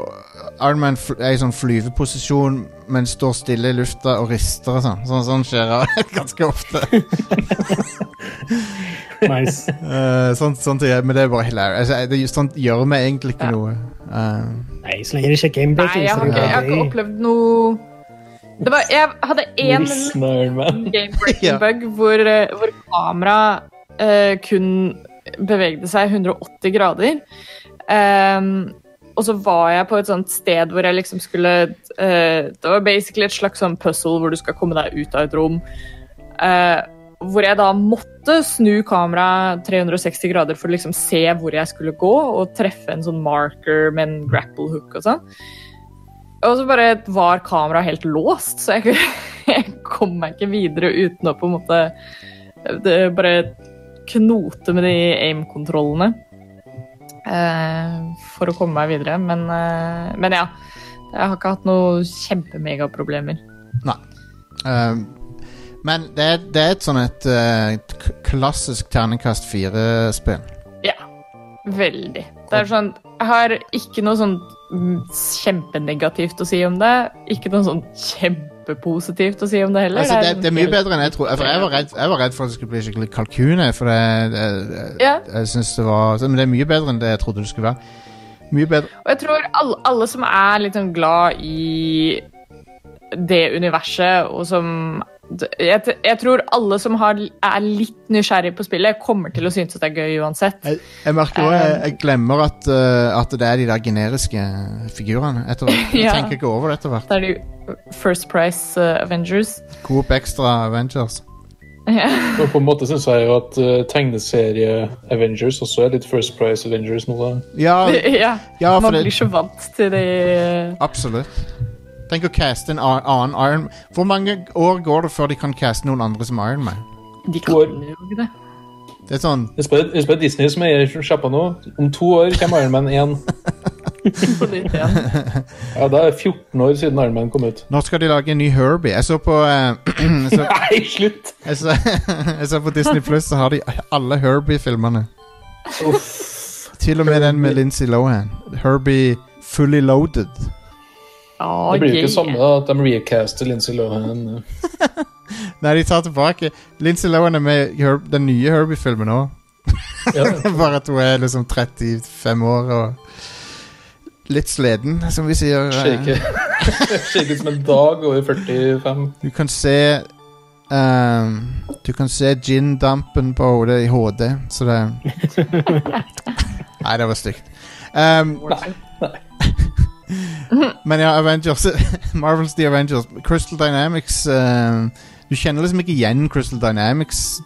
[SPEAKER 1] Iron Man fl er i sånn flyveposisjon, men står stille i lufta og rister og sånn. Sånn, sånn skjer det ganske ofte.
[SPEAKER 2] sånn.
[SPEAKER 3] Nice.
[SPEAKER 1] Eh, sånn, sånt er, men det er bare hilarious. Altså, det, sånt gjør vi egentlig ikke
[SPEAKER 2] Ja.
[SPEAKER 1] noe. Eh,
[SPEAKER 3] Nei, så lenge det ikke er
[SPEAKER 2] Nei,
[SPEAKER 3] gamebreaking.
[SPEAKER 2] jeg har
[SPEAKER 3] så
[SPEAKER 2] ikke,
[SPEAKER 3] det
[SPEAKER 2] jeg har
[SPEAKER 3] er
[SPEAKER 2] ikke
[SPEAKER 3] jo gøy.
[SPEAKER 2] opplevd noe det var, Jeg hadde én
[SPEAKER 4] Nissen og Iron Man.
[SPEAKER 1] Ja.
[SPEAKER 2] game-breaking-bug hvor, eh, hvor kameraet eh, kun bevegde seg 180 grader. Ehm, og så var jeg på et sånt sted hvor jeg liksom skulle eh, Det var basically et slags sånn puzzle hvor du skal komme deg ut av et rom. Eh, hvor jeg da måtte snu kameraet 360 grader for å liksom se hvor jeg skulle gå, og treffe en sånn marker med en grapple hook og sånn. Og så bare var kameraet helt låst, så jeg, jeg kom meg ikke videre uten å på en måte det, bare knote med de aim-kontrollene eh, for å komme meg videre. Men, eh, men ja, jeg har ikke hatt noe kjempemegaproblemer.
[SPEAKER 1] Um, men det er, det er et sånn et eh, k- klassisk terningkast fire-spill.
[SPEAKER 2] Ja, veldig. Det er sånn, jeg har ikke noe sånn mm, kjempenegativt å si om det. Ikke noe sånn kjempepositivt å si om det heller.
[SPEAKER 1] Altså, det, det er mye
[SPEAKER 2] helt-
[SPEAKER 1] bedre enn jeg trodde. For jeg var redd, jeg var redd for at det skulle bli skikkelig kalkun. jeg, For det, jeg, jeg,
[SPEAKER 2] Ja.
[SPEAKER 1] jeg synes det var Men det er mye bedre enn det jeg trodde det skulle være. Mye bedre.
[SPEAKER 2] Og jeg tror alle, alle som er litt sånn glad i det universet, og som jeg, t- jeg tror alle som har, er litt nysgjerrig på spillet, kommer til å synes at det er gøy uansett.
[SPEAKER 1] Jeg, jeg merker også, jeg, jeg glemmer at, eh, at det er de der generiske figurene. Etter hvert. Jeg
[SPEAKER 2] Ja.
[SPEAKER 1] tenker ikke over det etter hvert.
[SPEAKER 2] Da er det jo First Price eh, Avengers.
[SPEAKER 1] Coop Extra Avengers.
[SPEAKER 4] Og på en måte syns jeg jo at eh, tegneserie-Avengers også er litt First Price-Avengers nå. da.
[SPEAKER 1] Ja,
[SPEAKER 2] ja.
[SPEAKER 1] ja for
[SPEAKER 2] Man
[SPEAKER 1] det,
[SPEAKER 2] blir så vant til det eh,
[SPEAKER 1] absolutt. Tenk å caste en an- annen Iron Hvor mange år går det før de kan caste noen andre som Iron Man?
[SPEAKER 2] De
[SPEAKER 4] To år.
[SPEAKER 2] kan jo ikke det.
[SPEAKER 1] Det er sånn
[SPEAKER 4] Husk på husk på Disney som eier sjappa nå. Om to år kommer Iron Man 1.
[SPEAKER 2] På nytt igjen.
[SPEAKER 4] Ja, da er det 14 år siden Iron Man kom ut.
[SPEAKER 1] Nå skal de lage en ny Herbie. Jeg så på eh, jeg, så,
[SPEAKER 4] Nei, slutt!
[SPEAKER 1] jeg, så, jeg så på Disney Plus, så har de alle Herbie-filmene. Til og med den med Lindsay Lohan. Herbie Fully Loaded.
[SPEAKER 2] Ja,
[SPEAKER 4] Det blir jo
[SPEAKER 2] yeah.
[SPEAKER 4] ikke samme da, at de recaster Lindsay Lohan.
[SPEAKER 1] Nei, de tar tilbake Lindsay Lohan er med i Herb, den nye Herbie-filmen òg.
[SPEAKER 4] Ja,
[SPEAKER 1] Bare at hun er liksom 35 år og litt sleden, som vi sier.
[SPEAKER 4] ser ikke ser ikke ut som en dag over 45.
[SPEAKER 1] Du kan se ehm, Du kan se gin-dampen på hodet i HD, så det Nei, det var stygt. Ehm,
[SPEAKER 4] Nei.
[SPEAKER 1] men ja, Avengers Marvels The Avengers. Crystal Dynamics ehm, Du kjenner liksom ikke igjen Crystal Dynamics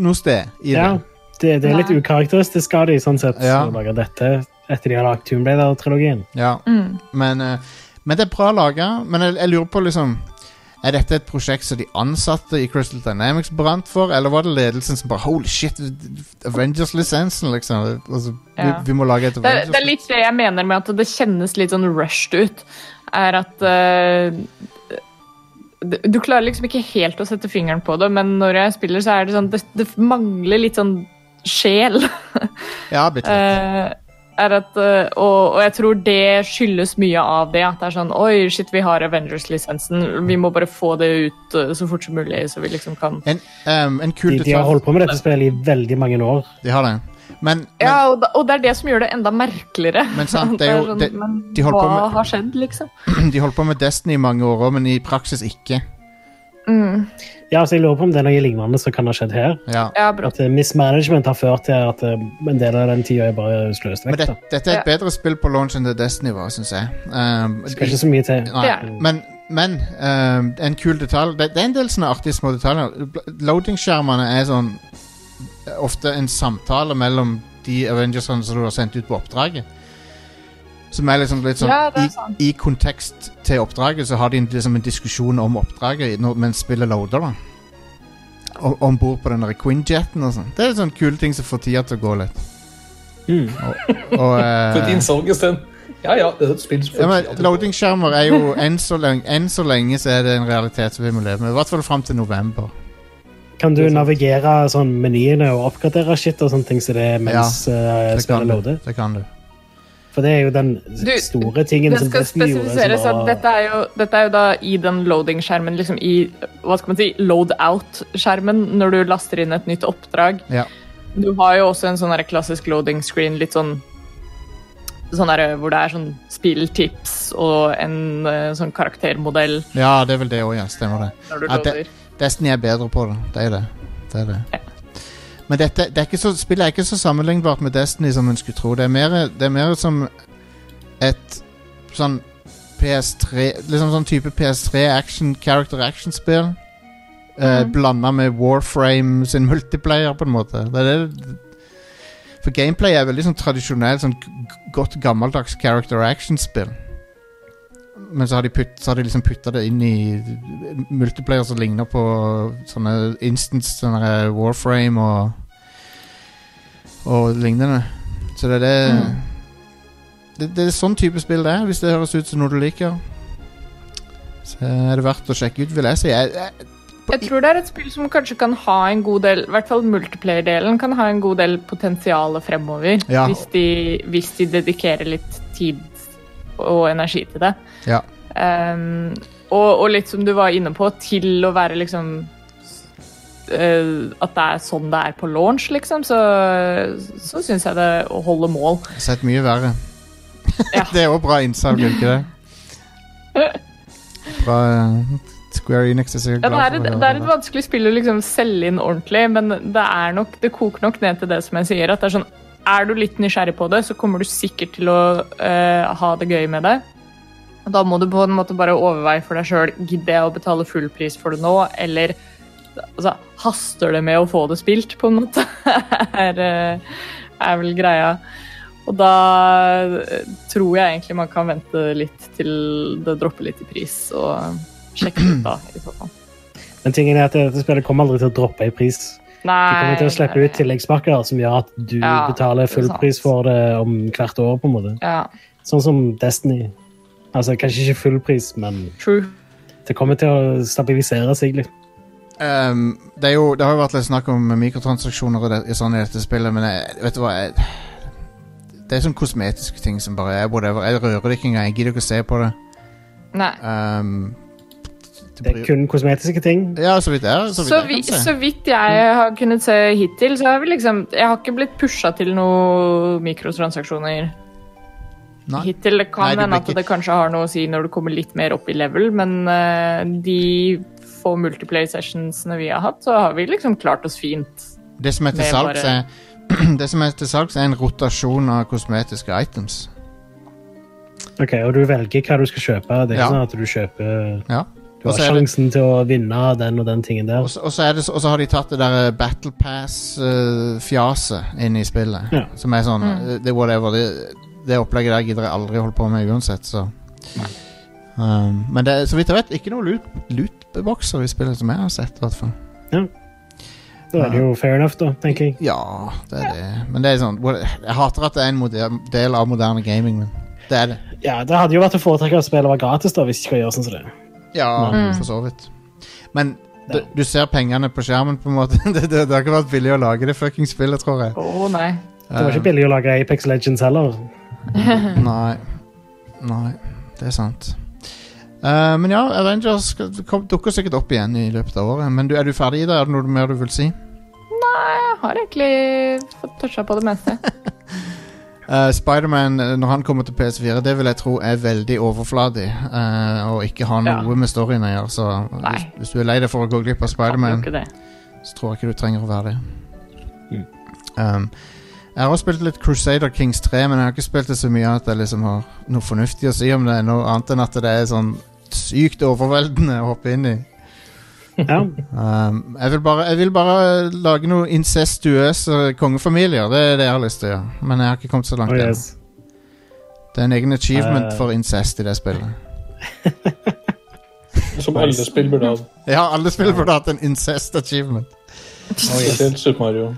[SPEAKER 1] noe sted i det.
[SPEAKER 3] Ja, det, det er litt
[SPEAKER 2] Nei.
[SPEAKER 3] ukarakteristisk av de, sånn sett,
[SPEAKER 1] Ja.
[SPEAKER 3] å lage dette etter de har lagt Tomb Raider-trilogien.
[SPEAKER 1] Ja,
[SPEAKER 2] Mm.
[SPEAKER 1] men, eh, men det er bra laga. Men jeg, jeg lurer på liksom Er dette et prosjekt som de ansatte i Crystal Dynamics brant for, eller var det ledelsen som bare Holy shit, Avengers-lisensen, liksom. Altså,
[SPEAKER 2] Ja.
[SPEAKER 1] vi, vi må lage et
[SPEAKER 2] Det, er-
[SPEAKER 1] Avengers.
[SPEAKER 2] det er litt det jeg mener med at det kjennes litt sånn rushed ut. Er at eh, d- Du klarer liksom ikke helt å sette fingeren på det, men når jeg spiller, så er det sånn Det, det mangler litt sånn sjel.
[SPEAKER 1] Ja, bitte litt.
[SPEAKER 2] Eh, er at, eh, og, og jeg tror det skyldes mye av det. At det er sånn Oi, shit, vi har Avengers-lisensen. Vi må bare få det ut eh, så fort som mulig, så vi liksom kan
[SPEAKER 1] En, ehm, en kul
[SPEAKER 3] De, de har
[SPEAKER 1] detalj
[SPEAKER 3] holdt på med dette spillet i veldig mange år.
[SPEAKER 1] De har det. Men, men,
[SPEAKER 2] Ja, og, da, og det er det som gjør det enda merkeligere.
[SPEAKER 1] Men sant, det er jo- det-
[SPEAKER 2] sånn, men
[SPEAKER 1] de holder på
[SPEAKER 2] hva
[SPEAKER 1] med-
[SPEAKER 2] har skjedd, liksom?
[SPEAKER 1] de holdt på med Destiny i mange år òg, men i praksis ikke.
[SPEAKER 3] Ja, så jeg lurer på om det er noe lignende som kan ha skjedd her.
[SPEAKER 1] Ja.
[SPEAKER 2] Ja, bra.
[SPEAKER 3] At eh, mismanagement har ført til at eh, en del av den tida er bare sløst
[SPEAKER 1] Men
[SPEAKER 3] vekk.
[SPEAKER 1] det,
[SPEAKER 3] da.
[SPEAKER 1] dette er
[SPEAKER 2] Ja.
[SPEAKER 1] et bedre spill på launch enn det Destiny var, syns jeg. Ehm,
[SPEAKER 3] Det skal ikke så mye til.
[SPEAKER 1] Nei,
[SPEAKER 2] Det er det.
[SPEAKER 1] men, men ehm, en kul detalj det, det er en del sånne artige små detaljer. Bl- Loading-skjermene er sånn ofte en samtale mellom de Avengersene som du har sendt ut på oppdraget. Som er liksom litt sånn
[SPEAKER 2] Ja, det er
[SPEAKER 1] i, I kontekst til oppdraget så har de en, liksom en diskusjon om oppdraget i- når- mens spillet loader. da Om bord på den der Queen-jeten og sånn. Det er sånne kule ting som får tida til å gå litt.
[SPEAKER 3] Mm.
[SPEAKER 1] Og,
[SPEAKER 4] For et
[SPEAKER 1] eh,
[SPEAKER 4] innsalg i stedet. Ja, ja, det er et spill som
[SPEAKER 1] Ja, men Loading-skjermer er jo enn så, lenge, enn så lenge så er det en realitet som vi må leve med. I hvert fall fram til november.
[SPEAKER 3] Kan du navigere sånn menyene og oppgradere shit og sånne ting som det er mens eh,
[SPEAKER 1] Det kan
[SPEAKER 3] spillet
[SPEAKER 1] du.
[SPEAKER 3] loader?
[SPEAKER 1] Det kan du.
[SPEAKER 3] For det er jo den
[SPEAKER 2] Du,
[SPEAKER 3] store tingen
[SPEAKER 2] Det
[SPEAKER 3] som
[SPEAKER 2] skal
[SPEAKER 3] Destiny gjorde.
[SPEAKER 2] spesifiseres
[SPEAKER 3] som
[SPEAKER 2] at
[SPEAKER 3] var-
[SPEAKER 2] dette er jo, dette er jo da i den loading-skjermen, liksom i hva skal man si, load-out-skjermen, når du laster inn et nytt oppdrag.
[SPEAKER 1] Ja.
[SPEAKER 2] Du har jo også en sånn der klassisk loading-screen, litt sånn sånn der, hvor det er sånn spilltips og en eh, sånn karaktermodell
[SPEAKER 1] ja, det er vel det òg, ja. Stemmer det.
[SPEAKER 2] når du
[SPEAKER 1] Ja, det-
[SPEAKER 2] loader.
[SPEAKER 1] Destiny er bedre på det. Det er det. det, er det. Men dette, det er ikke så, spillet er ikke så sammenlignbart med Destiny som en skulle tro. Det er mer, det er mer som et sånn PS3 Liksom sånn type PS3 action, character action-spill. eh, blanda med Warframe sin multiplayer, på en måte. Det er det, for gameplay er veldig sånn tradisjonelt, sånn g- godt gammeldags character action-spill. Men så har de, putt, så har de liksom putta det inn i multiplayer som ligner på sånne instance, sånne der Warframe og og lignende. Så det er det det, det er sånn type spill det er, hvis det høres ut som noe du liker. Så er det verdt å sjekke ut, vil jeg si. Jeg, jeg,
[SPEAKER 2] Jeg tror det er et spill som kanskje kan ha en god del, i hvert fall multiplayer-delen, kan ha en god del potensial fremover.
[SPEAKER 1] Ja.
[SPEAKER 2] Hvis, de, hvis de dedikerer litt tid og energi til det.
[SPEAKER 1] ja.
[SPEAKER 2] Ehm, og, og litt som du var inne på, til å være liksom eh, At det er sånn det er på launch, liksom, så, så syns jeg det holder mål.
[SPEAKER 1] Jeg har sett mye verre.
[SPEAKER 2] Ja.
[SPEAKER 1] det er òg bra innsalg, er det ikke det? Bra eh, Square Enix er sikkert
[SPEAKER 2] Ja,
[SPEAKER 1] glad for å
[SPEAKER 2] det, er et,
[SPEAKER 1] høre
[SPEAKER 2] det er et vanskelig spill å liksom selge inn ordentlig, men det, er nok, det koker nok ned til det som jeg sier. At det er sånn Er du litt nysgjerrig på det, så kommer du sikkert til å eh, ha det gøy med det. Og Da må du på en måte bare overveie for deg sjøl gidder jeg å betale full pris for det nå, eller altså, haster det med å få det spilt, på en måte? er, eh, er vel greia. Og da eh, tror jeg egentlig man kan vente litt til det dropper litt i pris, og sjekke det ut da, i så fall.
[SPEAKER 3] Men tingen er at dette spillet kommer aldri til å droppe i pris. De
[SPEAKER 2] Nei.
[SPEAKER 3] kommer til å slippe ut tilleggspakker som gjør at du
[SPEAKER 2] Ja,
[SPEAKER 3] betaler
[SPEAKER 2] det er
[SPEAKER 3] full
[SPEAKER 2] sant.
[SPEAKER 3] pris for det om hvert år, på en måte.
[SPEAKER 2] Ja,
[SPEAKER 3] Sånn som Destiny. Altså, kanskje ikke full pris, men
[SPEAKER 2] true.
[SPEAKER 3] det kommer til å stabilisere seg litt.
[SPEAKER 1] Ehm, det, er jo, det har jo vært litt snakk om mikrotransaksjoner og det, i sånn i dette spillet, men jeg, vet du hva jeg, Det er sånne kosmetiske ting som bare er whatever. Jeg rører det ikke engang. Jeg gidder ikke å se på det.
[SPEAKER 2] Nei.
[SPEAKER 1] Ehm,
[SPEAKER 3] Det er kun kosmetiske ting.
[SPEAKER 1] Ja, så vidt jeg, så vidt
[SPEAKER 2] Så,
[SPEAKER 1] jeg
[SPEAKER 2] vi,
[SPEAKER 1] kan se.
[SPEAKER 2] så vidt jeg
[SPEAKER 3] Mm.
[SPEAKER 2] har kunnet se hittil, så har vi liksom Jeg har ikke blitt pusha til noen mikrotransaksjoner
[SPEAKER 1] Nei.
[SPEAKER 2] hittil. Det
[SPEAKER 1] Nei,
[SPEAKER 2] kan
[SPEAKER 1] du
[SPEAKER 2] hende
[SPEAKER 1] blir
[SPEAKER 2] at
[SPEAKER 1] ikke-
[SPEAKER 2] det kanskje har noe å si når du kommer litt mer opp i level, men eh, de få multiplayer sessionsene vi har hatt, så har vi liksom klart oss fint.
[SPEAKER 1] Det som er til
[SPEAKER 2] Med
[SPEAKER 1] salgs,
[SPEAKER 2] bare-
[SPEAKER 1] er Det som er til salgs, er en rotasjon av kosmetiske items.
[SPEAKER 3] Ok, Og du velger hva du skal kjøpe. Det er
[SPEAKER 1] Ja.
[SPEAKER 3] ikke sånn at du kjøper
[SPEAKER 1] Ja.
[SPEAKER 3] Du
[SPEAKER 1] Og
[SPEAKER 3] har
[SPEAKER 1] så er det-
[SPEAKER 3] sjansen til å vinne den og den tingen der.
[SPEAKER 1] Og så- og så er det så- og så har de tatt det der eh, Battle Pass-fjaset inn i spillet.
[SPEAKER 3] Ja.
[SPEAKER 1] Som er sånn eh, Det er whatever. Det, det opplegget der gidder jeg aldri holde på med uansett, så um, Men det er, så vidt jeg vet, ikke noen loot, lootbokser i spillet som jeg har sett, i hvert fall.
[SPEAKER 3] Da er det jo fair enough, da, tenker jeg.
[SPEAKER 1] Ja, det er det. Men det er sånn what- Jeg hater at det er en moder- del av moderne gaming, men det er det.
[SPEAKER 3] Ja, Det hadde jo vært å foretrekke at spillet var gratis, da, hvis de skal gjøre sånn som det.
[SPEAKER 1] Ja, for så vidt. Men du, du ser pengene på skjermen, på en måte. det, det, det har ikke vært billig å lage det fuckings spillet, tror jeg. Eh,
[SPEAKER 2] Å nei.
[SPEAKER 3] Det var ikke billig å lage Apex Legends heller.
[SPEAKER 1] Nei. Nei, det er sant. Eh, men ja, Avengers skal- kom, dukker sikkert opp igjen i løpet av året. Men du, er du ferdig i det? Er det noe mer du vil si?
[SPEAKER 2] Jeg har egentlig fått toucha på det meste.
[SPEAKER 1] Eh, Spiderman, eh, når han kommer til PS4, det vil jeg tro er veldig overfladig. eh, og ikke har
[SPEAKER 2] Ja.
[SPEAKER 1] noe med storyen å gjøre. Så hvis,
[SPEAKER 2] Nei.
[SPEAKER 1] hvis du er lei deg for å gå glipp av
[SPEAKER 2] Kan jo
[SPEAKER 1] Spiderman
[SPEAKER 2] ikke det.
[SPEAKER 1] så tror jeg ikke du trenger å være det.
[SPEAKER 3] Mm.
[SPEAKER 1] Um, jeg har også spilt litt Crusader Kings 3, men jeg har ikke spilt det så mye at jeg liksom har noe fornuftig å si om det, noe annet enn at det er sånn sykt overveldende å hoppe inn i.
[SPEAKER 3] Ja,
[SPEAKER 1] Um, jeg, vil bare, jeg vil bare lage noen incestuøse kongefamilier, det er det jeg har lyst til å gjøre. Men jeg har ikke kommet så langt
[SPEAKER 3] oh,
[SPEAKER 1] ennå.
[SPEAKER 3] yes.
[SPEAKER 1] Det er en egen achievement
[SPEAKER 3] Eh.
[SPEAKER 1] for incest i det spillet.
[SPEAKER 4] Som alle spill burde ha.
[SPEAKER 1] Ja, alle spill burde hatt en incest achievement.
[SPEAKER 4] Spesielt Super Mario.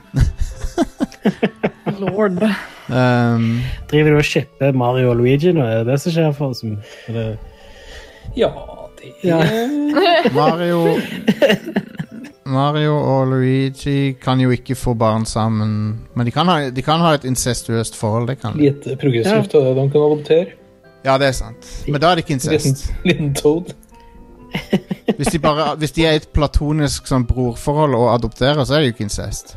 [SPEAKER 2] Lord.
[SPEAKER 1] Um,
[SPEAKER 3] Driver du og shipper Mario og Luigi nå? Er det det som skjer for oss? Er det...
[SPEAKER 4] Ja, det
[SPEAKER 3] Ja.
[SPEAKER 1] Mario Mario og Luigi kan jo ikke få barn sammen. Men de kan ha, de kan ha et incestuøst forhold. Det kan de.
[SPEAKER 4] Lite progressivt av det de kan adoptere.
[SPEAKER 1] Ja, det er sant. Men da er det ikke
[SPEAKER 4] Liten,
[SPEAKER 1] incest.
[SPEAKER 4] liten Toad.
[SPEAKER 1] Hvis de, bare, hvis de er i et platonisk sånn, brorforhold og adopterer, så er det jo ikke incest.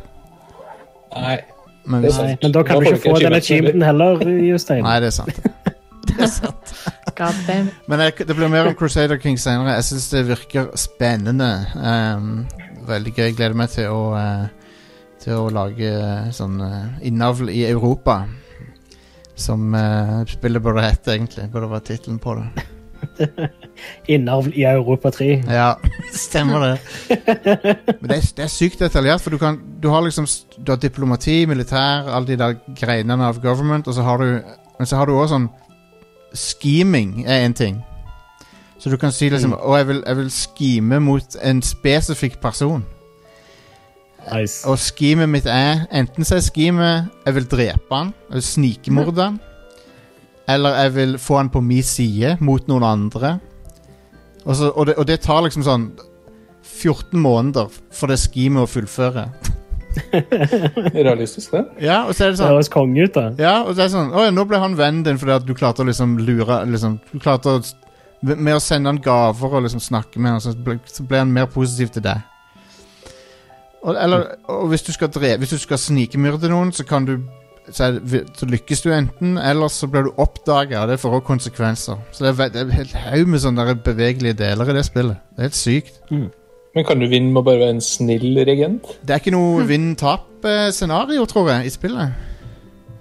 [SPEAKER 4] Nei.
[SPEAKER 1] Men
[SPEAKER 4] Det
[SPEAKER 1] hvis,
[SPEAKER 4] er
[SPEAKER 3] Nei,
[SPEAKER 4] sant.
[SPEAKER 3] men da kan
[SPEAKER 4] Da
[SPEAKER 3] du
[SPEAKER 4] får
[SPEAKER 3] ikke
[SPEAKER 4] vi ikke
[SPEAKER 3] få den
[SPEAKER 4] achievementen
[SPEAKER 3] achievementen heller, eh, Jostein.
[SPEAKER 1] nei, det er sant. Det er sant.
[SPEAKER 2] God damn.
[SPEAKER 1] Men jeg, det blir mer om Crusader King senere. Jeg syns det virker spennende. Ehm, veldig gøy. Gleder meg til å, eh, til å lage eh, sånn eh, innavl i Europa. Som eh, spillet burde hete, egentlig. Burde være tittelen på det.
[SPEAKER 3] innavl i Europa 3.
[SPEAKER 1] Ja, stemmer det. Men det er, det er sykt detaljert, for du, kan, du har liksom s- du har diplomati, militær, alle de der greinene av government, og så har du Men så har du også sånn Scheming er en ting. Så du kan si liksom Å, jeg vil, jeg vil scheme mot en spesifikk person.
[SPEAKER 3] Nice.
[SPEAKER 1] Og schemet mitt er Enten så er schemet Jeg vil drepe han, jeg vil snikmorde han Eller jeg vil få han på min side Mot noen andre Og, så, og, det, og det tar liksom sånn 14 måneder For det schemet å fullføre
[SPEAKER 4] Realistisk, det.
[SPEAKER 1] Ja, og så er det
[SPEAKER 3] Det
[SPEAKER 1] sånn
[SPEAKER 3] høres konge ut, da.
[SPEAKER 1] ja, og det er sånn, åja, nå ble han vennen din fordi at du klarte å liksom lure liksom, Du klarte å Med å sende han gaver og liksom snakke med han Så ble, så ble han mer positiv til deg og, eller, og hvis du skal dre- Hvis du skal snikmyrde noen Så kan du så, er, det- så lykkes du enten Ellers så blir du oppdaget Og det får også konsekvenser Så det er, ve- det er helt haug med sånne der bevegelige deler i det spillet Det er helt sykt
[SPEAKER 4] Men kan du vinne med å bare være en snill regent?
[SPEAKER 1] Det er ikke noe vinn-tap-scenario, tror jeg, i spillet.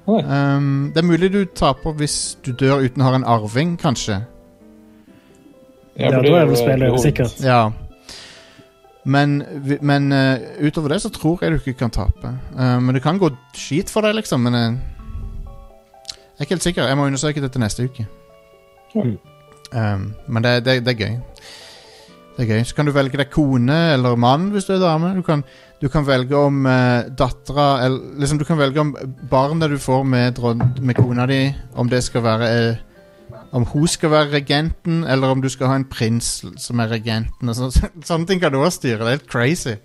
[SPEAKER 4] Nei.
[SPEAKER 1] Um, det er mulig du taper hvis du dør uten å ha en arving, kanskje.
[SPEAKER 4] Ja,
[SPEAKER 3] Ja,
[SPEAKER 4] for det
[SPEAKER 3] da er
[SPEAKER 4] jo
[SPEAKER 3] vel spillet
[SPEAKER 4] veldig
[SPEAKER 3] over,
[SPEAKER 4] hovedsaken.
[SPEAKER 3] sikkert.
[SPEAKER 1] Ja. Men, vi- men uh, utover det så tror jeg du ikke kan tape. Uh, men det kan gå skit for deg, liksom. Men uh, jeg er ikke helt sikker. Jeg må undersøke det til neste uke.
[SPEAKER 4] Ja.
[SPEAKER 1] Um, men det, det, det er gøy. Det er gøy. Så kan du velge deg kone eller mann hvis du er dame. Du kan, du kan velge om uh, dattera eller liksom Du kan velge om barnet du får med, dron- med kona di, om det skal være eh, om hun skal være regenten, eller om du skal ha en prins som er regenten. Og så, sånne ting kan du også styre. Det er helt crazy.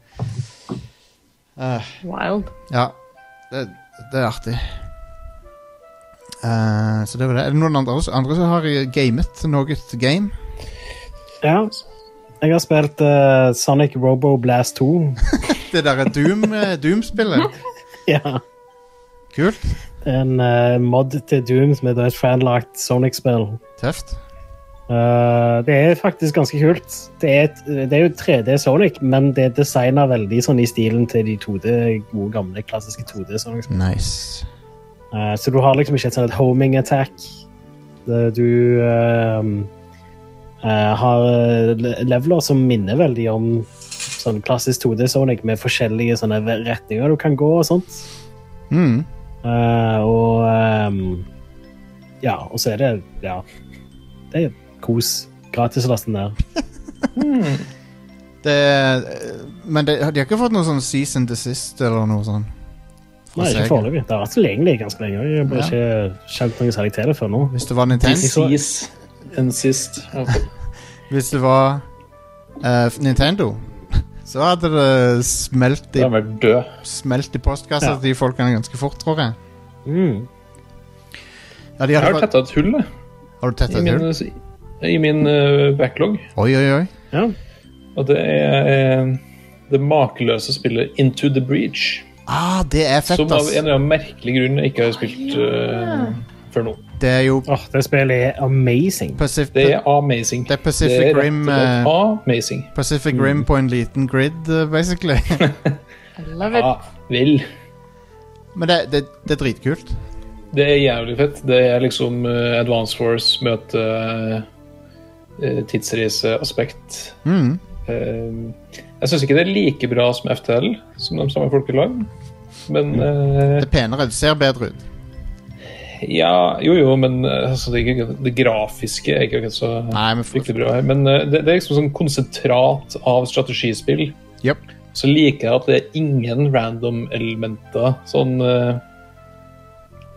[SPEAKER 1] Eh,
[SPEAKER 2] Wild.
[SPEAKER 1] ja, det, det er artig. Eh, så det var det. Er det noen andre, andre som har eh, gamet noe game?
[SPEAKER 3] Ja. Jeg har spilt eh, Sonic Robo Blast 2.
[SPEAKER 1] Det derre Doom, eh, Doom-spillet?
[SPEAKER 3] ja.
[SPEAKER 1] Kult.
[SPEAKER 3] Det er En eh, mod til Doom som er da et fanlagt Sonic-spill.
[SPEAKER 1] Tøft.
[SPEAKER 3] Eh, det er faktisk ganske kult. Det er, et, det er jo 3D Sonic, men det er designa veldig sånn i stilen til de 2D, gode, gamle, klassiske 2D Sonic.
[SPEAKER 1] Nice.
[SPEAKER 3] Eh, så du har liksom ikke et sånn et homing attack. Det- Du ehm, eh, har le- leveler som minner veldig om sånn klassisk 2D Sonic, med forskjellige sånne retninger du kan gå og sånt.
[SPEAKER 1] Mm.
[SPEAKER 3] Eh, og ehm, ja, og så er det ja, det er kos. Gratis å laste den der.
[SPEAKER 1] Det, eh, men det, de har ikke fått noe sånn cease and desist eller noe sånn. sånt? fra
[SPEAKER 3] Nei, ikke
[SPEAKER 1] Sega.
[SPEAKER 3] foreløpig. Det har vært tilgjengelig ganske lenge. Jeg har bare ikke kjent noe særlig til det før nå.
[SPEAKER 1] Hvis det var
[SPEAKER 4] En
[SPEAKER 1] Nintendo?
[SPEAKER 4] sist. En sist. Ja.
[SPEAKER 1] Hvis det var eh, Nintendo, så hadde det smelt i,
[SPEAKER 4] Den har vært død.
[SPEAKER 1] smelt i postkassa
[SPEAKER 3] Ja.
[SPEAKER 1] til de folkene ganske fort, tror jeg.
[SPEAKER 3] Mm.
[SPEAKER 1] Ja, de
[SPEAKER 4] Jeg har
[SPEAKER 1] hadde, fått-
[SPEAKER 4] tetta et hull jeg,
[SPEAKER 1] har du tett
[SPEAKER 4] i
[SPEAKER 1] et
[SPEAKER 4] min, eh,
[SPEAKER 1] hull?
[SPEAKER 4] i min eh, backlog.
[SPEAKER 1] Oi, oi, oi.
[SPEAKER 3] Ja.
[SPEAKER 4] Og det er eh, det makeløse spillet Into the Breach.
[SPEAKER 1] Ah, det er fett,
[SPEAKER 4] Som av
[SPEAKER 1] ass.
[SPEAKER 4] en eller annen merkelig grunn jeg ikke har spilt eh, før nå.
[SPEAKER 1] Det er jo
[SPEAKER 3] Åh, det spillet er amazing.
[SPEAKER 1] Pacif
[SPEAKER 4] Det
[SPEAKER 1] det
[SPEAKER 4] er amazing.
[SPEAKER 1] er Pacific
[SPEAKER 4] rett og
[SPEAKER 1] Rim,
[SPEAKER 4] slett
[SPEAKER 1] eh,
[SPEAKER 4] amazing. Mm.
[SPEAKER 1] Pacific Rim på en liten grid, eh, basically.
[SPEAKER 2] I love it.
[SPEAKER 4] Ja, vel.
[SPEAKER 1] Men det, det, det er dritkult.
[SPEAKER 4] Det er jævlig fett. Det er liksom eh, Advance Force møte eh, tidsreiseaspekt.
[SPEAKER 1] Mm.
[SPEAKER 4] Eh, jeg syns ikke det er like bra som FTL, som de samme folkelag, men eh,
[SPEAKER 1] Det er penere, det ser bedre ut.
[SPEAKER 4] Ja, jo jo, men eh, altså, det, er ikke- det grafiske er ikke akkurat så
[SPEAKER 1] Nei, men for,
[SPEAKER 4] fryktelig bra her. Men eh, det, det er liksom sånn konsentrat av strategispill.
[SPEAKER 1] Japp.
[SPEAKER 4] Så liker jeg at det er ingen random elementer sånn eh,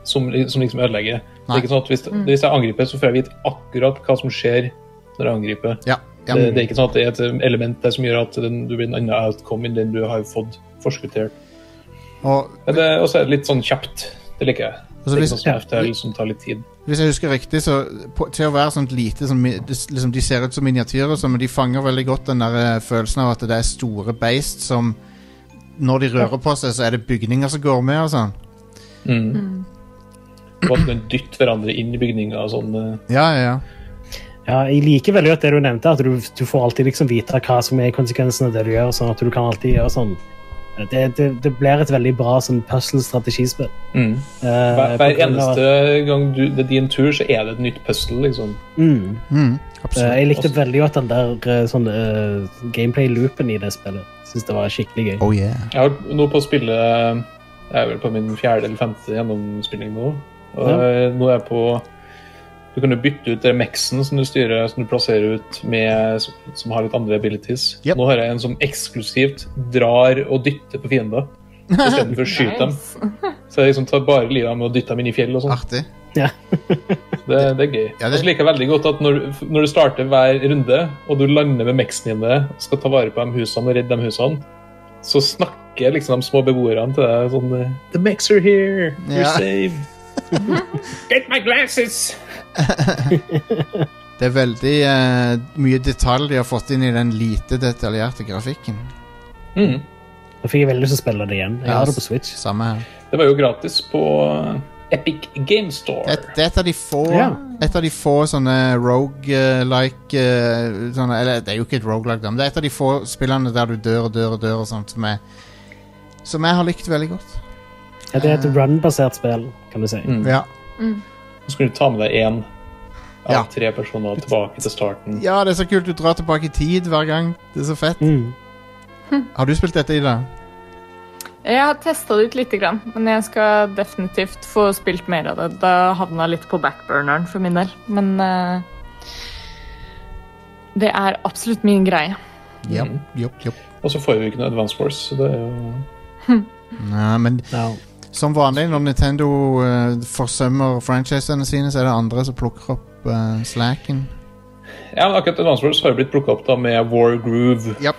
[SPEAKER 4] som, som liksom ødelegger. Det
[SPEAKER 1] Nei.
[SPEAKER 4] er ikke sånn at hvis, hvis jeg angriper, så får jeg vite akkurat hva som skjer når jeg angriper.
[SPEAKER 1] ja, ja.
[SPEAKER 4] Det, det er ikke sånn at det er et element der som gjør at den, du blir en annen outcome enn den du har fått forskuttert.
[SPEAKER 1] Og
[SPEAKER 4] Men det, og så er det litt sånn kjapt. Det liker jeg.
[SPEAKER 1] Altså,
[SPEAKER 4] det er
[SPEAKER 1] hvis-
[SPEAKER 4] ikke sånn som FTL som tar litt tid.
[SPEAKER 1] Hvis jeg husker riktig, så på, til å være sånt lite som, mi- det s- liksom, De ser ut som miniatyrer, så, men de fanger veldig godt den der eh, følelsen av at det er store beist som Når de rører på seg, så er det bygninger som går med og sånn.
[SPEAKER 4] Og at man dytter hverandre inn i bygninger og sånn. eh.
[SPEAKER 1] Ja, ja, ja.
[SPEAKER 3] Ja, jeg liker veldig godt det du nevnte, at du, du får alltid liksom vite hva som er konsekvensen av det du gjør, sånn at du kan alltid gjøre sånn. Det, det, det blir et veldig bra sånn puzzle-strategispill.
[SPEAKER 1] Mm.
[SPEAKER 3] Eh,
[SPEAKER 4] Hver,
[SPEAKER 3] på
[SPEAKER 4] hver
[SPEAKER 3] grunn av at-
[SPEAKER 4] eneste gang du, det er din tur, så er det et nytt puzzle, liksom.
[SPEAKER 3] Mm.
[SPEAKER 1] Mm.
[SPEAKER 3] Eh,
[SPEAKER 1] Absolutt.
[SPEAKER 3] Jeg likte veldig godt den der eh, sånn eh, gameplay-loopen i det spillet. Syns det var skikkelig gøy.
[SPEAKER 1] Oh yeah.
[SPEAKER 4] Jeg har vært nå på å spille Jeg er vel på min fjerde eller femte gjennomspilling nå. Og eh, nå er jeg på Du kan jo bytte ut remexen som du styrer, som du plasserer ut med som har litt andre abilities.
[SPEAKER 1] Yep.
[SPEAKER 4] Nå har jeg en som eksklusivt drar og dytter på fiender. Istedenfor å skyte dem.
[SPEAKER 2] Nice.
[SPEAKER 4] Så jeg liksom tar bare livet av med å dytte dem inn i fjell og sånn.
[SPEAKER 1] Artig.
[SPEAKER 4] Det, det er gøy.
[SPEAKER 1] Ja, det-
[SPEAKER 4] Og så liker jeg veldig godt at når, når du starter hver runde, og du lander med meksene dine, skal ta vare på de husene og redde de husene, så snakker liksom de små beboerne til deg sånn eh, The mechs are here! You're
[SPEAKER 1] Ja.
[SPEAKER 4] saved! Get my glasses!
[SPEAKER 1] Det er veldig eh, mye detalj de har fått inn i den lite detaljerte grafikken.
[SPEAKER 4] Mm.
[SPEAKER 3] Da fikk jeg veldig lyst til å spille det igjen. Jeg
[SPEAKER 1] Ja,
[SPEAKER 3] har det
[SPEAKER 1] s-
[SPEAKER 3] på Switch.
[SPEAKER 1] Samme her.
[SPEAKER 4] Det var jo gratis på eh, Epic Game Store.
[SPEAKER 1] Det, det er et av de få
[SPEAKER 3] Ja.
[SPEAKER 1] Et av de få sånne rogue-like eh, sånne, Eller det er jo ikke et roguelike da, men det er et av de få spillene der du dør og dør og dør og sånt, som jeg, som jeg har likt veldig godt.
[SPEAKER 3] Ja, det er et run-basert spill, kan du si.
[SPEAKER 4] Mm.
[SPEAKER 1] Ja,
[SPEAKER 4] Så skulle du ta med deg én av
[SPEAKER 1] Ja.
[SPEAKER 4] tre personer tilbake til starten.
[SPEAKER 1] ja det er så kult. Du drar tilbake i tid hver gang. Det er så fett.
[SPEAKER 3] Mm.
[SPEAKER 1] Har du spilt dette, Ida?
[SPEAKER 2] Jeg har testa det ut lite grann, men jeg skal definitivt få spilt mer av det. Det havna litt på backburneren for min del, men eh, det er absolutt min greie.
[SPEAKER 1] Ja.
[SPEAKER 4] Mm.
[SPEAKER 1] Jopp, jopp.
[SPEAKER 4] Og så får vi jo ikke noe Advance Wars, så det er jo
[SPEAKER 1] Nei, men
[SPEAKER 3] Ja.
[SPEAKER 1] som vanlig når Nintendo eh, forsømmer franchisene sine, så er det andre som plukker opp eh, slacken.
[SPEAKER 4] Ja, men akkurat Advance Wars har jo blitt plukka opp da med War Groove,
[SPEAKER 1] Japp.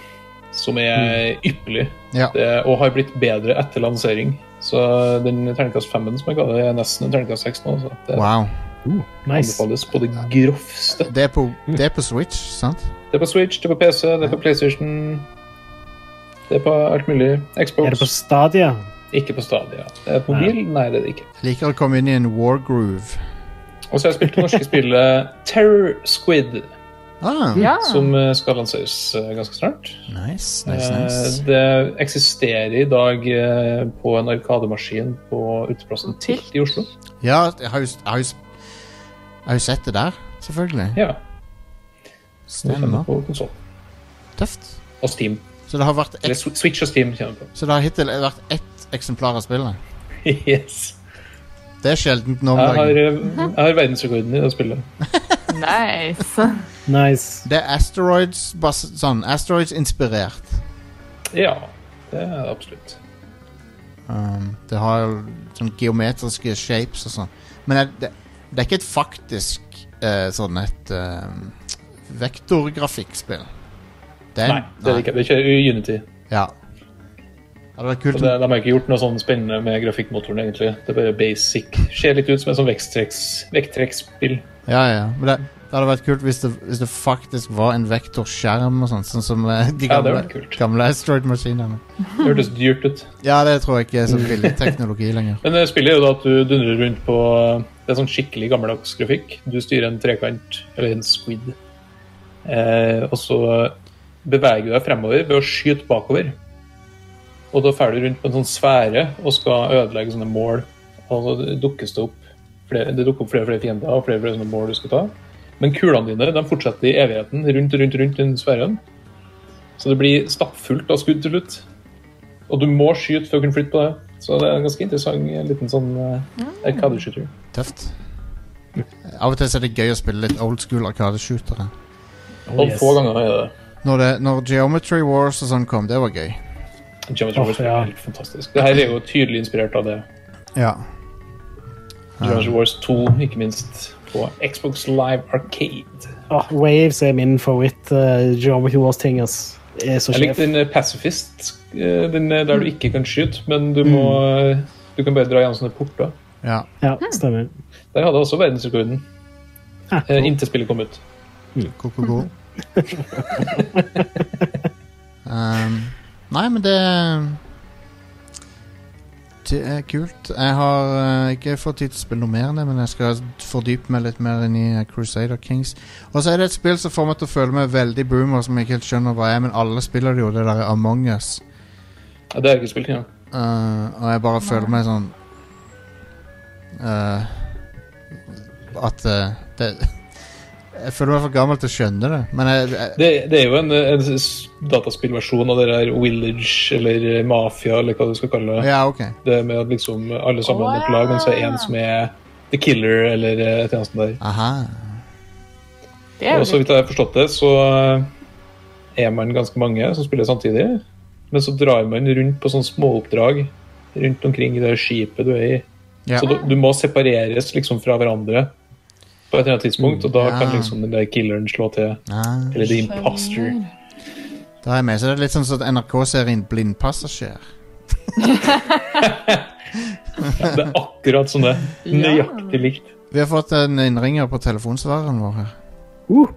[SPEAKER 4] som er
[SPEAKER 1] Mm.
[SPEAKER 4] ypperlig,
[SPEAKER 1] Ja.
[SPEAKER 4] det, og har blitt bedre etter lansering. Så den terningkast femmen som jeg ga det, er nesten en terningkast seks nå. Så det
[SPEAKER 1] Wow.
[SPEAKER 3] Uh, nice.
[SPEAKER 4] anbefales på det grovste.
[SPEAKER 1] Det er på, det er på Switch, sant?
[SPEAKER 4] Det er på Switch, det er på PC, det er på PlayStation Det er på alt mulig.
[SPEAKER 3] Er det på
[SPEAKER 4] Xbox.
[SPEAKER 3] Stadia?
[SPEAKER 4] Ikke på Stadia. Det er på mobil? Nei, det er det ikke.
[SPEAKER 1] Jeg liker å komme inn i en war groove.
[SPEAKER 4] Og så har jeg spilt det norske spillet Terror Squid,
[SPEAKER 1] Ah,
[SPEAKER 2] Ja.
[SPEAKER 4] som eh, skal lanseres eh, ganske snart.
[SPEAKER 1] Nice, nice, nice.
[SPEAKER 4] Eh, Det eksisterer i dag eh, på en arkademaskin på uteplassen Tilt i Oslo.
[SPEAKER 1] Ja, jeg har jo, jeg har jo, jeg har jo sett det der, selvfølgelig.
[SPEAKER 4] Ja, det kommer
[SPEAKER 1] Stemmer.
[SPEAKER 4] på konsoll.
[SPEAKER 1] Tøft.
[SPEAKER 4] Og Steam.
[SPEAKER 1] Så det har, vært
[SPEAKER 4] Eller
[SPEAKER 1] ett,
[SPEAKER 4] Sw- Switch og Steam kommer på.
[SPEAKER 1] så det har hittil vært ett eksemplar av spillet.
[SPEAKER 4] Yes.
[SPEAKER 1] Det er sjeldent nå om
[SPEAKER 4] Jeg har,
[SPEAKER 1] dagen.
[SPEAKER 4] eh, jeg har verdensrekorden i det spillet.
[SPEAKER 2] Nice.
[SPEAKER 3] Nice.
[SPEAKER 1] Det er Asteroids bas- sånn, Asteroids inspirert.
[SPEAKER 4] Ja, det er det absolutt.
[SPEAKER 1] Um, det har jo sånn geometriske shapes og sånn. Men er det, det er ikke et faktisk eh, sånn et um, vektorgrafikkspill. Det er-
[SPEAKER 4] Nei, det er det ikke. Det er ikke Unity.
[SPEAKER 1] Ja. Hadde vært kult
[SPEAKER 4] Og
[SPEAKER 1] om
[SPEAKER 4] det, de har ikke gjort noe sånn spennende med grafikkmotoren, egentlig. Det er bare basic. Ser litt ut som et sånn vekttrekks- vekttrekkspill.
[SPEAKER 1] Ja, ja. Men det, det hadde vært kult hvis det, hvis det faktisk var en vektorskjerm og sånt, sånn som eh, de
[SPEAKER 4] Ja, det
[SPEAKER 1] gamle,
[SPEAKER 4] var kult.
[SPEAKER 1] gamle asteroid-maskinene.
[SPEAKER 4] Det hørtes dyrt ut.
[SPEAKER 1] Ja, det tror jeg ikke
[SPEAKER 4] Mm.
[SPEAKER 1] er så billig teknologi lenger.
[SPEAKER 4] Men det spillet er jo da at du dundrer rundt på Det er sånn skikkelig gammeldags grafikk. Du styrer en trekant, eller en squid. Eh, og så beveger du deg fremover ved å skyte bakover. Og da fer du rundt på en sånn sfære og skal ødelegge sånne mål. Og så dukkes det opp flere, det dukker opp flere og flere fiender og flere og flere sånne mål du skal ta. Men kulene dine de fortsetter i evigheten rundt rundt rundt den sfæren. Så det blir stappfullt av skudd til slutt. Og du må skyte for å kunne flytte på det. Så det er en ganske interessant eh, liten sånn uh, arkadeshooter.
[SPEAKER 1] Tøft. Av og til så er det gøy å spille litt old school arkadeshootere.
[SPEAKER 3] Oh,
[SPEAKER 4] Og
[SPEAKER 3] yes.
[SPEAKER 4] få ganger er det
[SPEAKER 1] Når, det- når Geometry Wars og sånn kom, det var gøy.
[SPEAKER 4] Geometry
[SPEAKER 3] Åh,
[SPEAKER 4] Wars.
[SPEAKER 3] ja.
[SPEAKER 4] er Helt fantastisk. Det her er jo tydelig inspirert av det.
[SPEAKER 1] Ja.
[SPEAKER 4] Geometry Wars 2, ikke minst, på Xbox Live Arcade.
[SPEAKER 3] Åh, Ah, Waves er min favoritt uh, Geometry Wars-ting, ass. Jeg er så
[SPEAKER 4] Jeg
[SPEAKER 3] sjef.
[SPEAKER 4] likte den eh, Pacifist, eh, den eh, der du ikke kan skyte, men
[SPEAKER 3] Mm.
[SPEAKER 4] du må eh, Du kan bare dra gjennom sånne porter.
[SPEAKER 1] ja.
[SPEAKER 3] Ja, stemmer.
[SPEAKER 4] Der hadde jeg også verdensrekorden.
[SPEAKER 3] Ah,
[SPEAKER 4] eh, Inntil spillet kom ut.
[SPEAKER 1] Ko-ko-ko. um, nei, men det Det er kult. Jeg har eh, ikke fått tid til å spille noe mer enn det, men jeg skal fordype meg litt mer inn i eh, Crusader Kings. Og så er det et spill som får meg til å føle meg veldig boomer, som jeg ikke helt skjønner hva er, men alle spiller det jo, det der Among us.
[SPEAKER 4] Ja, det har jeg ikke spilt engang.
[SPEAKER 1] Eh, og jeg bare føler meg sånn eh, At eh, det Jeg føler meg for gammel til å skjønne det. Men jeg, jeg,
[SPEAKER 4] Det, det er jo en, en s- dataspillversjon av det der Village eller Mafia eller hva du skal kalle det.
[SPEAKER 1] ja, ok.
[SPEAKER 4] Det med at liksom alle sammen er på lag, men så er en som er The Killer eller eh, et eller annet sånt der.
[SPEAKER 1] Aha.
[SPEAKER 2] Det er
[SPEAKER 4] Og så
[SPEAKER 2] jo
[SPEAKER 4] vidt jeg har forstått det, så eh, er man ganske mange som spiller samtidig. Men så drar man rundt på sånne småoppdrag rundt omkring i det skipet du er i.
[SPEAKER 1] Ja.
[SPEAKER 4] Så du, du må separeres liksom fra hverandre på et eller annet tidspunkt, og da
[SPEAKER 1] Ja.
[SPEAKER 4] kan liksom den der killeren slå til.
[SPEAKER 1] Ah,
[SPEAKER 4] Eller the imposter.
[SPEAKER 1] da er jeg med. Så det er litt sånn som NRK-serien Blindpassasjer.
[SPEAKER 4] Det er akkurat som det. Nøyaktig likt.
[SPEAKER 1] Vi har fått en innringer på telefonsvareren vår her.
[SPEAKER 3] Uh,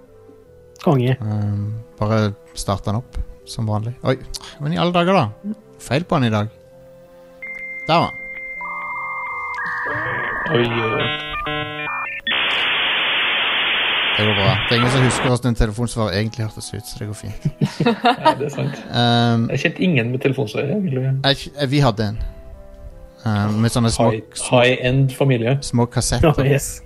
[SPEAKER 3] konge.
[SPEAKER 1] Um, bare start den opp, som vanlig. Oi, men i alle dager, da. Feil på den i dag. Der var den.
[SPEAKER 4] Oi, oi, oi.
[SPEAKER 1] Det går bra. Det er ingen som husker hvordan en telefonsvarer egentlig hørtes ut, så det går fint.
[SPEAKER 4] Nei, det er sant.
[SPEAKER 1] Um,
[SPEAKER 4] Jeg kjente ingen med telefonsvarer. egentlig.
[SPEAKER 1] jeg, jeg- eh, vi hadde en. Um, med sånne små,
[SPEAKER 4] High- High-end familie.
[SPEAKER 1] små
[SPEAKER 3] Oh,
[SPEAKER 1] kassetter.
[SPEAKER 3] yes.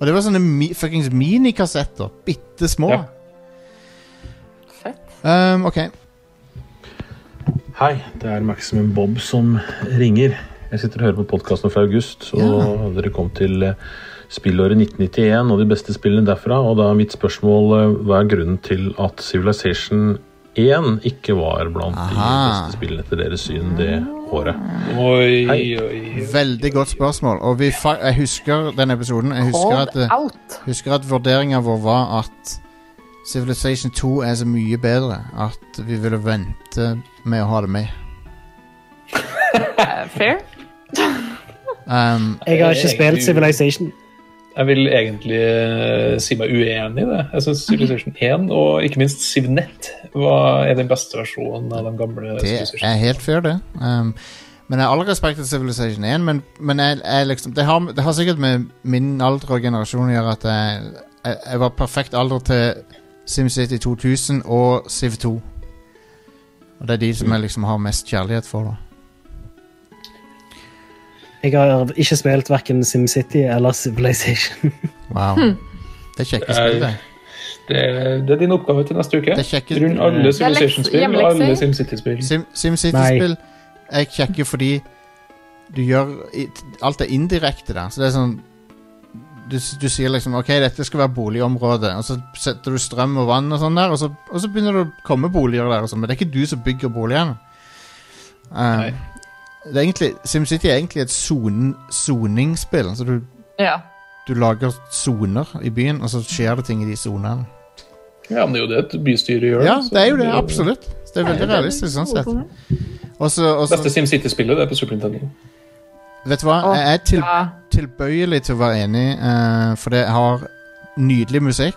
[SPEAKER 1] Og det var sånne mi fuckings minikassetter. Bitte små.
[SPEAKER 4] Ja.
[SPEAKER 1] Um, ok.
[SPEAKER 8] Hei, det er Maximum Bob som ringer. Jeg sitter og hører på podkasten fra august, og dere kom til eh, spillåret 1991 og de beste spillene derfra. Og da er mitt spørsmål eh, hva er grunnen til at Civilization 1 ikke var blant de
[SPEAKER 1] Aha.
[SPEAKER 8] beste spillene etter deres syn det året?
[SPEAKER 4] Oi, oi,
[SPEAKER 8] Hei.
[SPEAKER 4] oi.
[SPEAKER 1] Veldig godt spørsmål. Og vi fa jeg husker den episoden. Jeg husker at,
[SPEAKER 2] Hold
[SPEAKER 1] eh,
[SPEAKER 2] out!
[SPEAKER 1] husker at vurderinga vår var at Civilization 2 er så mye bedre at vi ville vente med å ha det med.
[SPEAKER 2] Eh, Fair.
[SPEAKER 1] Um,
[SPEAKER 3] Jeg har
[SPEAKER 4] Jeg er
[SPEAKER 3] ikke spilt
[SPEAKER 4] egentlig-
[SPEAKER 3] Civilization.
[SPEAKER 4] Jeg vil egentlig eh, si meg uenig i det. Jeg syns Civilization 1 og ikke minst Civnet var, er den beste versjonen av den gamle
[SPEAKER 1] Det er
[SPEAKER 4] Civilization.
[SPEAKER 1] helt fair, det. Um, men jeg har all respekt til Civilization 1, men, men jeg, jeg liksom, det, har, det har sikkert med min alder og generasjon å gjøre at jeg, jeg, jeg var perfekt alder til SimCity 2000 og Civ 2. Og det er de
[SPEAKER 4] Mm.
[SPEAKER 1] som jeg liksom har mest kjærlighet for, da.
[SPEAKER 3] Jeg har ikke spilt verken SimCity eller Civilization.
[SPEAKER 1] Wow. Det er kjekke
[SPEAKER 4] Hm. Det er-
[SPEAKER 1] spill, det.
[SPEAKER 4] Det er, det er din oppgave til neste uke.
[SPEAKER 1] Det er kjekke-
[SPEAKER 4] Rund alle Civilization-spill og alle
[SPEAKER 2] hjemmelekser.
[SPEAKER 4] SimCity-spill.
[SPEAKER 1] Sim- SimCity-spill er kjekke fordi du gjør i- Alt er indirekte der. Så det er sånn du, s- du sier liksom OK, dette skal være boligområde, og så setter du strøm og vann og sånn der, og så, og så begynner det å komme boliger der, og sånn, men det er ikke du som bygger boligene. Uh,
[SPEAKER 4] Nei.
[SPEAKER 1] det er egentlig, SimCity er egentlig et son- soningsspill. Så du,
[SPEAKER 2] Ja.
[SPEAKER 1] du lager soner i byen, og så skjer det ting i de sonene.
[SPEAKER 4] Ja, men det er jo det et bystyre gjør.
[SPEAKER 1] Ja,
[SPEAKER 4] så
[SPEAKER 1] det er jo det. Absolutt. Så Det er veldig realistisk sånn sett. Og så- og så
[SPEAKER 4] Beste SimCity-spillet det er på Super Nintendo.
[SPEAKER 1] Vet du hva,
[SPEAKER 2] Åh,
[SPEAKER 1] jeg er til,
[SPEAKER 2] ja.
[SPEAKER 1] tilbøyelig til å være enig, eh, for det har nydelig musikk,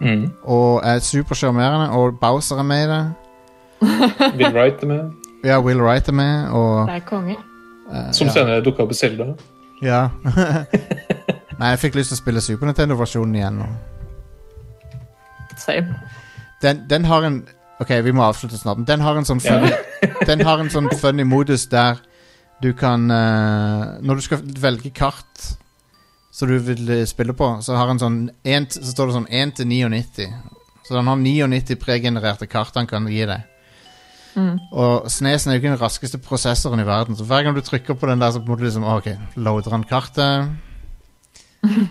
[SPEAKER 4] Mm.
[SPEAKER 1] og er supersjarmerende, og Bowser er med i det.
[SPEAKER 4] Bill Wright er med,
[SPEAKER 1] Ja, Will Wright er med, og
[SPEAKER 2] Det er konge.
[SPEAKER 4] som senere dukka opp i Selda.
[SPEAKER 1] Ja. Nei, jeg fikk lyst til å spille Super Nintendo-versjonen igjen nå.
[SPEAKER 2] Same.
[SPEAKER 1] Den, den har en Ok, vi må avslutte snart. men Den har en sånn funny, den har en sånn funny modus der du kan eh, Når du skal velge kart som du vil eh, spille på, så har en sånn en, t- Så står det sånn 1 til 99. Så den har 99 pregenererte kart han kan gi deg. Og Snesen er jo ikke den raskeste prosessoren i verden, så hver gang du trykker på den der, så må du liksom OK, loader han kartet?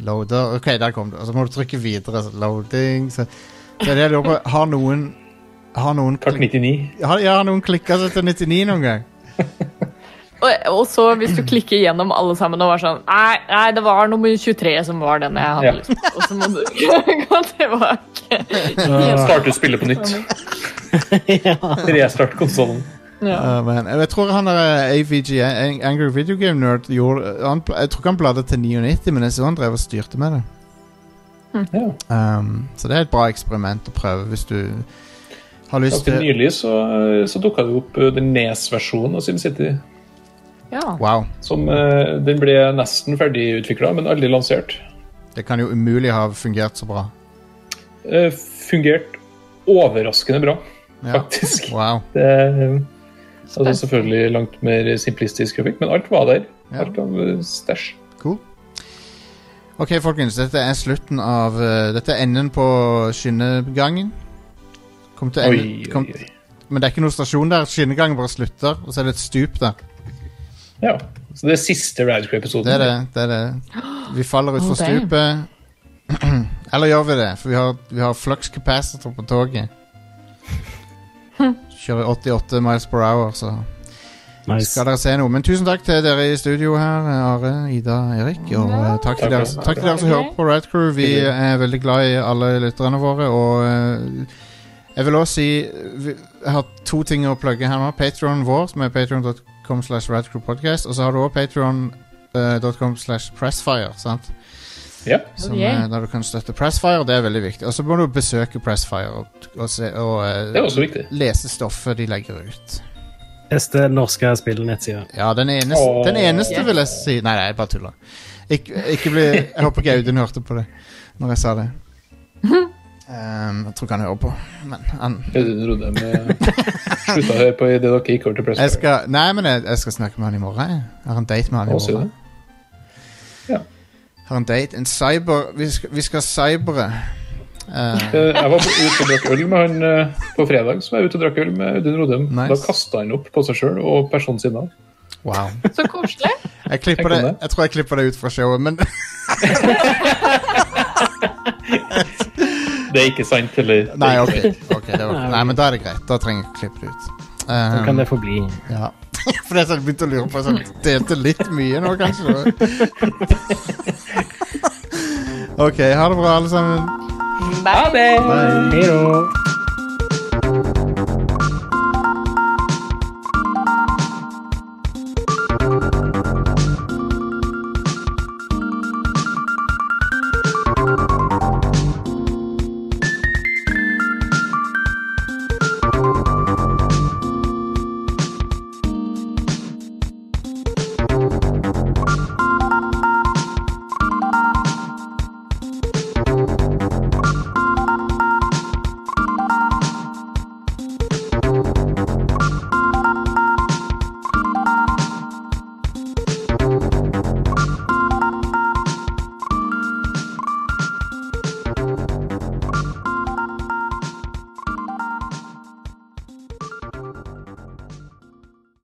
[SPEAKER 1] Loader OK, der kom det. Og så må du trykke videre. Så loading så det er det jeg lurer på. Har noen Har noen,
[SPEAKER 4] Kart
[SPEAKER 1] klik,
[SPEAKER 4] 99.
[SPEAKER 1] har, ja, har noen klikka seg til 99 noen gang?
[SPEAKER 2] Og, og så hvis du klikker gjennom alle sammen og var sånn Nei, nei det var nummer 23 som var den jeg hadde
[SPEAKER 4] Ja.
[SPEAKER 2] lyst på. Og så må du gå tilbake.
[SPEAKER 4] Starte spillet på nytt. Restart konsollen.
[SPEAKER 2] Ja.
[SPEAKER 1] Ja, Eh, men, jeg tror han der eh, AVG, Ang- Angry Video Game Nerd, gjorde han, pla- Jeg tror ikke han bladde til 99, men jeg så han drev og styrte med det.
[SPEAKER 4] Ja.
[SPEAKER 1] Um, så det er et bra eksperiment å prøve hvis du har lyst
[SPEAKER 4] Ganske
[SPEAKER 1] til
[SPEAKER 4] nylig så, så dukka det opp eh, den Nes-versjonen av SimCity.
[SPEAKER 2] ja.
[SPEAKER 1] Wow.
[SPEAKER 4] Som, eh, den ble nesten ferdigutvikla, men aldri lansert.
[SPEAKER 1] Det kan jo umulig ha fungert så bra.
[SPEAKER 4] Eh, fungert overraskende bra,
[SPEAKER 1] Ja.
[SPEAKER 4] faktisk.
[SPEAKER 1] Wow.
[SPEAKER 4] Det, eh, altså selvfølgelig langt mer simplistisk grafikk, men alt var der.
[SPEAKER 1] Ja.
[SPEAKER 4] Alt av eh, stæsj.
[SPEAKER 1] Cool. Ok, folkens, dette er slutten av eh, Dette er enden på skinnegangen. Kom til
[SPEAKER 4] Oi,
[SPEAKER 1] enden,
[SPEAKER 4] oi,
[SPEAKER 1] kom,
[SPEAKER 4] oi.
[SPEAKER 1] Men det er ikke noen stasjon der. Skinnegangen bare slutter, og så er det et stup der.
[SPEAKER 4] Ja. Så det er siste
[SPEAKER 1] Det er
[SPEAKER 4] Radcrew-episoden.
[SPEAKER 1] det. det, er det. Vi faller utfor
[SPEAKER 2] Oh, damn.
[SPEAKER 1] stupet. Eller gjør vi det? For vi har, vi har flux capacitor på toget. Kjører 88 miles per hour, så
[SPEAKER 3] Nice.
[SPEAKER 1] skal dere se noe. Men tusen takk til dere i studio her, Are, Ida, Erik. Og eh, takk til
[SPEAKER 4] Takk,
[SPEAKER 1] dere,
[SPEAKER 4] takk.
[SPEAKER 1] takk til dere som hører på Rad Crew. Vi er veldig glad i alle lytterne våre. Og eh, jeg vil også si vi, Jeg har to ting å plugge her nå. Patreon vår, som er patreon.com slash radcrewpodcast. Og så har du også patreon.com slash pressfire, sant?
[SPEAKER 4] Ja.
[SPEAKER 1] Som,
[SPEAKER 2] Oh, yeah.
[SPEAKER 1] eh, der du kan støtte Pressfire. Det er veldig viktig. Og så må du besøke Pressfire og, og, se, og eh,
[SPEAKER 4] Det er også viktig.
[SPEAKER 1] lese stoffet de legger ut.
[SPEAKER 3] Beste norske spillnettside.
[SPEAKER 1] Ja, den eneste,
[SPEAKER 4] Åh.
[SPEAKER 1] den eneste
[SPEAKER 2] Yeah.
[SPEAKER 1] vil jeg si Nei, nei, jeg bare tuller. Ikke, ikke bli, jeg håper ikke Audun hørte på det når jeg sa det. Ehm, jeg tror ikke han hører på, men han
[SPEAKER 4] Jeg trodde de slutta å høre på i det dere ikke hørte
[SPEAKER 1] jeg
[SPEAKER 4] Pressfire.
[SPEAKER 1] skal, Nei, men jeg, jeg skal snakke med han i morgen. Jeg Jeg har en date med han i
[SPEAKER 4] Å, sier du
[SPEAKER 1] morgen.
[SPEAKER 4] det? Ja.
[SPEAKER 1] Har en date. En cyber Vi skal, vi skal cybere. Eh,
[SPEAKER 4] Eh, Jeg var på- ute og drakk øl med han eh, på fredag. Så var jeg ute og drakk øl med Audun Rodum.
[SPEAKER 1] Nice.
[SPEAKER 4] Da kasta han opp på seg sjøl og personen sin av.
[SPEAKER 1] wow.
[SPEAKER 2] Så koselig.
[SPEAKER 1] Jeg, klipper
[SPEAKER 4] Tenk
[SPEAKER 1] det,
[SPEAKER 4] om det.
[SPEAKER 1] jeg tror jeg klipper det ut fra showet, men
[SPEAKER 4] Det er ikke sant, eller?
[SPEAKER 1] Nei, ok. ok, det var, nei, men da er det greit. Da trenger jeg ikke klippe det ut.
[SPEAKER 3] Da
[SPEAKER 1] Ehm,
[SPEAKER 3] kan det få bli.
[SPEAKER 1] Ja. For det er sånn jeg begynte å lure på sånn, Delte litt mye nå, kanskje? OK. Ha det bra, alle sammen.
[SPEAKER 2] Bye.
[SPEAKER 3] Hei da.